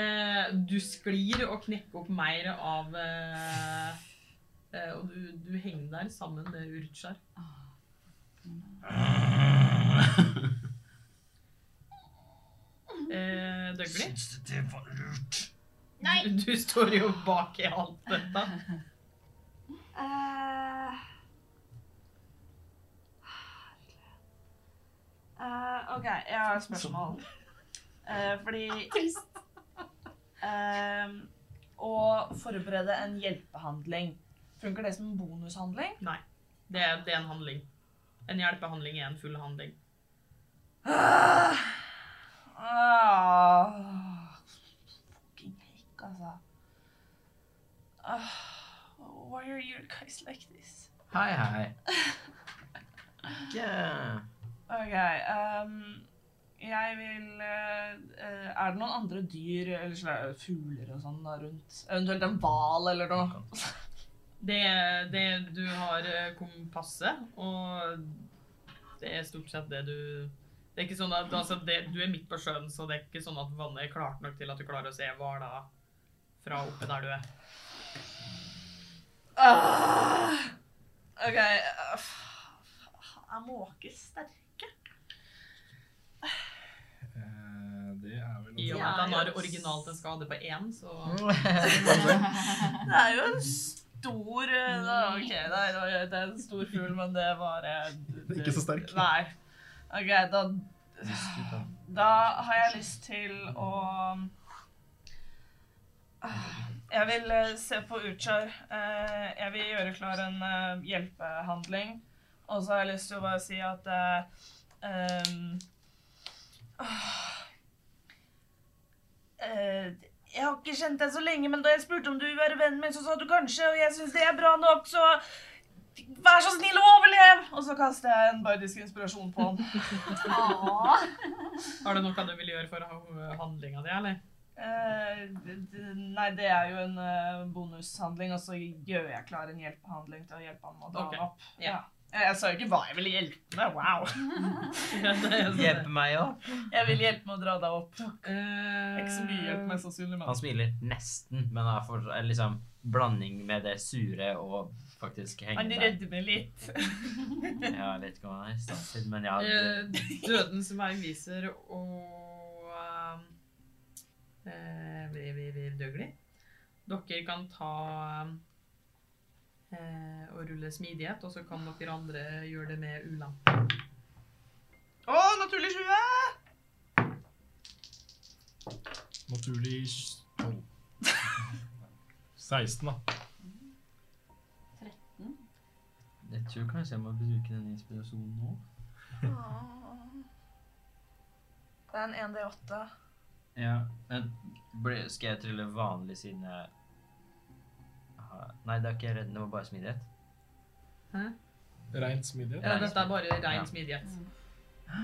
Eh, Du sklir og knekker opp mer av eh, eh, Og du, du henger der sammen med Urchar. Eh, Dougley? Syns du det var lurt? Du, du står jo bak i alt dette. Eh, eh, OK, jeg har et spørsmål. Eh, fordi Eh, Å forberede en hjelpehandling, funker det som en bonushandling? Det, er- det er en handling. En hjelpehandling er en full handling. Ah, ah, fucking heck, altså. Ah, why are you guys like this? Hei, hei. Ikke Ok, ehm, jeg vil eh, eh, Er det noen andre dyr eller sla- fugler og sånn da rundt? Eventuelt en hval eller noe? Det, det du har eh, kompasset, og det er stort sett det du Det er ikke sånn at altså, det, Du er midt på sjøen, så det er ikke sånn at vannet er klart nok til at du klarer å se hvaler fra oppe der du er. Ah, OK eh, faen, Er måker sterke? Eh, Det er vel I og med at han har originalt en skade på én, så Det er jo en stor eh, da- OK, nei, det var- det er en stor fugl, men det var eh, [LAUGHS] det- Ikke så sterk. Nei. OK, da Da har jeg lyst til å Jeg vil eh, se på Uchar. Eh, Jeg vil gjøre klar en eh, hjelpehandling. Og så har jeg lyst til å bare si at eh, ehm, ah, eh, Jeg har ikke kjent deg så lenge, men da jeg spurte om du vil være vennen min, så sa du kanskje, og jeg syns det er bra nok, så vær så snill å overleve! Og så kaster jeg en bardisk inspirasjon [LAUGHS] på han. Ah. Har du noe du vil gjøre for eh, handlinga di, eller? [LAUGHS] Eh, d- d- nei, det er jo en eh, bonushandling, og så gjør jeg klar en hjelpehandling til å hjelpe han med å dra Ok, han opp. ja. Eh, Jeg sa jo ikke hva jeg ville hjelpe med. [LAUGHS] Wow. Ja, det er sånn det. [LAUGHS] Hjelpe meg òg. Jeg vil hjelpe med å dra deg opp. Eh, Ikke så mye hjelp, men sannsynlig. Han Men. smiler nesten, men er for, er liksom blanding med det sure og faktisk henge Han der. rødmer litt. Ja, jeg vet ikke hva han er i stand til, men ja, eh, det, [LAUGHS] Dødens vei viser og um, eh, vi, vi, vi døgli. Dere kan ta um, eh, og rulle smidighet, og så kan dere andre gjøre det med ulempe. Å, naturlig 20! [LAUGHS] Naturlig s- 12. 16, da. 13. Jeg tror kanskje jeg må bruke den inspirasjonen nå. Det er en 1D8. ja. Men ble, skal jeg trylle vanlig siden jeg har- Nei, det er ikke reddende, det var bare smidighet. Reint smidighet. Ja, dette er bare ren smidighet. Ah.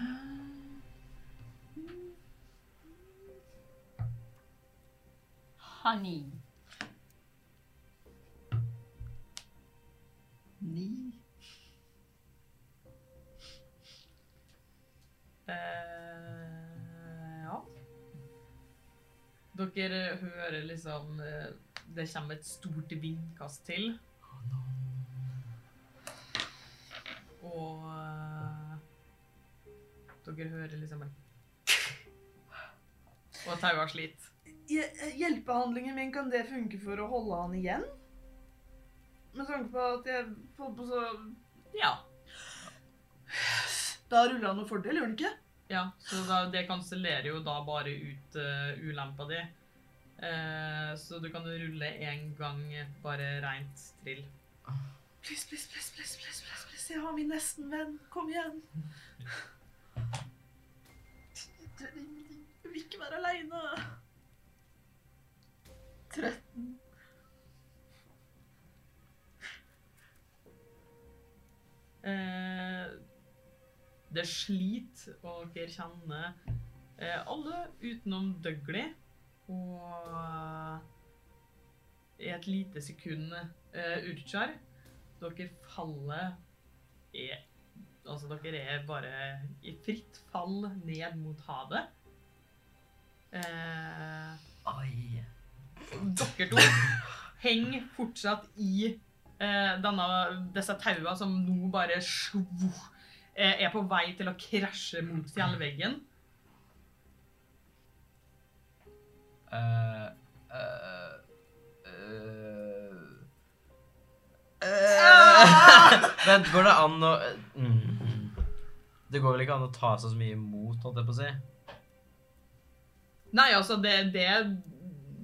Honey. Eh, ja. Dere hører liksom eh, Det kommer et stort vindkast til. Og eh, dere hører liksom en [LAUGHS] Og taua sliter. eh, Hjelpehandlingen min, kan det funke for å holde han igjen? Med tanke på at jeg holdt på så Ja. Da ruller han med fordel, gjør han ikke? Ja, så da, det kansellerer jo da bare ut eh, ulempa di. Eh, så du kan rulle én gang bare rent trill. Please, please, please, please, please, please, please. jeg har min nesten venn. Kom igjen. Jeg vil ikke være aleine. 13. Eh, det sliter, og dere kjenner eh, alle utenom Dougley. Og eh, i et lite sekund eh, Urchar, dere faller i Altså, dere er bare i fritt fall ned mot havet. Eh, Oi. dere to henger fortsatt i eh, denne, disse taua som nå bare sjo, eh, er på vei til å krasje mot fjellveggen. Eh, eh, eh. [LAUGHS] Vent, går det an å mm. Det går vel ikke an å ta seg så mye imot, holdt jeg på å si? Nei, altså, det, det,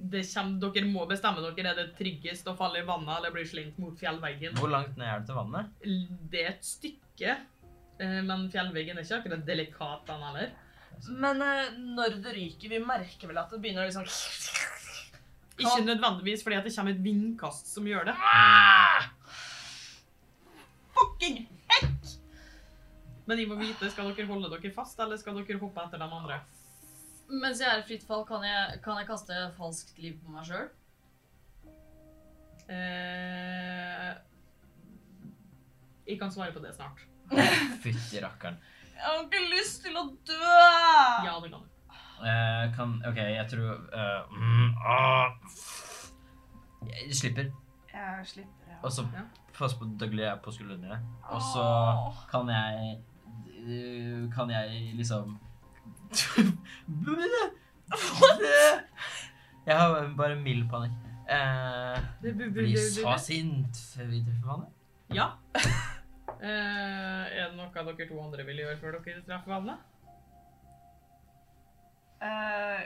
det kjem, dere må bestemme dere. Er det tryggest å falle i vannet eller bli slengt mot fjellveggen? Hvor langt ned er det til vannet? Det er et stykke, eh, men fjellveggen er ikke akkurat delikat, den heller. Men eh, når det ryker, vi merker vel at det begynner å liksom Ikke nødvendigvis fordi at det kommer et vindkast som gjør det. Fucking! Men jeg må vite, skal dere holde dere fast, eller skal dere hoppe etter de andre? Mens jeg er i fritt fall, kan jeg, kan jeg kaste falskt liv på meg sjøl? Eh, jeg kan svare på det snart. Fytti rakkeren. Jeg har ikke lyst til å dø! Ja, det kan du. Eh, kan OK, jeg tror eh, mm, ah. Jeg slipper. Jeg slipper ja. Og så Ja. pass på Dougley er på skuldrene. Og så kan jeg eh, Kan jeg liksom [LAUGHS] Jeg har bare mild panikk. Eh, blir så sint før vi treffer vannet. Ja. [LAUGHS] Eh, er det noe dere to andre vil gjøre før dere treffer vannet? Eh,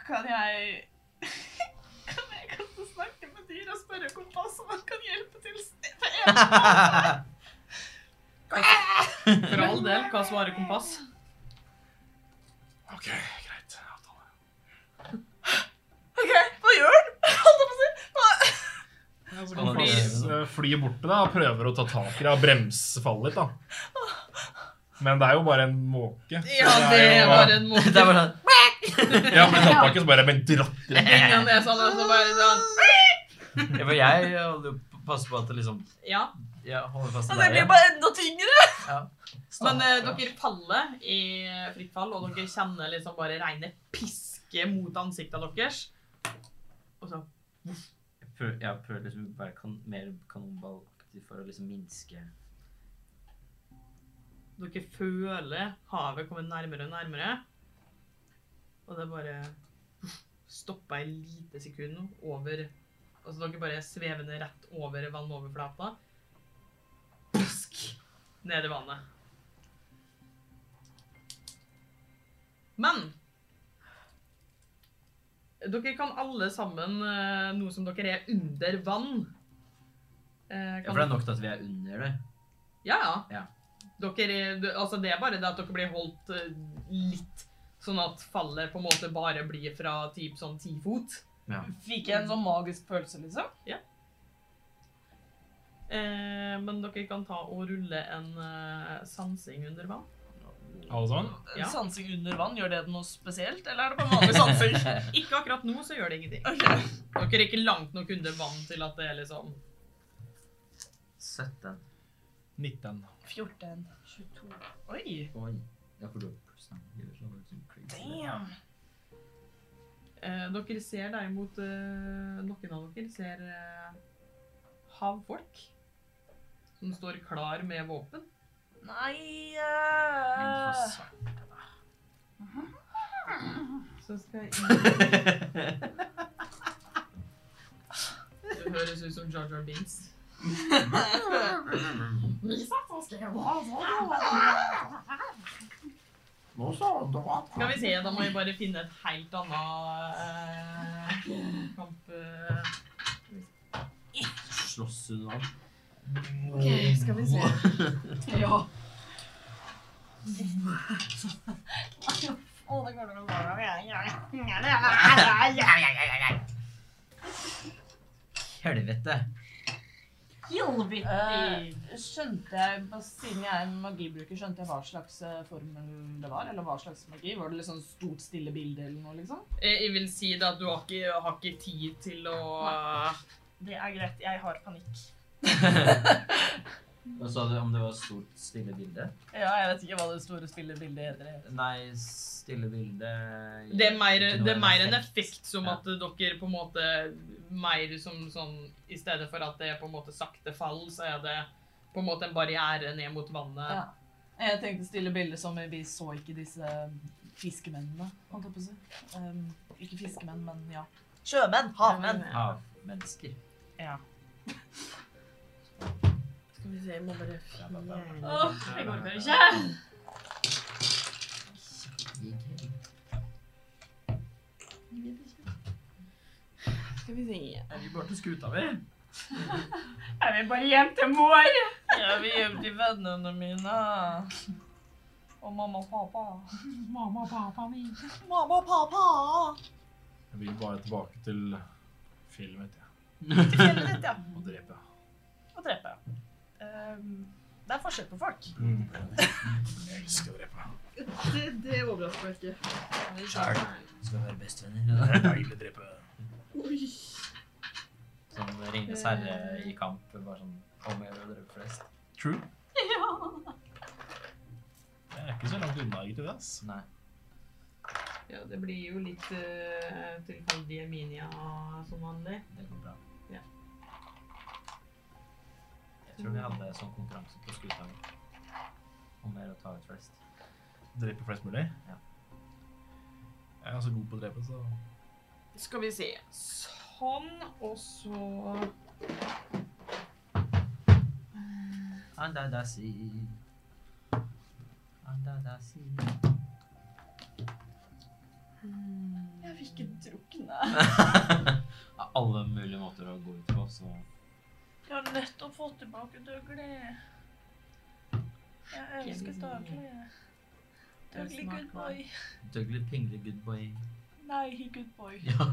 kan jeg [LAUGHS] Kan jeg kan få snakke med dyr og spørre kompass om han kan hjelpe til? For all del, hva svarer kompass? OK, greit. Avtale. OK, hva gjør han? Holdt jeg på å si. Hva- Skal Fordi- man- Eh, Flyr bort på deg og prøver å ta tak i deg og bremse fallet litt, da. Men det er jo bare en måke. så Ja, det jo- er bare en [LAUGHS] [LAUGHS] Det er måte. bare sånn Ja, men den ikke så bare men dratt rett. [LAUGHS] Ingen er sånn, altså bare sånn. Ja, for jeg holder jo på å passe på at det liksom Ja, Ja, holder fast Ja, i det deg blir igjen. bare enda tyngre. Men eh, dere faller i fritt fall, og dere kjenner liksom bare reine piske mot ansiktet deres. Og så Jeg prøver, jeg prøver liksom å være kan, mer kanonballaktig for å liksom minske dere føler havet komme nærmere og nærmere. Og det bare stopper i lite sekund over Altså dere bare svever ned rett over vannoverflata. Pusk! Ned i vannet. Men dere kan alle sammen, eh, nå som dere er under vann Ja, eh, for det er nok til at vi er under det. ja, ja. Ja. Dere, d- altså det er bare det at dere blir holdt eh, litt, sånn at fallet på en måte bare blir fra typ sånn ti fot. Fikk jeg en sånn magisk følelse, liksom? Eh, men dere kan ta og rulle en eh, sansing under vann. Alle sammen? Ja. Sansing under vann, gjør det noe spesielt, eller er det bare vanlig sansing? [LAUGHS] Ikke akkurat nå, så gjør det ingenting. Ok. Dere er ikke langt nok under vann til at det er liksom 17. 19. 14. 22. Oi. Oi. Jeg får lov pluss navn. Ellers hadde det vært sånn crazy. Damn. eh, Dere ser derimot eh, Noen av dere ser eh, havfolk som står klar med våpen. Nei Men det var [LAUGHS] eh, svart. Så skal jeg Det høres ut som Jar Jar Binks. Skal vi se, da må vi bare finne et helt annet eh, kamp... eh. Slåss hun av? Ok, skal vi se. Ja. Å, det går noe bra. Helvete. eh, skjønte jeg, bare Siden jeg er en magibruker, skjønte jeg hva slags eh, formel det var? Eller hva slags magi? Var det litt sånn stort, stille bilde eller noe? liksom? Eh, Jeg vil si det at du har ikke, har ikke tid til å Det er greit. Jeg har panikk. Hva sa du om det var et stort, stille bilde? Ja, jeg vet ikke hva det store spillerbildet heter. Nei, stille bilde Det er mer, det er mer en effekt som Ja. at dere på en måte Mer som sånn I stedet for at det er på en måte sakte fall, så er det på en måte en barriere ned mot vannet. Ja. Jeg tenkte stille bilder som vi så ikke disse um, fiskemennene. holdt jeg på å si. Ehm, ikke fiskemenn, men ja. Sjømenn! Havmenn! Havmennesker. Ja. Skal vi se, jeg må bare fjerne Åh, jeg går for ikke. Skal vi se Er vi bare til skuta mi? Jeg vil bare hjem til mor! Jeg vil hjem til vennene mine. Og mamma og pappa. Mamma og pappa min. Mamma og pappa! Jeg vil bare tilbake til filmet jeg, Til fjellet ditt, ja. og drepe. Og drepe. Ehm, det er forskjell på folk. Mm. Jeg elsker å drepe. Det, det overrasker meg ikke. Sjæl. Skal være bestevenner. Deilig å drepe. Oi. Sånn Ringenes herre i kamp. Bare sånn Om jeg vil drepe flest. True. Jeg er ikke så langt unna, egentlig. ass. Nei. Ja, det blir jo litt uh, tilfeldige minia som vanlig. Det går bra. Ja. Jeg tror vi hadde sånn konkurranse på skuta mi. Om mer å ta ut flest. Drepe flest mulig. Ja. Jeg er ganske god på å drepe, så Skal vi se. Sånn, og så Andadasi. Andadasi. Hmm. Jeg fikk ikke drukne. Av Alle mulige måter å gå ut på, så Jeg har nettopp fått tilbake Dougley. Jeg elsker Dougley. Dougley good boy. Dougley Pingle good boy. Nei, ikke good boy. Ja, [LAUGHS]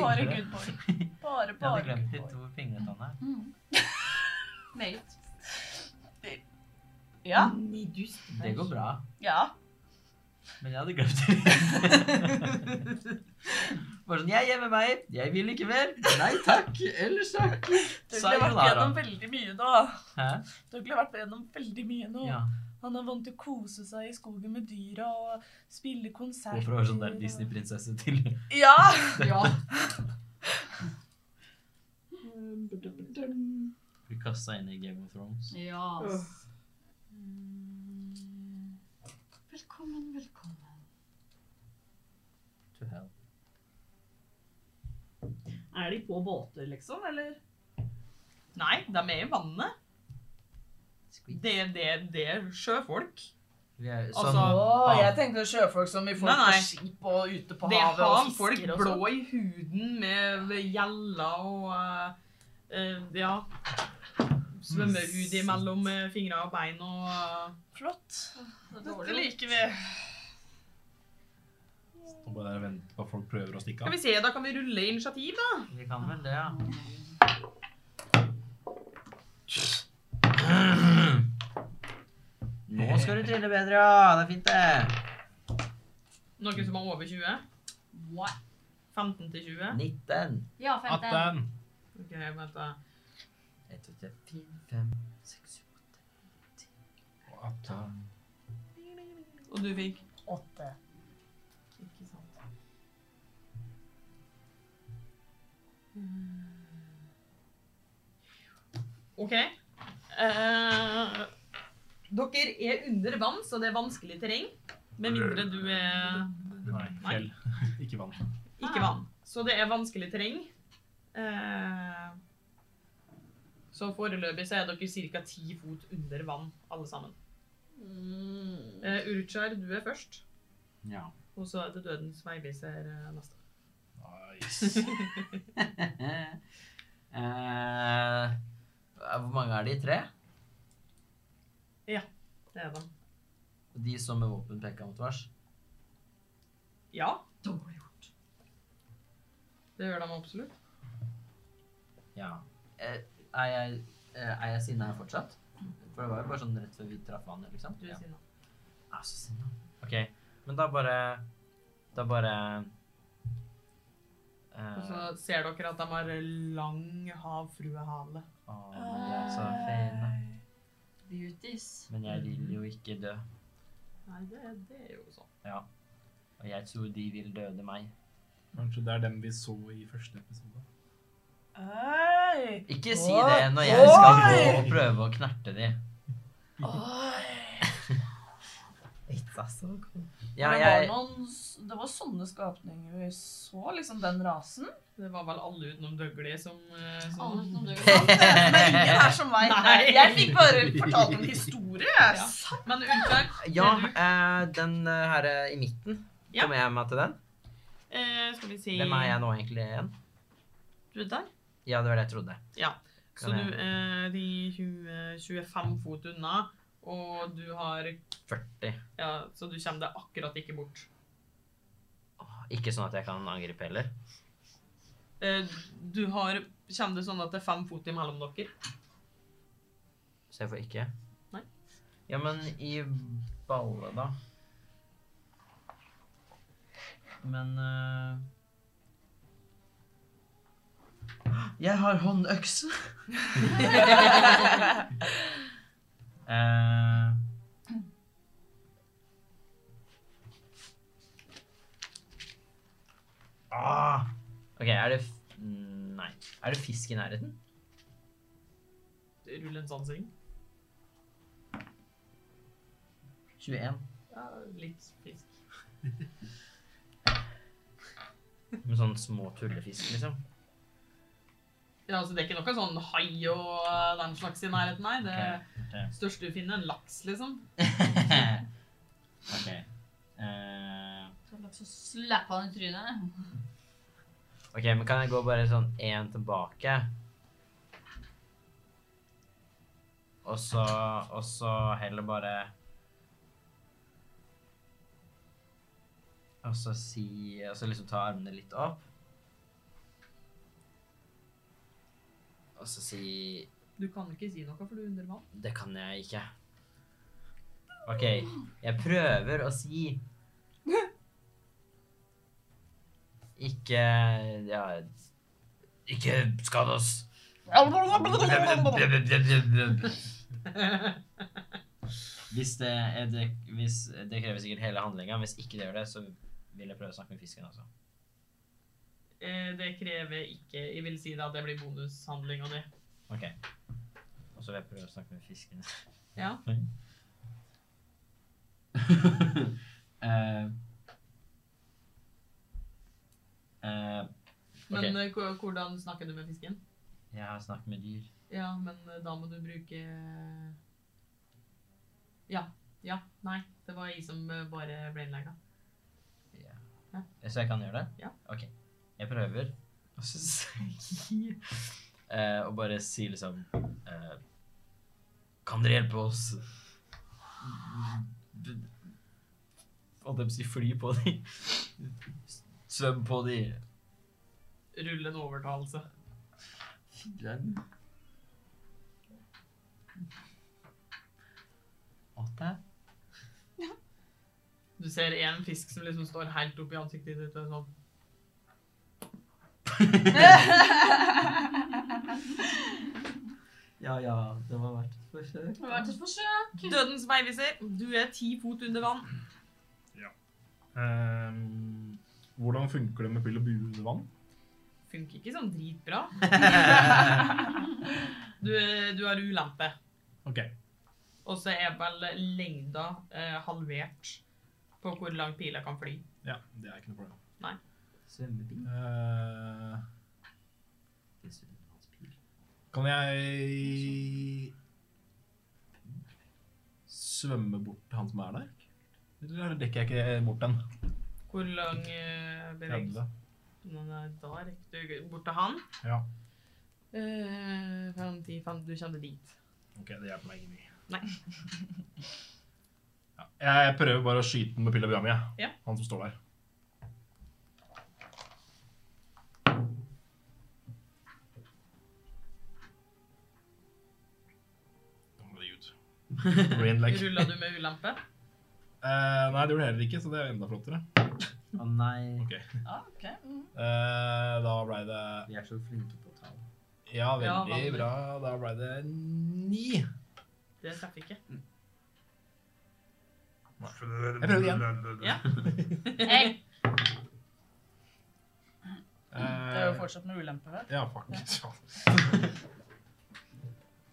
Bare pingle. good boy. [LAUGHS] Bare, Jeg hadde bare glemt good litt boy. hvor pinglete han er. Meget. Ja, Det går bra. ja. men jeg hadde glemt det. [LAUGHS] Bare sånn, jeg er hjemme med meg, jeg vil ikke mer. Nei takk, ellers takk. Du har vært Sayonara. gjennom veldig mye da. Hæ? Douglas har vært gjennom veldig mye nå. Ja. Han er vant til å kose seg i skogen med dyra og spille konserter. Hvorfor var sånn der Disney-prinsesse til? Ja! Ja. Blir kasta inn i Game of Thrones. ja. Øh. Velkommen, velkommen. To hell. Er de på båter, liksom, eller? Nei, de er i vannet. Det, det, det er sjøfolk. Vi er Altså, sånn, Å, hav- jeg tenkte sjøfolk som vi får Nei, nei. på skip og ute på Det havet har og folk fisker og sånn. blå i huden med gjella og eh, eh, Ja. Svømmehud imellom eh, fingre og bein og eh, Flott. Det er Dette dårlig. liker vi. Står bare der og venter på at folk prøver å stikke Skal av. vi se, da kan vi rulle initiativ, da. vi kan vel det, ja. Nå skal du trille bedre, ja. Det er fint, det. Noen som er over 20? What? 15 til 20? 19. Ja, 15. 18. Ok, vent da. 1, 2, 3, 4, 5, 6, 7. Og 18. Og du fikk? Åtte. Ikke sant. OK. Eh, dere er under vann, så det er vanskelig terreng. Med mindre du er Nei, fjell. [LAUGHS] Ikke vann. ikke vann. Så det er vanskelig terreng. Eh, så foreløpig så er dere ca. ti fot under vann, alle sammen. Uh, Urchar, du er først. Ja. [LAUGHS] Og så er det Dødens veiviser eh, neste. Nice. Eh, hvor mange er de? Tre? Det er den. De som med våpen peka mot oss? Ja, Dårlig gjort. det gjør de absolutt. Ja. Eh, er jeg, eh, er jeg sinna her fortsatt? For det var jo bare sånn rett før vi traff vannet, liksom. Du Ja. er sinna. Jeg er så sinna. Ok, men da bare Da bare eh, Og så ser dere at de har lang havfruehale. Å, men de er så fine. Beauties. Men jeg vil jo ikke dø. Nei, det, det er jo sånn. Ja. Og jeg tror de vil døde meg. [LAUGHS] Kanskje det er dem vi så i første episode. Oi! Ikke si Oi! det når jeg skal Oi! gå og prøve å knerte de. Oi! Ja, det, var jeg [LAUGHS] noen, s- det var sånne skapninger vi så, liksom den [LAUGHS] rasen. Det var vel alle utenom Dougley som, eh, som Alle som du Men ingen er som meg. Nei. Jeg fikk bare fortalt en historie. jeg. Men Ulfberg, [LAUGHS] Ja, ser du? eh, den eh, her eh, i midten. Ja. Kommer jeg meg til den? Eh, skal vi si Hvem er jeg nå egentlig igjen? Du er der? Ja, det var det jeg trodde. Så Kan jeg- du er de 20, 25 fot unna, og du har 40. ja, Så du kommer deg akkurat ikke bort. Ikke sånn at jeg kan angripe heller. Eh, du har Kommer det sånn at det er fem fot imellom dere? Så jeg får ikke. Nei. Ja, men i balle, da. Men eh, Jeg har håndøkse! [LAUGHS] Eh, Ah. OK, er det f Nei. Er det fisk i nærheten? Rull en sansing. 21. Ja, litt fisk. Med sånne små tullefisk, liksom. Ja, altså Det er ikke noe sånn hai og eh, den slags i nærheten, nei. Det Ok, største du finner, er en laks, liksom. [LAUGHS] ok. Eh, Så slapper han i trynet. ok, men kan jeg gå bare sånn én tilbake? Og så, og så heller bare Og så si Og så liksom ta armene litt opp. Og så si Du kan ikke si noe, for du er under vann. Det kan jeg ikke. OK, jeg prøver å si Ikke ja, Ikke skad oss. Hvis det, er det, hvis det krever sikkert hele handlinga. Hvis ikke det gjør det, så vil jeg prøve å snakke med fisken. også. Eh, Det krever ikke Jeg vil si da at det blir bonushandlinga di. Ok. Og så vil jeg prøve å snakke med fisken. [LAUGHS] Ja. Eh, eh, Men Ok. eh, hvor- hvordan snakker du med fisken? Jeg har snakket med dyr. Ja, men eh, da må du bruke eh, Ja. Ja. Nei. Det var jeg som eh, bare brainlagga. Så jeg kan gjøre det? Ja. Ok. Jeg prøver. Og så [LAUGHS] Eh, Og bare si liksom eh, Kan dere hjelpe oss? Og de sier fly på de. Svøm på de. Rulle en overtalelse. Åtte? Du ser en fisk som liksom står helt opp i ansiktet ditt og er sånn Ja, ja. Det var verdt et forsøk. Det har vært et forsøk. Dødens veiviser, du er ti fot under vann. Ehm, hvordan funker det med pil og bue under vann? Funker ikke sånn dritbra. [LAUGHS] Du, er- du har ulempe. Ok, Og så er vel lengda eh, halvert på hvor langt pila kan fly. ja, det er ikke noe problem. Svømmebil? Eh, Det er svømmebil. kan jeg svømme bort til han som er der? Eller rekker jeg ikke bort den? Hvor lang eh, bevegelse 30. Nei, nei, Da rekker du bort til han. Ja. Eh, fem, ti, fem, du kjenner dit. Ok, det hjelper meg ikke mye. Nei. [LAUGHS] Ja, jeg prøver bare å skyte den med pil og bue mi, jeg. Ja. han som står der. [LAUGHS] Herregud. Rain leg. Rulla du med ulempe? Eh, nei, det gjorde jeg heller ikke, så det er enda flottere. Å nei. Ok. Ja, ok. Mm. Eh, da ble det vi er så flinke på tall. Ja, Ja, veldig vanlig. bra. Da ble det ni. Det treffer ikke. Jeg prøver igjen. Ja. Hey. Det er jo Eh, fortsatt med ulempe, vel? ja, fuck. [LAUGHS] Ja.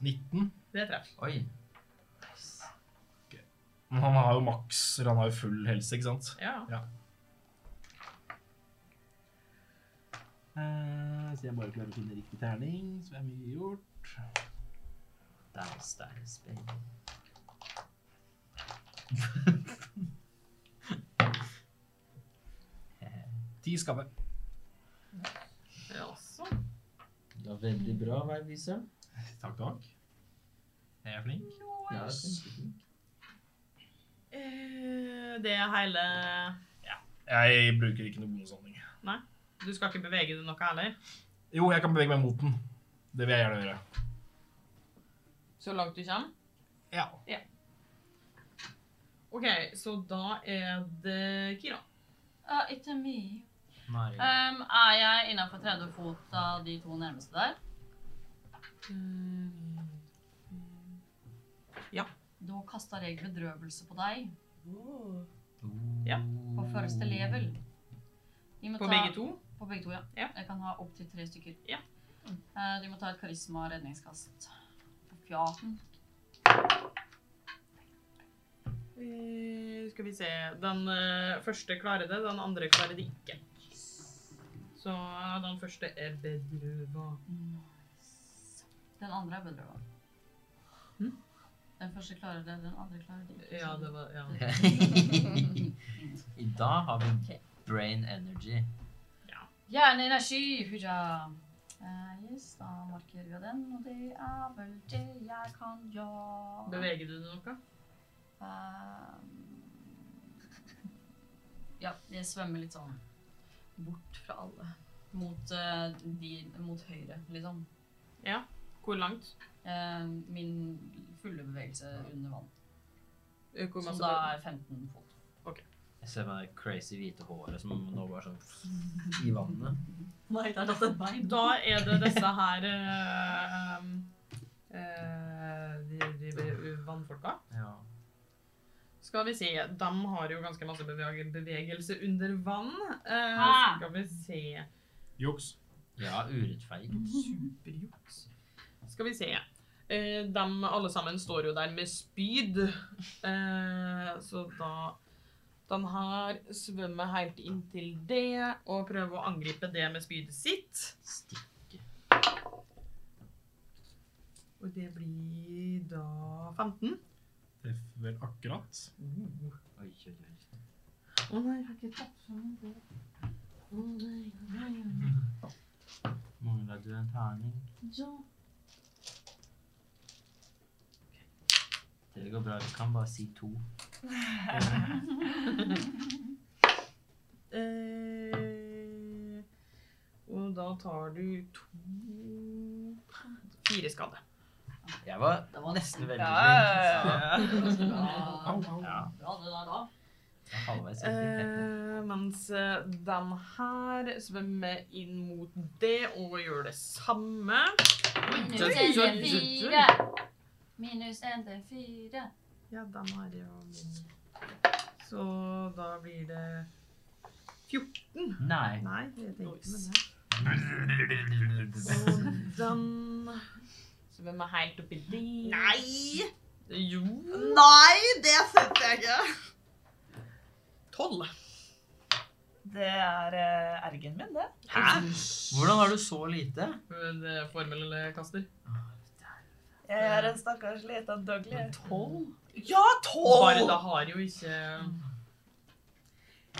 19. Det treffer. Oi. Men han har jo maks Han har jo full helse, ikke sant? Ja. Eh, så jeg bare klarer å finne riktig terning, så er mye gjort. Der er steinspenn. Ti skade. Det er også. Det var veldig bra veiviser. Takk, takk. Jeg er flink. Ja, kjempefint. Eh, Det er hele Jeg bruker ikke noe bonushandling. Du skal ikke bevege deg noe heller? Jo, jeg kan bevege meg mot den. Det vil jeg gjerne gjøre. Så langt du kommer? Ja. OK, så da er det Kira. Uh, ikke mye. Mari. Um, er jeg innenfor 30 fot av de to nærmeste der? Da kaster jeg bedrøvelse på deg Ja. oh. på første level. De må På ta- begge to? På begge to, ja. Ja. Jeg kan ha opptil tre stykker. Ja. Eh, de må ta et karisma redningskast. På fjaten. Eh, skal vi se Den eh, første klarer det, den andre klarer det ikke. Så eh, den første er bedrøva. Den andre er bedre, hva? Hm? Den første klarer det, den andre klarer det ikke. Ja, det [LAUGHS] var ja. [LAUGHS] I dag har vi brain energy. Hjerneenergi, hurra! Eh, yes, da markerer vi den, og det er vel det jeg kan gjøre. Beveger du deg noe? Eh, Ehm, ja, jeg svømmer litt sånn bort fra alle. Mot, eh, de, mot høyre, liksom. Hvor langt? Eh, min fulle bevegelse under vann. Eh, Hvor Som masse da er 15 fot. Ok. Jeg ser meg det crazy hvite håret som nå bare sånn i vannet. Nei, det er tatt et bein. Da er det disse her eh, eh, de, de, de vannfolka. Ja. Skal vi se, de har jo ganske masse beveg bevegelse under vann. Eh, Hæ? skal vi se. Juks. Ja, urettferdig. Mm. Superjuks. Skal vi se. Eh, de alle sammen står jo der med spyd. Eh, så da Den her svømmer helt inntil det og prøver å angripe det med spydet sitt. Og det blir da 15. Treffer vel akkurat. Oi, oi, oi. Å nei, jeg har ikke tatt sånn det. Å nei, å nei, å nei. Mangla du en terning? Ja. Det går bra. Du kan bare si to. Eh, og da tar du to Fire skade. Jeg var Det var nesten veldig flink. Ja, ja, nesten Au, bra. au. Bra det der da. Ja, Halvveis. riktig. Eh, mens eh, den her svømmer inn mot det og gjør det samme. Minus Oi, en oi, til oi. fire. Minus en til fire. Ja, den har jo min. Så da blir det 14. Nei. Nei, jeg tenkte ikke Nice. med det. Og den svømmer helt oppi det. Nei! Jo. Nei, det setter jeg ikke. 12. Det er eh, ergen min, det. Hæ? Hvordan har du så lite? Det er Formelkaster. Jeg er en stakkars liten Dougley. Tolv? Ja, Bare tolv! da har jo ikke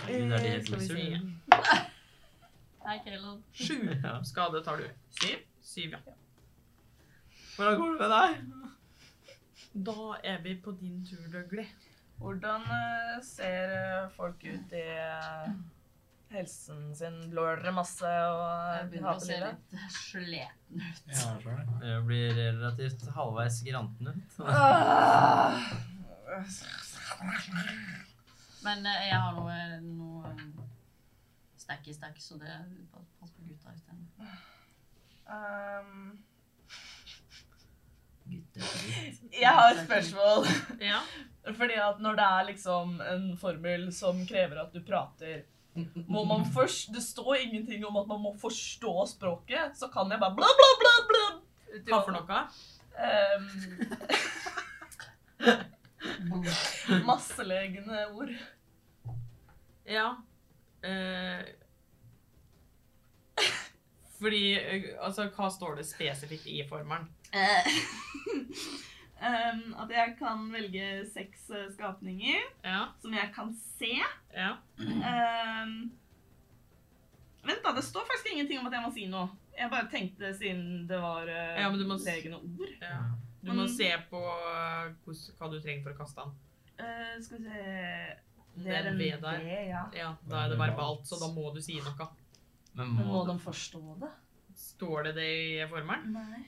Herregud, er det Eh, helt Skal vi wizard? se. Nei, ikke heller. Sju [LAUGHS] Ja. skade tar du. Syv? Syv, ja. Hvordan går det med deg? Da er vi på din tur, Dougley. Hvordan eh, ser eh, folk ut i eh, helsen sin? Blår dere masse Jeg og eh, begynner å hater se livet? litt sleten ut. Ja, jeg skjønner det. Jeg blir relativt halvveis [LAUGHS] granten ut. Men eh, jeg har noe, noe stacky stack, så det pass på gutta i stedet. Um, Gutter. jeg har et spørsmål. Ja. Fordi at når det er liksom en formel som krever at du prater må man først, Det står ingenting om at man må forstå språket, så kan jeg bare bla, bla, bla, bla. Hva for noe? Um, masselegne ord. Ja. Eh, [LAUGHS] fordi eh, Altså, hva står det spesifikt i formelen? Eh, [LAUGHS] em, at jeg kan velge seks eh, skapninger Ja. som jeg kan se. ja. Em, vent, da. Det står faktisk ingenting om at jeg må si noe. Jeg bare tenkte siden det var uh, Ja, men du må s- legne ord. ja. Du må se på eh, hos- hva du trenger for å kaste den. Eh, skal vi se Det er en ved der. ved, ja. Ja, da er det verbalt, så da må du si noe. Men Men må må de du forstå det? Står det det i formelen? Nei.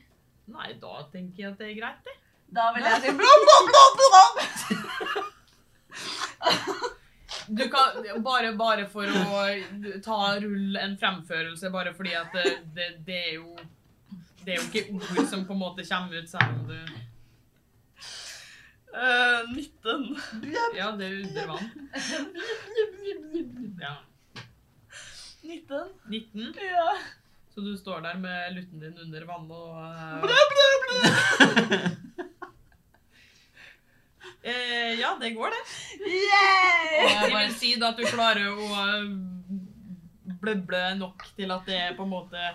Nei, da tenker jeg at det er greit, det. Da vil jeg si blå, blå, blå, blå! Du kan, bare, bare for å ta rull en fremførelse, bare fordi at det, det, det er jo Det er jo ikke ord som på en måte kommer ut, selv om du Eh, 19. Ja, det er under vann. Ja. 19? 19. Ja. Så du står der med lutten din under vann og eh, eh, Ja, det går, det. Yay! [LAUGHS] Det vil si da at du klarer å eh, bløble nok til at det er på en måte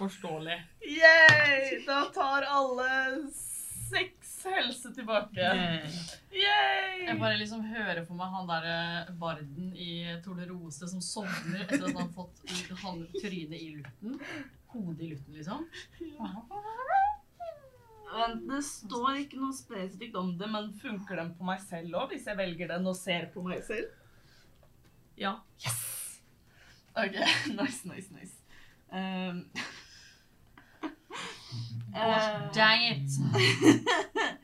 forståelig. Yay! Da tar alle seks helse tilbake. Jeg Yay! bare liksom hører for meg han der eh, barden i Tornerose som sovner etter at han har fått han- trynet i lutten. Hodet i lutten, liksom. Vent, det står ikke noe spesifikt om det, men funker den på meg selv òg, hvis jeg velger den og ser på meg selv? Ja. OK, [LAUGHS] nice, nice, nice. Um, Eh, Gosh, dang it! ehm,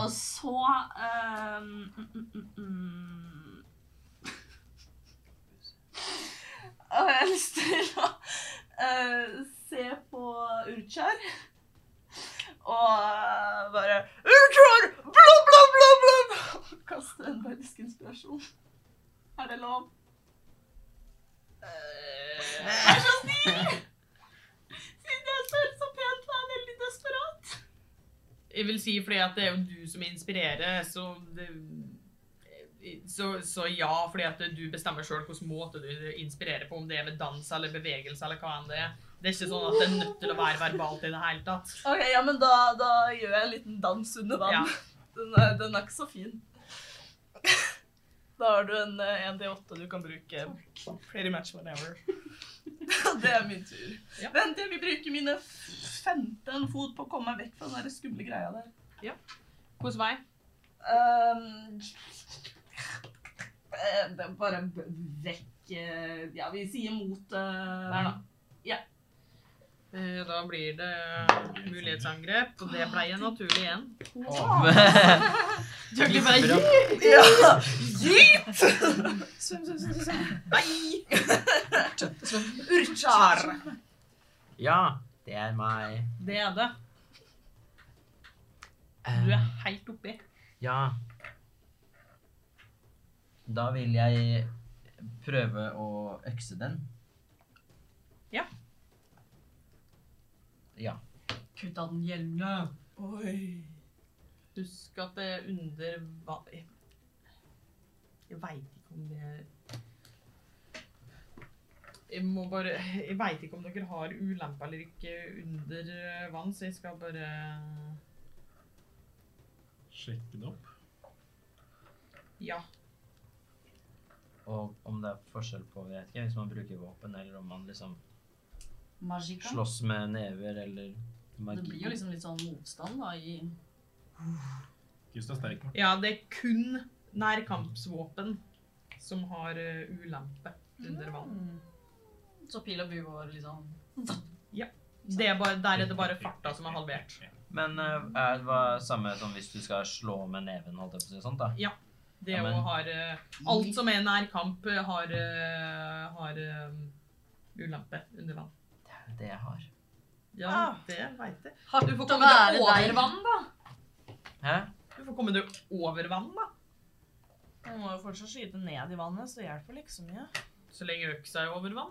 Og så um, mm, [LAUGHS] mm, mm, mm. til å eh, se på Urkjær. Og eh, bare Urkjær! Blom, blom, blom, blom! Kaste en magisk inspirasjon. Er det lov? Eh, Vær så snill! Siden jeg spør så pent, var jeg veldig desperat. Jeg vil si fordi at det er jo du som inspirerer, så det, så, så ja, fordi at du bestemmer sjøl hvilken måte du inspirerer på, om det er med dans eller bevegelse eller hva enn det er. Det er ikke sånn at det er nødt til å være verbalt i det hele tatt. Ok, ja, men da, da gjør jeg en liten dans under vann. Ja. [LAUGHS] Den, er, den er ikke så fin. Da har du en eh, 1D8 du kan bruke pretty much whatever. [LAUGHS] Det er min tur. Ja. Vent, jeg vil bruke mine 15 fot på å komme meg vekk fra den der skumle greia der. Hvilken vei? Ehm, eh, det er bare b- vekk eh, Ja, vi sier mot eh, Der, da. Ja. Eh, Da blir det mulighetsangrep, og det ble en naturlig igjen. [LAUGHS] Du egentlig bare Gisper opp. Ja! Sånn, Nei! Urchar! Ja, det er meg. Det er det. Eh, Du er helt oppi. Ja. Da vil jeg prøve å økse den. Ja. Ja. Kutt av den hjelmen. Oi. Husk at det er under hva- Jeg veit ikke om det er Jeg må bare Jeg veit ikke om dere har ulempe eller ikke under eh, vann, så jeg skal bare Sjekke det opp. Ja. Og om det er forskjell på vet ikke, hvis man bruker våpen, eller om man liksom Magica. slåss med never eller Det blir jo magi. liksom litt sånn motstand da i Gustav Sterk. Ja, det er kun nærkampsvåpen som har eh, ulempe under vann. Så pil og bue var liksom Det er bare, der er det bare farta som er halvert. Men eh, er det hva- samme som hvis du skal slå med neven, holdt jeg på å si, sånt da? Det Ja, men- å har eh, Alt som er nærkamp, eh, har, eh, har eh, ulempe under vann. Det er jo det jeg har. Ja, Ah. det veit jeg. Hardt Du får å komme være deg over der, vann, da. Hæ? Du får komme deg over vann, da. Man må jo fortsatt skyte ned i vannet, så det hjelper like så mye. Så lenge øksa er over vann.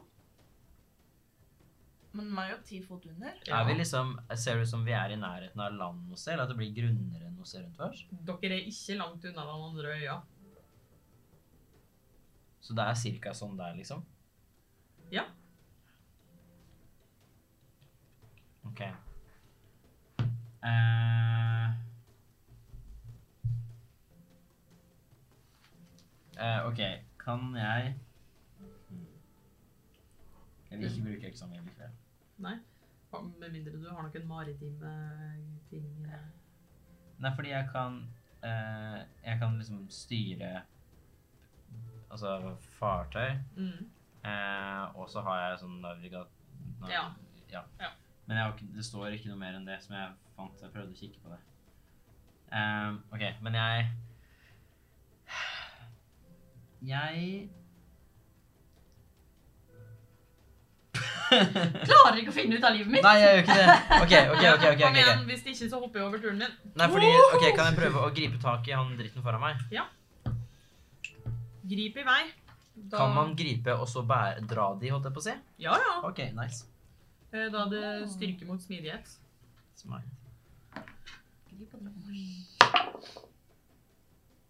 Men man er jo ti fot under. Ja. Er vi liksom, ser det ut som vi er i nærheten av land noe sted, eller at det blir grunnere enn noe sted rundt oss? Dere er ikke langt unna den andre øya. Så det er cirka sånn der, liksom? Ja. Ok. Eh. Eh, ok, kan jeg... Hmm. Jeg vil ikke bruke eksamen likevel. Med mindre du har noen maritime ting. eh. Nei, fordi jeg kan eh, Jeg kan liksom styre Altså fartøy. Mm. Eh, og så har jeg sånn navigat... nav- Ja. ja. Ja. Men jeg har ikke, det står ikke noe mer enn det som jeg fant. så Jeg prøvde å kikke på det. Eh, OK, men jeg Jeg Klarer ikke å finne ut av livet mitt. Nei, jeg gjør ikke det. OK, OK. ok, ok, Kom ok, ok. igjen, hvis det ikke, så hopper jeg over turen din. Nei, fordi, ok, Kan jeg prøve å gripe tak i han dritten foran meg? Grip i vei. Da- Kan man gripe og så bære, dra de, holdt jeg på å si? Ja, ja. OK, nice. Eh, Da er det styrke mot smidighet. Smart.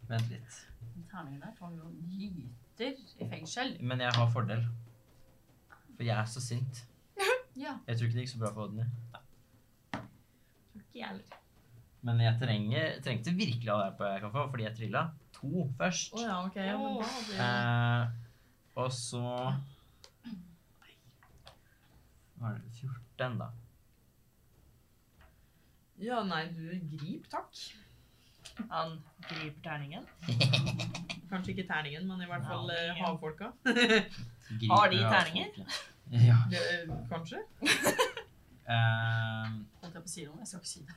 Vent litt. Den terningen der tar jo gyter i fengsel. Men jeg har fordel. For jeg er så sint. Ja. Jeg tror ikke det gikk så bra for Odny. Ikke heller. Men jeg trenger, trengte virkelig all hjelpa jeg kan få, fordi jeg trilla to først. Å ja, ok. Ja, men da hadde jeg- eh, og så Hva er det 14, da? Ja, nei, du grip, takk. Han griper terningen. Kanskje ikke terningen, men i hvert fall eh, Terningen. havfolka. Griper Har de jeg av terninger? folket. Ja. Det, eh, kanskje? Eh, Holdt jeg på å si noe? Jeg skal ikke si det.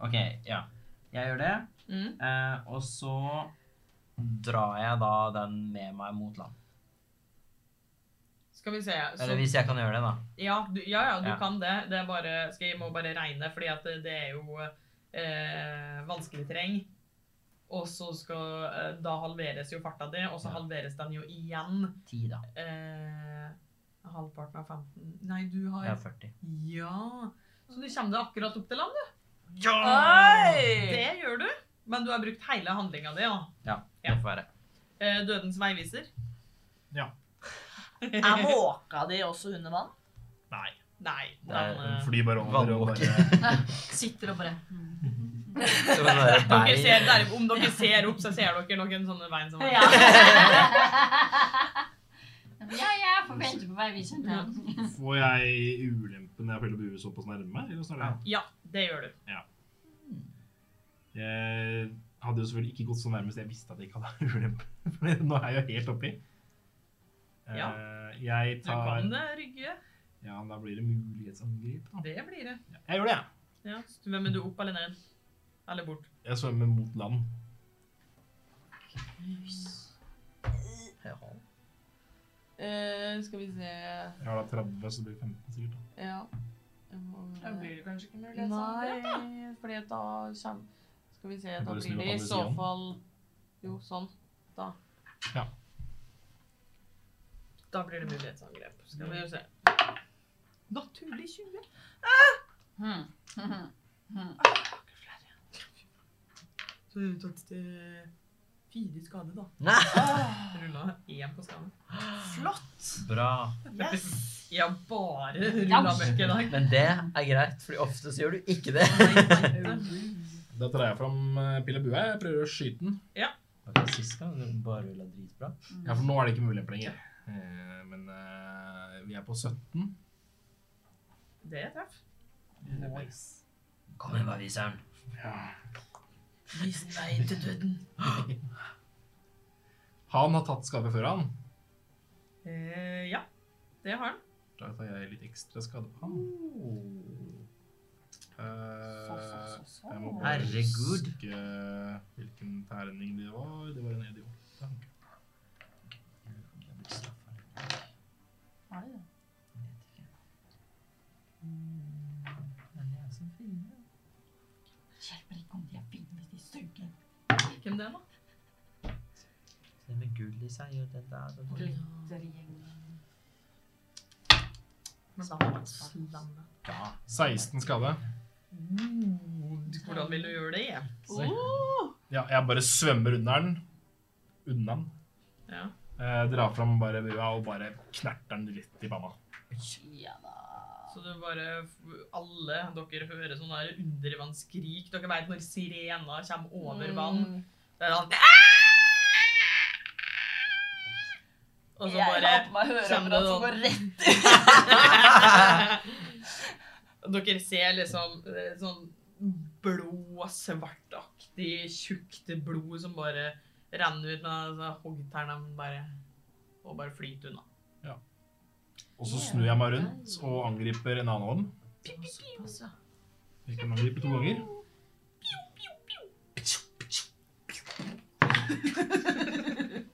OK, ja. Jeg gjør det. Mm. Eh, og så drar jeg da den med meg mot land. Skal vi se. Så, Eller hvis jeg kan gjøre det, da. ja, du, ja, ja, du Ja. kan det. Det er bare, skal jeg må bare regne, fordi at det, det er jo eh, vanskelig terreng. Og så skal eh, Da halveres jo farta di, og så Ja. halveres den jo igjen. Ti, da. Eh, halvparten av 15 Nei, du har Jeg er 40. Ja. Så du kommer deg akkurat opp til land, du. Oi! Det gjør du. Men du har brukt hele handlinga di, da. Det får være. Eh, Dødens veiviser. Ja. Er måka di også under vann? Nei. Nei. Det er- Den, eh, Flybaroner og Vannbukk. bare Sitter og bare mm. Det var bare [LAUGHS] dere berg. ser der, om dere ser opp, så ser dere noen sånne bein som ja. ja, ja, får vente på veiviseren. Ja. Får jeg ulempe når jeg piller bue såpass nærme? Eller hvordan er det? Ja, det gjør du. Jeg hadde jo selvfølgelig ikke gått så nærmest jeg visste at jeg ikke hadde [LAUGHS] ulempe. For nå er jeg jo helt oppi. Eh, Jeg Du tar kan eh, rygge. Ja, da blir det mulighetsangrep. da. Det blir det. Jeg gjør det, jeg. Ja. Svømmer du opp eller ned? Eller bort? Jeg svømmer mot land. Jaha. Eh, skal vi se Jeg har da 30, så det blir 15 sikkert. da. Ja. Da blir det kanskje ikke mulig. sånn Nei, fordi da kommer Skal vi se, Jeg da bare blir snur det i opp andre så siden. fall Jo, sånn. Da. Da blir det mulighetsangrep. Skal vi se. Naturlig 20. Mm. Så du tok til fire skader, da. Ah! Nei. Rulla én på skaden. Bra. Yes! [LAUGHS] Ja, bare rulla møkk i dag. Men det er greit, for ofte så gjør du ikke det. Da drar jeg fram eh, pil og bue. Jeg prøver å skyte den. Ok, Sist gang du bare rulla dritbra. Ja, for nå er det ikke mulig lenger. Eh, Men eh, vi er på 17. Det er treff. Nice. Kom igjen, veiviseren. Vis vei til døden. [LAUGHS] Han har tatt skade før, han. Eh, ja, det har han. Da tar jeg litt ekstra skade på han. Eh, Jeg må bare Herregud. huske hvilken terning det var. Det var en idiot. Har du det? Mm, Hjelper ikke om de er fine hvis de suger. Hvem det er, da? Den med gull i seg og den der og den. Glittergjengen. Slange. 16 skade. Mm. Hvordan vil du gjøre det? Ja, jeg bare svømmer under den. Unna den. Ja. Eh, drar fram bare bua og bare knerter den rett i panna. Ja da. Så du bare Alle dere hører sånne der undervannsskrik. Dere vet når sirena kommer Mm. over vann. Det er sånn "Ah!" Og så Jeg bare har [LAUGHS] på meg høreapparat som går rett Dere ser liksom eh, sånn blå, svartaktig, tjukt blod som bare renner ut med altså, hoggternene bare, og bare flyter unna. Og så snur jeg meg rundt og angriper en annen av dem. Jeg kan angripe to ganger.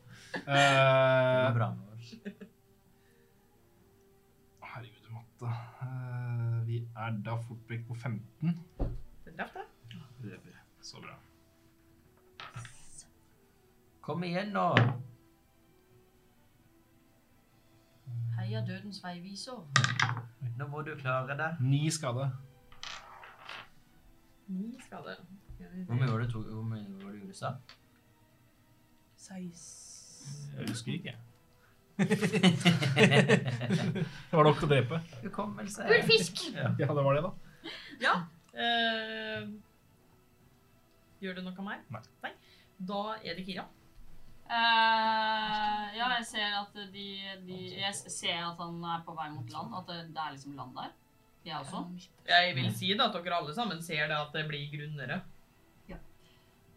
Det Eh, går bra med oss. herregud, matte. Eh, vi er da fort vekk på 15. Det er drept, det. Det er vi. Så bra. Kom igjen nå. Heia dødens veiviser. Nå må du klare det. Ni skade. Ni skader. Hvor mye var det to, hvor mye var det du gjorde i stad? Jeg husker ikke, [LAUGHS] jeg. det var nok til å drepe. Hukommelse. Gullfisk! Ja, det var det, da. Eh, gjør det noe mer? Nei. Da er det Kira. Eh, ja, jeg ser at de, de Jeg ser at han er på vei mot land. At det, det er liksom land der. Jeg også. Jeg vil si da at dere alle sammen ser det at det blir grunnere.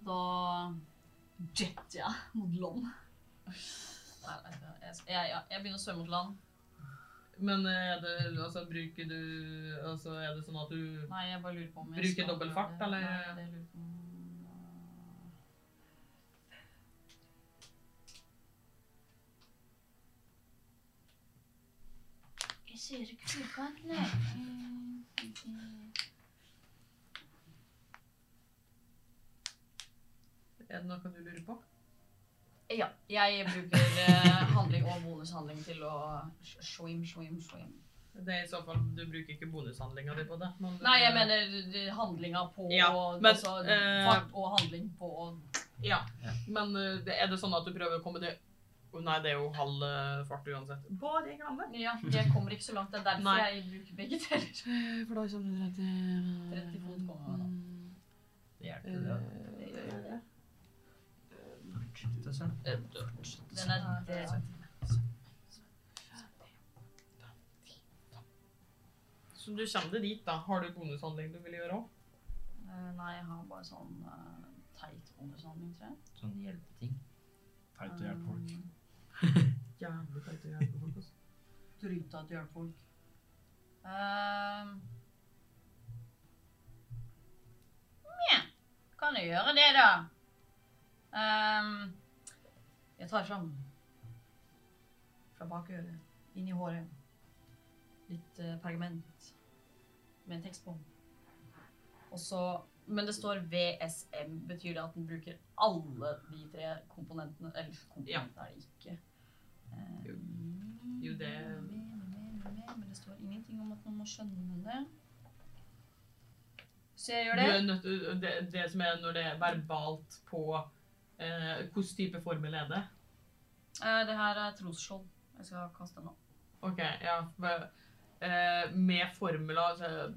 Da jetter jeg mot land. Nei, nei, Jeg, jeg, jeg, jeg begynner å svømme mot land. Men eh, er det, altså, bruker du altså, Er det sånn at du Nei, jeg bare lurer på om jeg Bruker skal dobbel fart, gjøre det. eller? Nei, det lurer jeg på om... Jeg sier ikke firkant, nei. Mm, mm. Er det noe du lurer på? Ja, jeg bruker eh, handling og bonushandling til å sh- swim, swim, swim. Det er i så fall, Du bruker ikke bonushandlinga di på det. men- Nei, jeg mener eh, handlinga på Ja, og- men, altså, eh, fart og handling på Ja, men eh, det- er det sånn at du prøver å komme det Å, Nei, det er jo halv eh, fart uansett. Bare jeg glemmer. Ja, jeg kommer ikke så langt. Det er derfor Nei. Eh, jeg bruker begge deler. For da sånn kommer du til 30 fot kommer man Mm. Det hjelper jo det. Eh. Eh, Det er sånn. Den er sånn. der. Så du kommer deg dit, da. Har du bonushandling du vil gjøre òg? Eh, Nei, jeg har bare sånn eh, teit bonushandling, tror jeg. Sånn hjelpeting. Teit å hjelpe folk. Mm. Jævlig teit å hjelpe folk. altså. Drita til hjelpefolk. Ehm. Nja, kan jeg gjøre det, da? Ehm, jeg tar fram fra bakøret, inn i håret, litt eh, pergament med en tekst på. Og så Men det står VSM. Betyr det at den bruker alle de tre komponentene? Eller komponentene er det ikke. Ehm, Jo. Jo, det- Men det står ingenting om at man må skjønne det. Så jeg Du eh, gjør det. er nødt til, det, det som er når det er verbalt på eh, Hvilken type formel er det? Eh, Det her er trosskjold. Jeg skal kaste den nå. OK, ja. men, eh, med formela altså,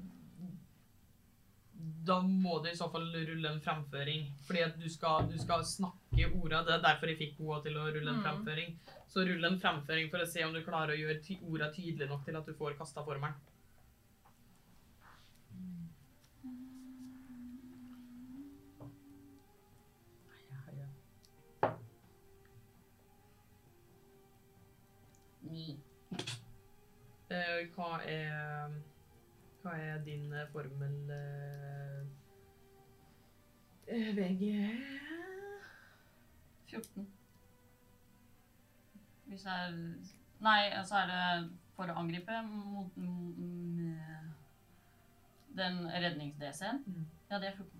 Da må du i så fall rulle en fremføring. Fordi at du skal, du skal snakke orda. Det er derfor jeg fikk henne til å rulle en Mm. fremføring. Så rull en fremføring for å se om du klarer å gjøre ty orda tydelig nok til at du får kasta formelen. Ni. Eh, hva er Hva er din eh, formel eh, eh, VG 14. Hvis det er Nei, så er det for å angripe mot m- m- den rednings-DC-en. Mm. Ja, det er 14.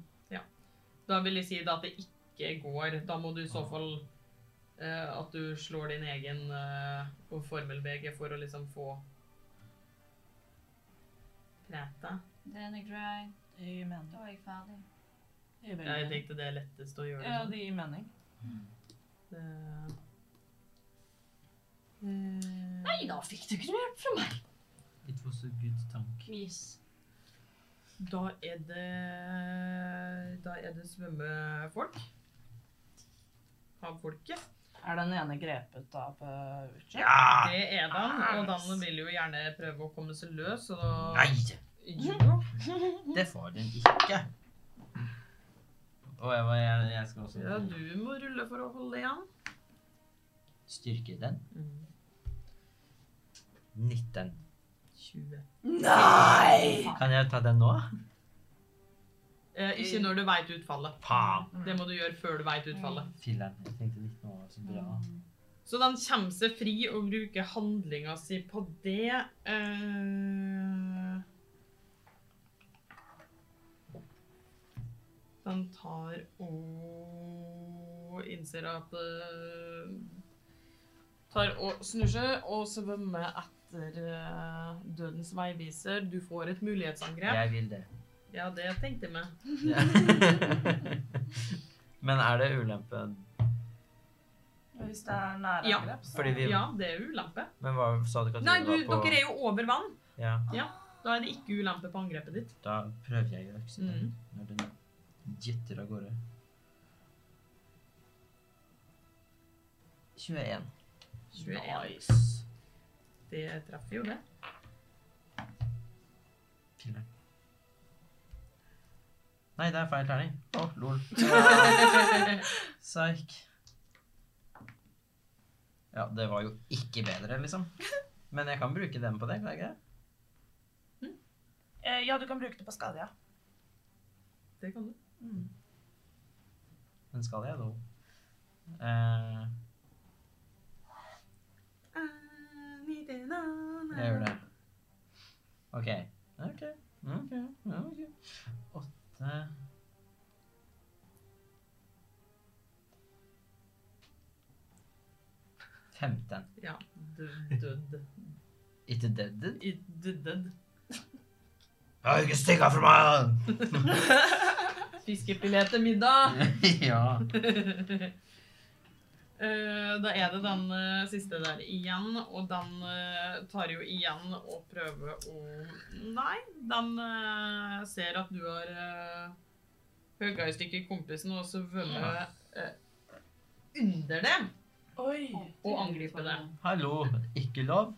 Da vil jeg si da at det ikke går. Da må du i så fall eh, At du slår din egen eh, og formel VG for å liksom få Preta. Det er en grei. Det gir mening. Da er jeg ferdig. Det gir veldig Jeg mening. tenkte det er lettest å gjøre det Ja, sånn. det gir mening. Det- Eh, Nei, da fikk du ikke noe hjelp fra meg. It was a good tank. Yes. Da er det Da er det svømmefolk. Havfolket. Er den ene grepet av uh, Uche? Ja! Det er den, og den vil jo gjerne prøve å komme seg løs. Og da Nei! Jo. Det får den ikke. Og jeg, jeg, jeg skal også Ja, du må rulle for å holde igjen. styrke den. 19. 20. Kan jeg ta den nå? Eh, ikke når du veit utfallet. Faen! Det må du gjøre før du veit utfallet. Filler'n. Jeg tenkte 19 år var så bra. Så den kommer seg fri og bruker handlinga si på det. Eh, Den tar og innser at eh, Tar og snur seg og svømmer etter eh, dødens veiviser. Du får et mulighetsangrep. Jeg [LAUGHS] vil det. Ja, det tenkte jeg meg. Ja. Men er det ulempe? Hvis det er nære Ja. angrep, så Fordi vi Ja, det er ulempe. Men hva sa du ikke at Nei, vi du, var på dere er jo over vann. Ja, Da er det ikke ulempe på angrepet ditt. da prøver jeg å økse den Mm. når den jetter av gårde. 21. 21. Det treffer jo det. Filler'n. Nei, det er feil terning. Å, lol. [LAUGHS] Psyk. Ja, det var jo ikke bedre, liksom. Men jeg kan bruke den på det, kan jeg ikke det? Eh, Ja, du kan bruke det på skade, ja. Det kan du. Den skal jeg, da. Eh, jeg gjør det. OK. OK. OK. ok. Åtte Femten. Ja. Død, død. Ikke deaded? I- død, død. Jeg har ikke stikka fra meg! Fiskefilet til [LAUGHS] middag! ja. [LAUGHS] Eh, da er det den eh, siste der igjen, og den eh, tar jo igjen og prøver å Nei, den eh, ser at du har uh, høga i stykker kompisen og svømmer eh, under dem Oi. og angriper dem. Hallo. Ikke lov?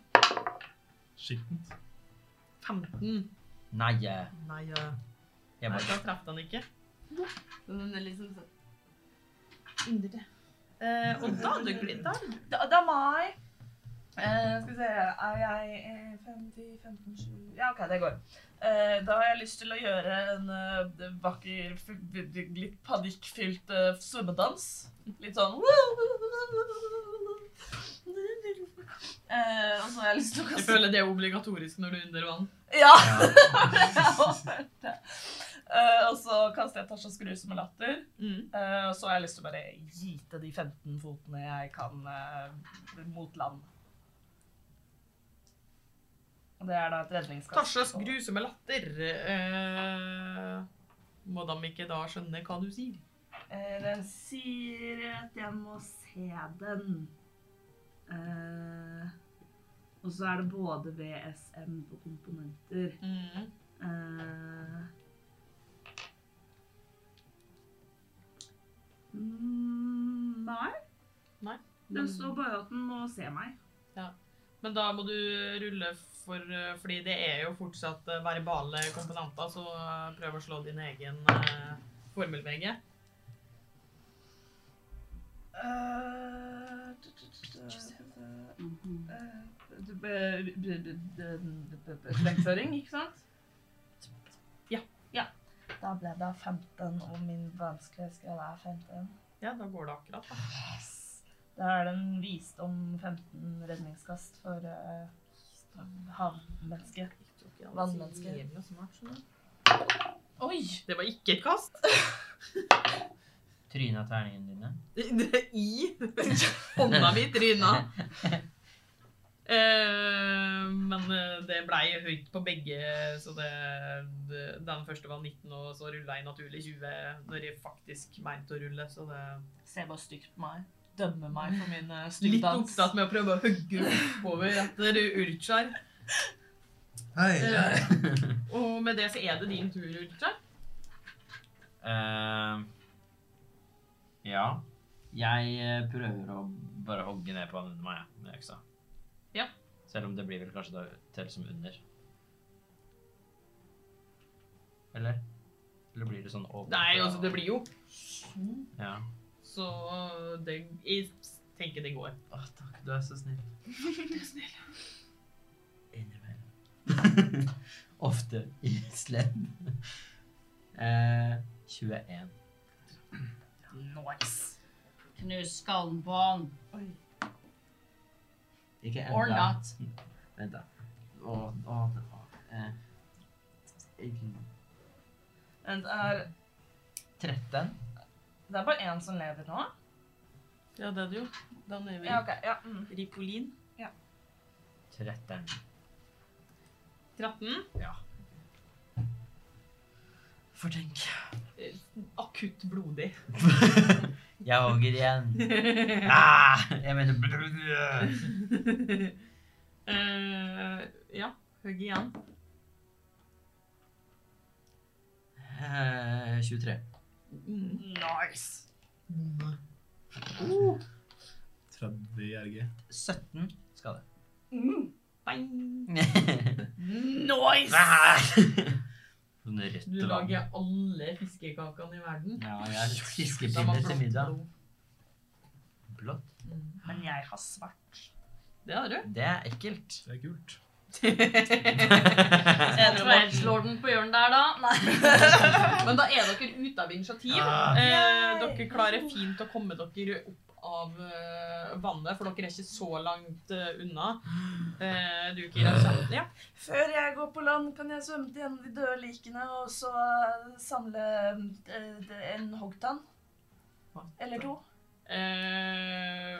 Skittent. 15. Nei. eh, Nei, eh, Jeg nei, da bare traff den ikke. Den er liksom sånn Under det. Eh, og da dukker de der. Det, det er meg. Eh, skal vi se Er jeg eh, 50, 15, 7 Ja, OK, det går. Eh, da har jeg lyst til å gjøre en eh, vakker, f- litt panikkfylt eh, svømmedans. Litt sånn eh, Og så har jeg lyst til å Jeg kaste føler det er obligatorisk når du er under vann. [LAUGHS] Ja! ja. jeg håper det. Eh, og så kaster jeg Tasha Skruse med latter. Mm. Eh, Og så har jeg lyst til å bare gite de 15 fotene jeg kan eh, mot land. Og det er da et redningskast. Tasjas grusomme latter. Eh, må de ikke da skjønne hva du sier? Eh, Den sier at jeg må se den. Eh, og så er det både VSM på komponenter. Mm. Eh, mm, nei. Nei. Den står bare at den må se meg. Men da må du rulle for eh, Fordi det er jo fortsatt eh, verbale komponenter, så eh, prøv å slå din egen eh, formel-VG. Eh, d- d- d- d- Mhm. eh, d- b- b- b- d- d- d- Slengføring, ikke sant? Ja. ja. Da ble det 15, og min vanskelige skala er 15. Ja, da går det akkurat. da. Da er det en visdom 15 redningskast for eh, havmenneske. Vannmenneske. Jævla smart, skjønner du. Oi! Det var ikke et kast. Tryna terningene dine. Det er [LAUGHS] I. Hånda mi i tryna. Eh, men eh, det blei høyt på begge, så det, det- den første var 19, og så rulla jeg naturlig 20 når jeg faktisk mente å rulle, så det Se bare stygt på meg. Dømme meg for min eh, Litt styggdans. opptatt med å prøve å hugge oppover etter Urchar. Eh, og med det så er det din tur, Urchar. Eh, ja. Jeg eh, prøver å bare hogge ned på han under meg jeg, med øksa. Ja. Selv om det blir vel kanskje da til som under. Eller? Eller blir det sånn over? Nei, altså, det blir jo Ja. Så det, jeg tenker det går. Å, takk, du er så snill. [LAUGHS] Innimellom. Ofte i slem. Eh, 21. Nice. Knus skallen på han. Ikke enda. Or not. Vent, da. Å, å, det var eh, ikke- Men Det er, 13. det er bare én som lever nå. Ja, det er det jo. Da er Ja, ok. Ja, mm. Ripolin. 13. 13. For tenk. Akutt blodig. [LAUGHS] Jeg hogger igjen. [LAUGHS] Ah, jeg mener Eh, ja, hugg igjen. eh, 23. Mm. Nice. 30 i RG. 17 [LAUGHS] skal det. Bang. Ah! Sånn rødt Du vann. lager alle fiskekakene i verden. Ja, jeg er Da var fiskepinne til blått middag. blod. Blått. Mm. Men jeg har svart. Det har [LAUGHS] du. Det er ekkelt. Det er kult. Jeg tror jeg slår den på hjørnet der, da. Nei. Men da er dere ute av initiativ. Ah. Eh, dere klarer fint å komme dere opp av eh, vannet, for dere er ikke så langt eh, unna. Eh, du, Kira, kjenner Ja. Før jeg går på land, kan jeg svømme til en av de døde likene og så eh, samle eh, det- en hoggtann. Eller to. Eh,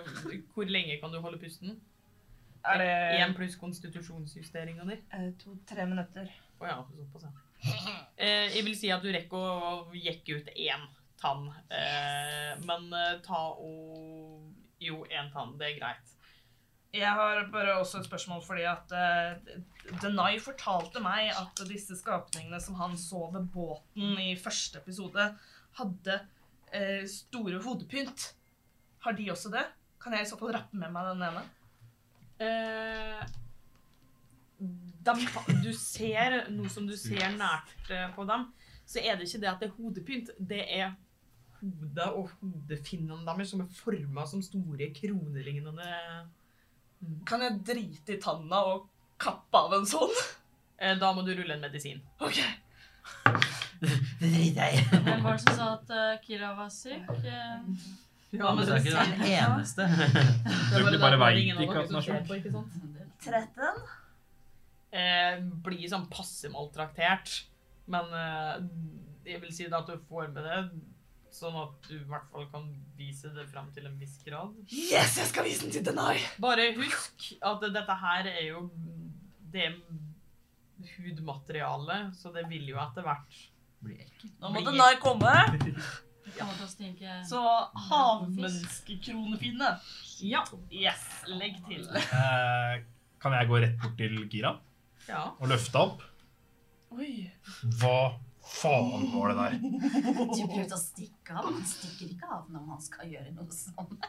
hvor lenge kan du holde pusten? Er det Én pluss konstitusjonsjusteringa di. to-tre Eh, minutter? Å ja, såpass, ja. Eh, jeg vil si at du rekker å jekke ut én tann. Eh, men eh, ta og Jo, én tann. Det er greit. Jeg har bare også et spørsmål fordi at uh, Denai fortalte meg at disse skapningene som han så ved båten i første episode, hadde eh, store hodepynt. Har de også det? Kan jeg i så fall rappe med meg den ene? Eh, dem, du ser, nå som du ser nært eh, på dem, så er det ikke det at det er hodepynt. Det er hodet og hodefinnene deres som er forma som store kronelignende Kan jeg drite i tanna og kappe av en sånn? eh, Da må du rulle en medisin. Ok. Det driter jeg i. Hvem var det som sa at eh, Kira var syk? [LAUGHS] Eh, Ja, Du er ikke den eneste. [LAUGHS] Det Dere bare vet ingen av ikke dere at den som er ser sjuk. på, ikke sant? 13? Eh, blir sånn passe maltraktert. Men eh, jeg vil si da at du får med det, sånn at du i hvert fall kan vise det fram til en viss grad. Yes, jeg skal vise den til Denai! Bare husk at dette her er jo det er hudmaterialet, så det vil jo etter hvert Nå må Denai komme. jeg måtte også tenke Så havmenneskekronefinne. Ja. Yes, legg til. Eh, kan jeg gå rett bort til Gira ja. og løfte opp? Oi. Hva faen var det der? [LAUGHS] Du prøvde å stikke av, men han stikker ikke av når man skal gjøre noe sånt.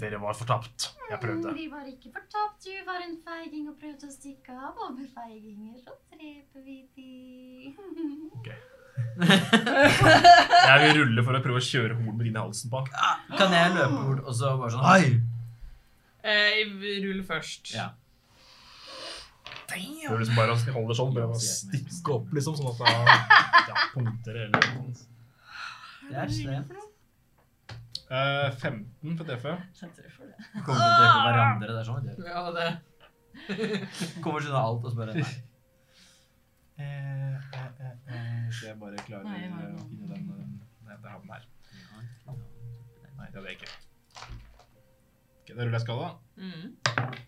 Dere var fortapt. Jeg prøvde. Vi var ikke fortapt, du var en feiging og prøvde å stikke av. Og med feiginger så dreper vi de. [LAUGHS] Jeg vil rulle for å prøve å kjøre hornet inn i halsen på han. Kan jeg løpe bort og så bare sånn Hei! Eh, rull først. Ja. Prøver liksom bare å holde sånn, prøver å stikke opp liksom, sånn at det ja, punkter eller noe. Det er slemt. Eh, 15 for TF. Jeg treffer det. Kommer til å drepe hverandre. Det er sånn. det Ja, det. gjør. Kommer til å skjønne alt og så bare Nei. Eh, eh, eh, eh, så jeg bare klarer Nei, jeg har å den. finne den eh, Nei, jeg har den her. Nei, det hadde jeg ikke. Ok, Da ruller jeg skada. Mm.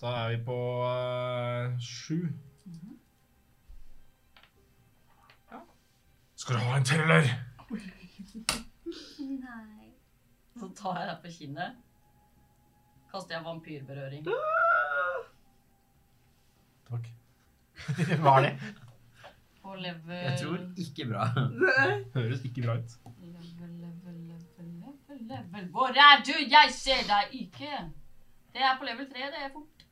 Da er vi på eh, sju. Ja. Skal du ha en til, eller? Nei. Så tar jeg deg på kinnet. Kaster jeg vampyrberøring. Takk. [LAUGHS] Hva er det? På level Jeg tror ikke bra. Høres ikke bra ut. Level, level, level, level, level. Hvor er du? Jeg ser deg ikke! Det er på level 3, det er fort.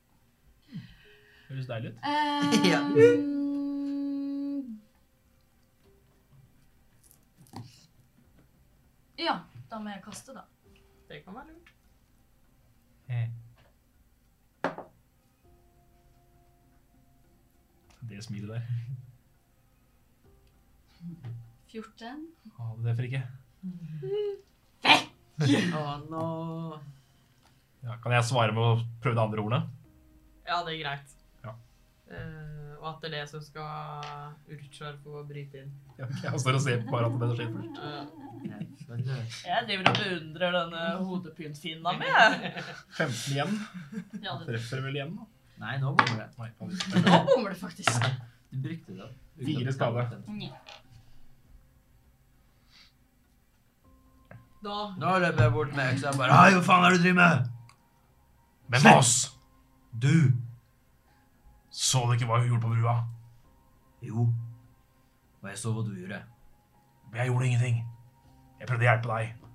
Høres deilig ut. Eh, ja. Da må jeg kaste, da. Det kan være lurt. [LAUGHS] Det smilet der. 14. Ha det for ikke. Å, no. Ja, kan jeg svare med å prøve det andre ordene? Ja, det er greit. Ja. Eh, og etter det så skal Urchar få bryte inn. Ja, ok, Jeg står og ser på bare at det skjer først. Eh, Jeg driver og beundrer denne hodepyntfinna mi. jeg. 15 igjen. Ja, [LAUGHS] det, Treffer vel igjen, da? Nei, nå bommer det. Nei, han ikke. nå bommer det faktisk. Du brukte det. uten Fire at- skade. da Nå løper jeg bort med øksa og bare Hei, hva faen er det du driver med? Hvem av oss Du! så du ikke hva hun gjorde på brua? Jo. Og jeg så hva du gjorde. Men jeg gjorde ingenting. Jeg prøvde å hjelpe deg.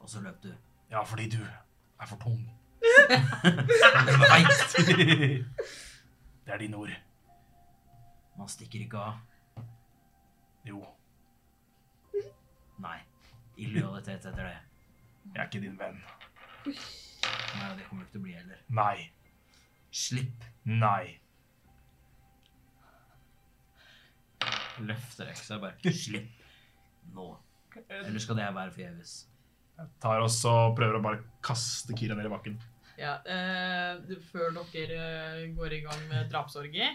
Og så løp du. Ja, fordi du er for tung. Det var feigt. Det er dine ord. Man stikker ikke av. Jo, Nei. Illojalitet heter det. jeg er ikke din venn. Nei, og det kommer du ikke til å bli heller. Nei. Slipp. Nei. Løfter øksa og bare Slipp. Nå. Eller skal det her være forgjeves? Jeg tar også og prøver å bare kaste Kira ned i bakken. Ja, eh, du- før dere eh, går i gang med drapsorgie,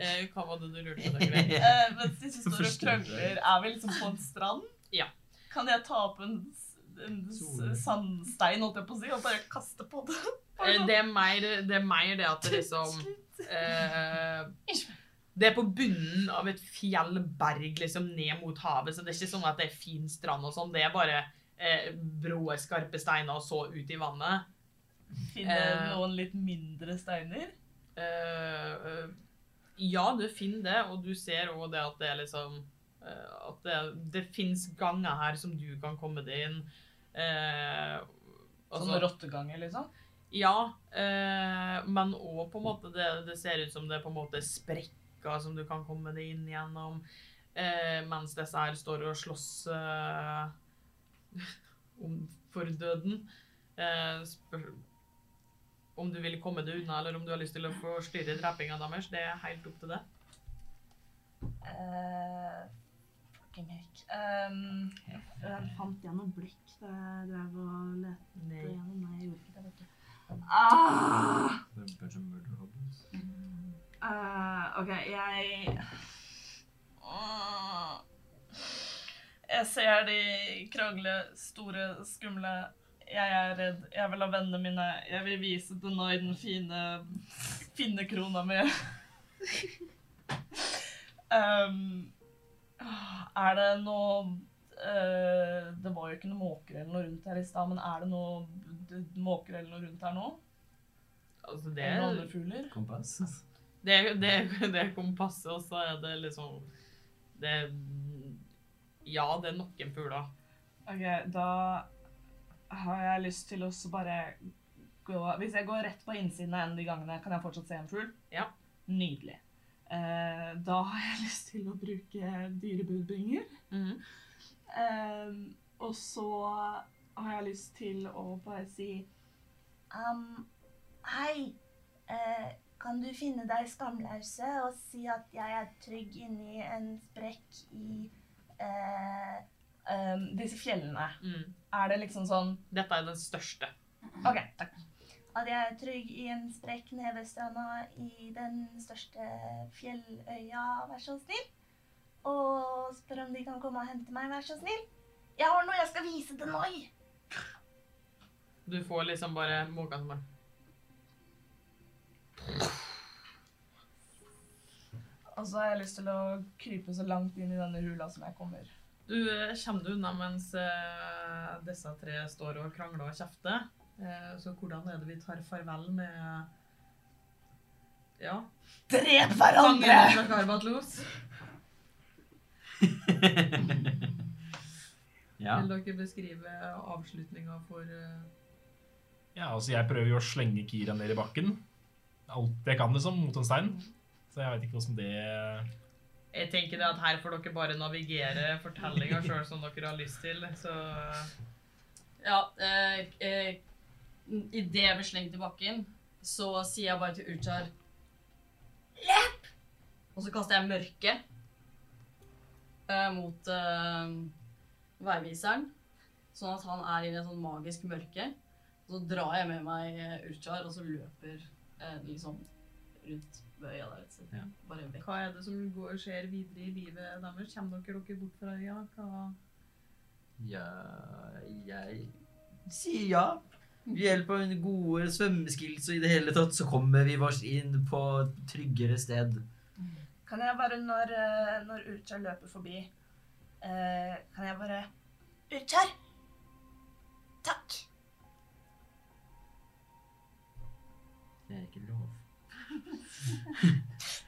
eh, hva var det du lurte på? Dere? Eh, mens [LAUGHS] de som står og Forstår du det? krangler, er vi liksom på en strand? Ja. Kan jeg ta opp en, s- en s- Sol. sandstein, holdt jeg på å si, og bare kaste på det? [LAUGHS] Eh, Det er mer det, er mer det at det liksom eh, Det er på bunnen av et fjell, berg, liksom ned mot havet. Så det er ikke sånn at det er fin strand og sånn. Det er bare eh, brå, skarpe steiner og så ut i vannet. Finne Eh. noen litt mindre steiner? Eh, eh, ja, du finner det, og du ser òg det at det er liksom eh, At det, det fins ganger her som du kan komme deg inn. Eh, Sånn altså- rotteganger, liksom? Ja, eh, men òg på en måte det, det ser ut som det er på en måte sprekker som du kan komme deg inn gjennom. Eh, mens disse her står og slåss eh, [LAUGHS] om for døden. Eh, spør om du vil komme deg unna, eller om du har lyst til å forstyrre drepinga deres. Det er helt opp til deg. Eh, fucking heck. Um, jeg fant igjen noen blekk da jeg drev og lette gjennom. Nei, jeg gjorde ikke det, vet du. Ah! Eh, ok, jeg Åh. Jeg ser de krangle, store, skumle. Jeg er redd. Jeg vil ha vennene mine. Jeg vil vise Denai den fine finnekrona [LAUGHS] mi. um, er det noe eh, Det var jo ikke noe måker eller noe rundt her i stad, men er det noe d- måker eller noe rundt her nå? Altså, det, Eller åndefugler? Kompass? det, det, det er kompasset, og så er det liksom Det er Ja, det er noen fugler. Ok, da har jeg lyst til å så bare gå Hvis jeg går rett på innsiden av en av de gangene, kan jeg fortsatt se en fugl? Ja. Nydelig. Eh, da har jeg [LAUGHS] lyst til å bruke dyrebudbringer. Mhm. Eh, og så har jeg lyst til å bare si um, Hei, eh, kan du finne deg skamlause og si at jeg er trygg inni en sprekk i eh, um, disse fjellene? Mm. Er det liksom sånn Dette er den største. OK, takk. At jeg er trygg i en sprekk nede ved stranda i den største fjelløya, vær så snill. Og spør om de kan komme og hente meg, vær så snill. Jeg har noe jeg skal vise til Noi. Du får liksom bare måka som bare Og så har jeg lyst til å krype så langt inn i denne hula som jeg kommer. Du eh, kommer deg unna mens eh, disse tre står og krangler og kjefter. Eh, så hvordan er det vi tar farvel med Ja. Drep Fangen fra Karbatlos. ja. Vil dere beskrive avslutninga for eh, Ja, altså Jeg prøver jo å slenge Kira ned i bakken. Alt jeg kan, liksom, mot en stein. Så jeg veit ikke hvordan det Jeg tenker det at her får dere bare navigere fortellinga sjøl som dere har lyst til. Så eh. Ja, eh, eh, idet jeg blir slengt i bakken, så sier jeg bare til Urjar Løp! Og så kaster jeg mørke eh, mot eh, veiviseren, sånn at han er i et sånn magisk mørke. Og så drar jeg med meg eh, Urjar, og så løper eh, liksom rundt øya der. Så Ja. Bare vekk. hva er det som går, skjer videre i livet deres? Kommer dere dere bort fra øya? Hva Ja, jeg sier ja. Ved hjelp av en gode svømmeskills og i det hele tatt, så kommer vi oss inn på et tryggere sted. Kan jeg bare, når, eh, når Urchar løper forbi, eh, kan jeg bare Urchar! Takk! Det er ikke lov.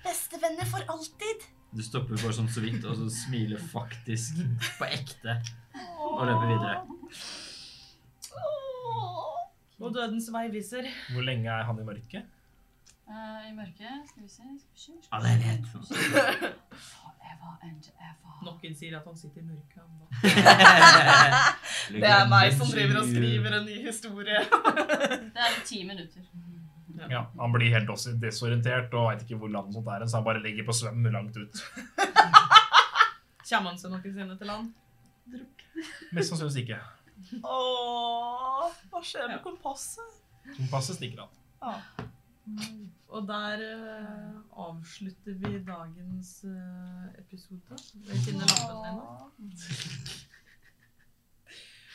Bestevenner for alltid! Du stopper bare sånn så vidt, og så smiler [LAUGHS] faktisk på ekte og løper videre. Og dødens veiviser. Hvor lenge er han i mørket? Eh, I mørket Skal vi se skal vi se, Ja, skal det er vi se. rett. Forever and ever. Noen sier at han sitter i mørket. han da. Det er meg som driver og skriver en ny historie. Det er ti minutter. Ja, Han blir helt også desorientert og veit ikke hvor land og sånt er, så han bare ligger på svøm langt ut. Kommer han seg noensinne til land? Drukner. Mest sannsynligvis ikke. Åh, hva skjer med kompasset? Kompasset stikker av. Og der eh, avslutter vi dagens eh, episode. Jeg finner lappen din nå. [LAUGHS]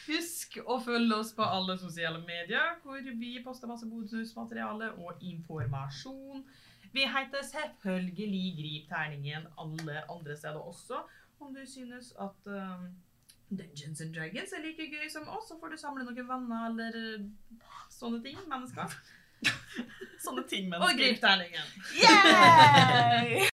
Husk å følge oss på alle sosiale medier, hvor vi poster masse bonusmateriale og informasjon. Vi heter selvfølgelig Grip terningen alle andre steder også. Om du synes at eh, Dungeons and Dragons er like gøy som oss, så får du samle noen venner eller eh, sånne ting. [LAUGHS] Mennesker. Sånne ting, Og grip terningen. Yay!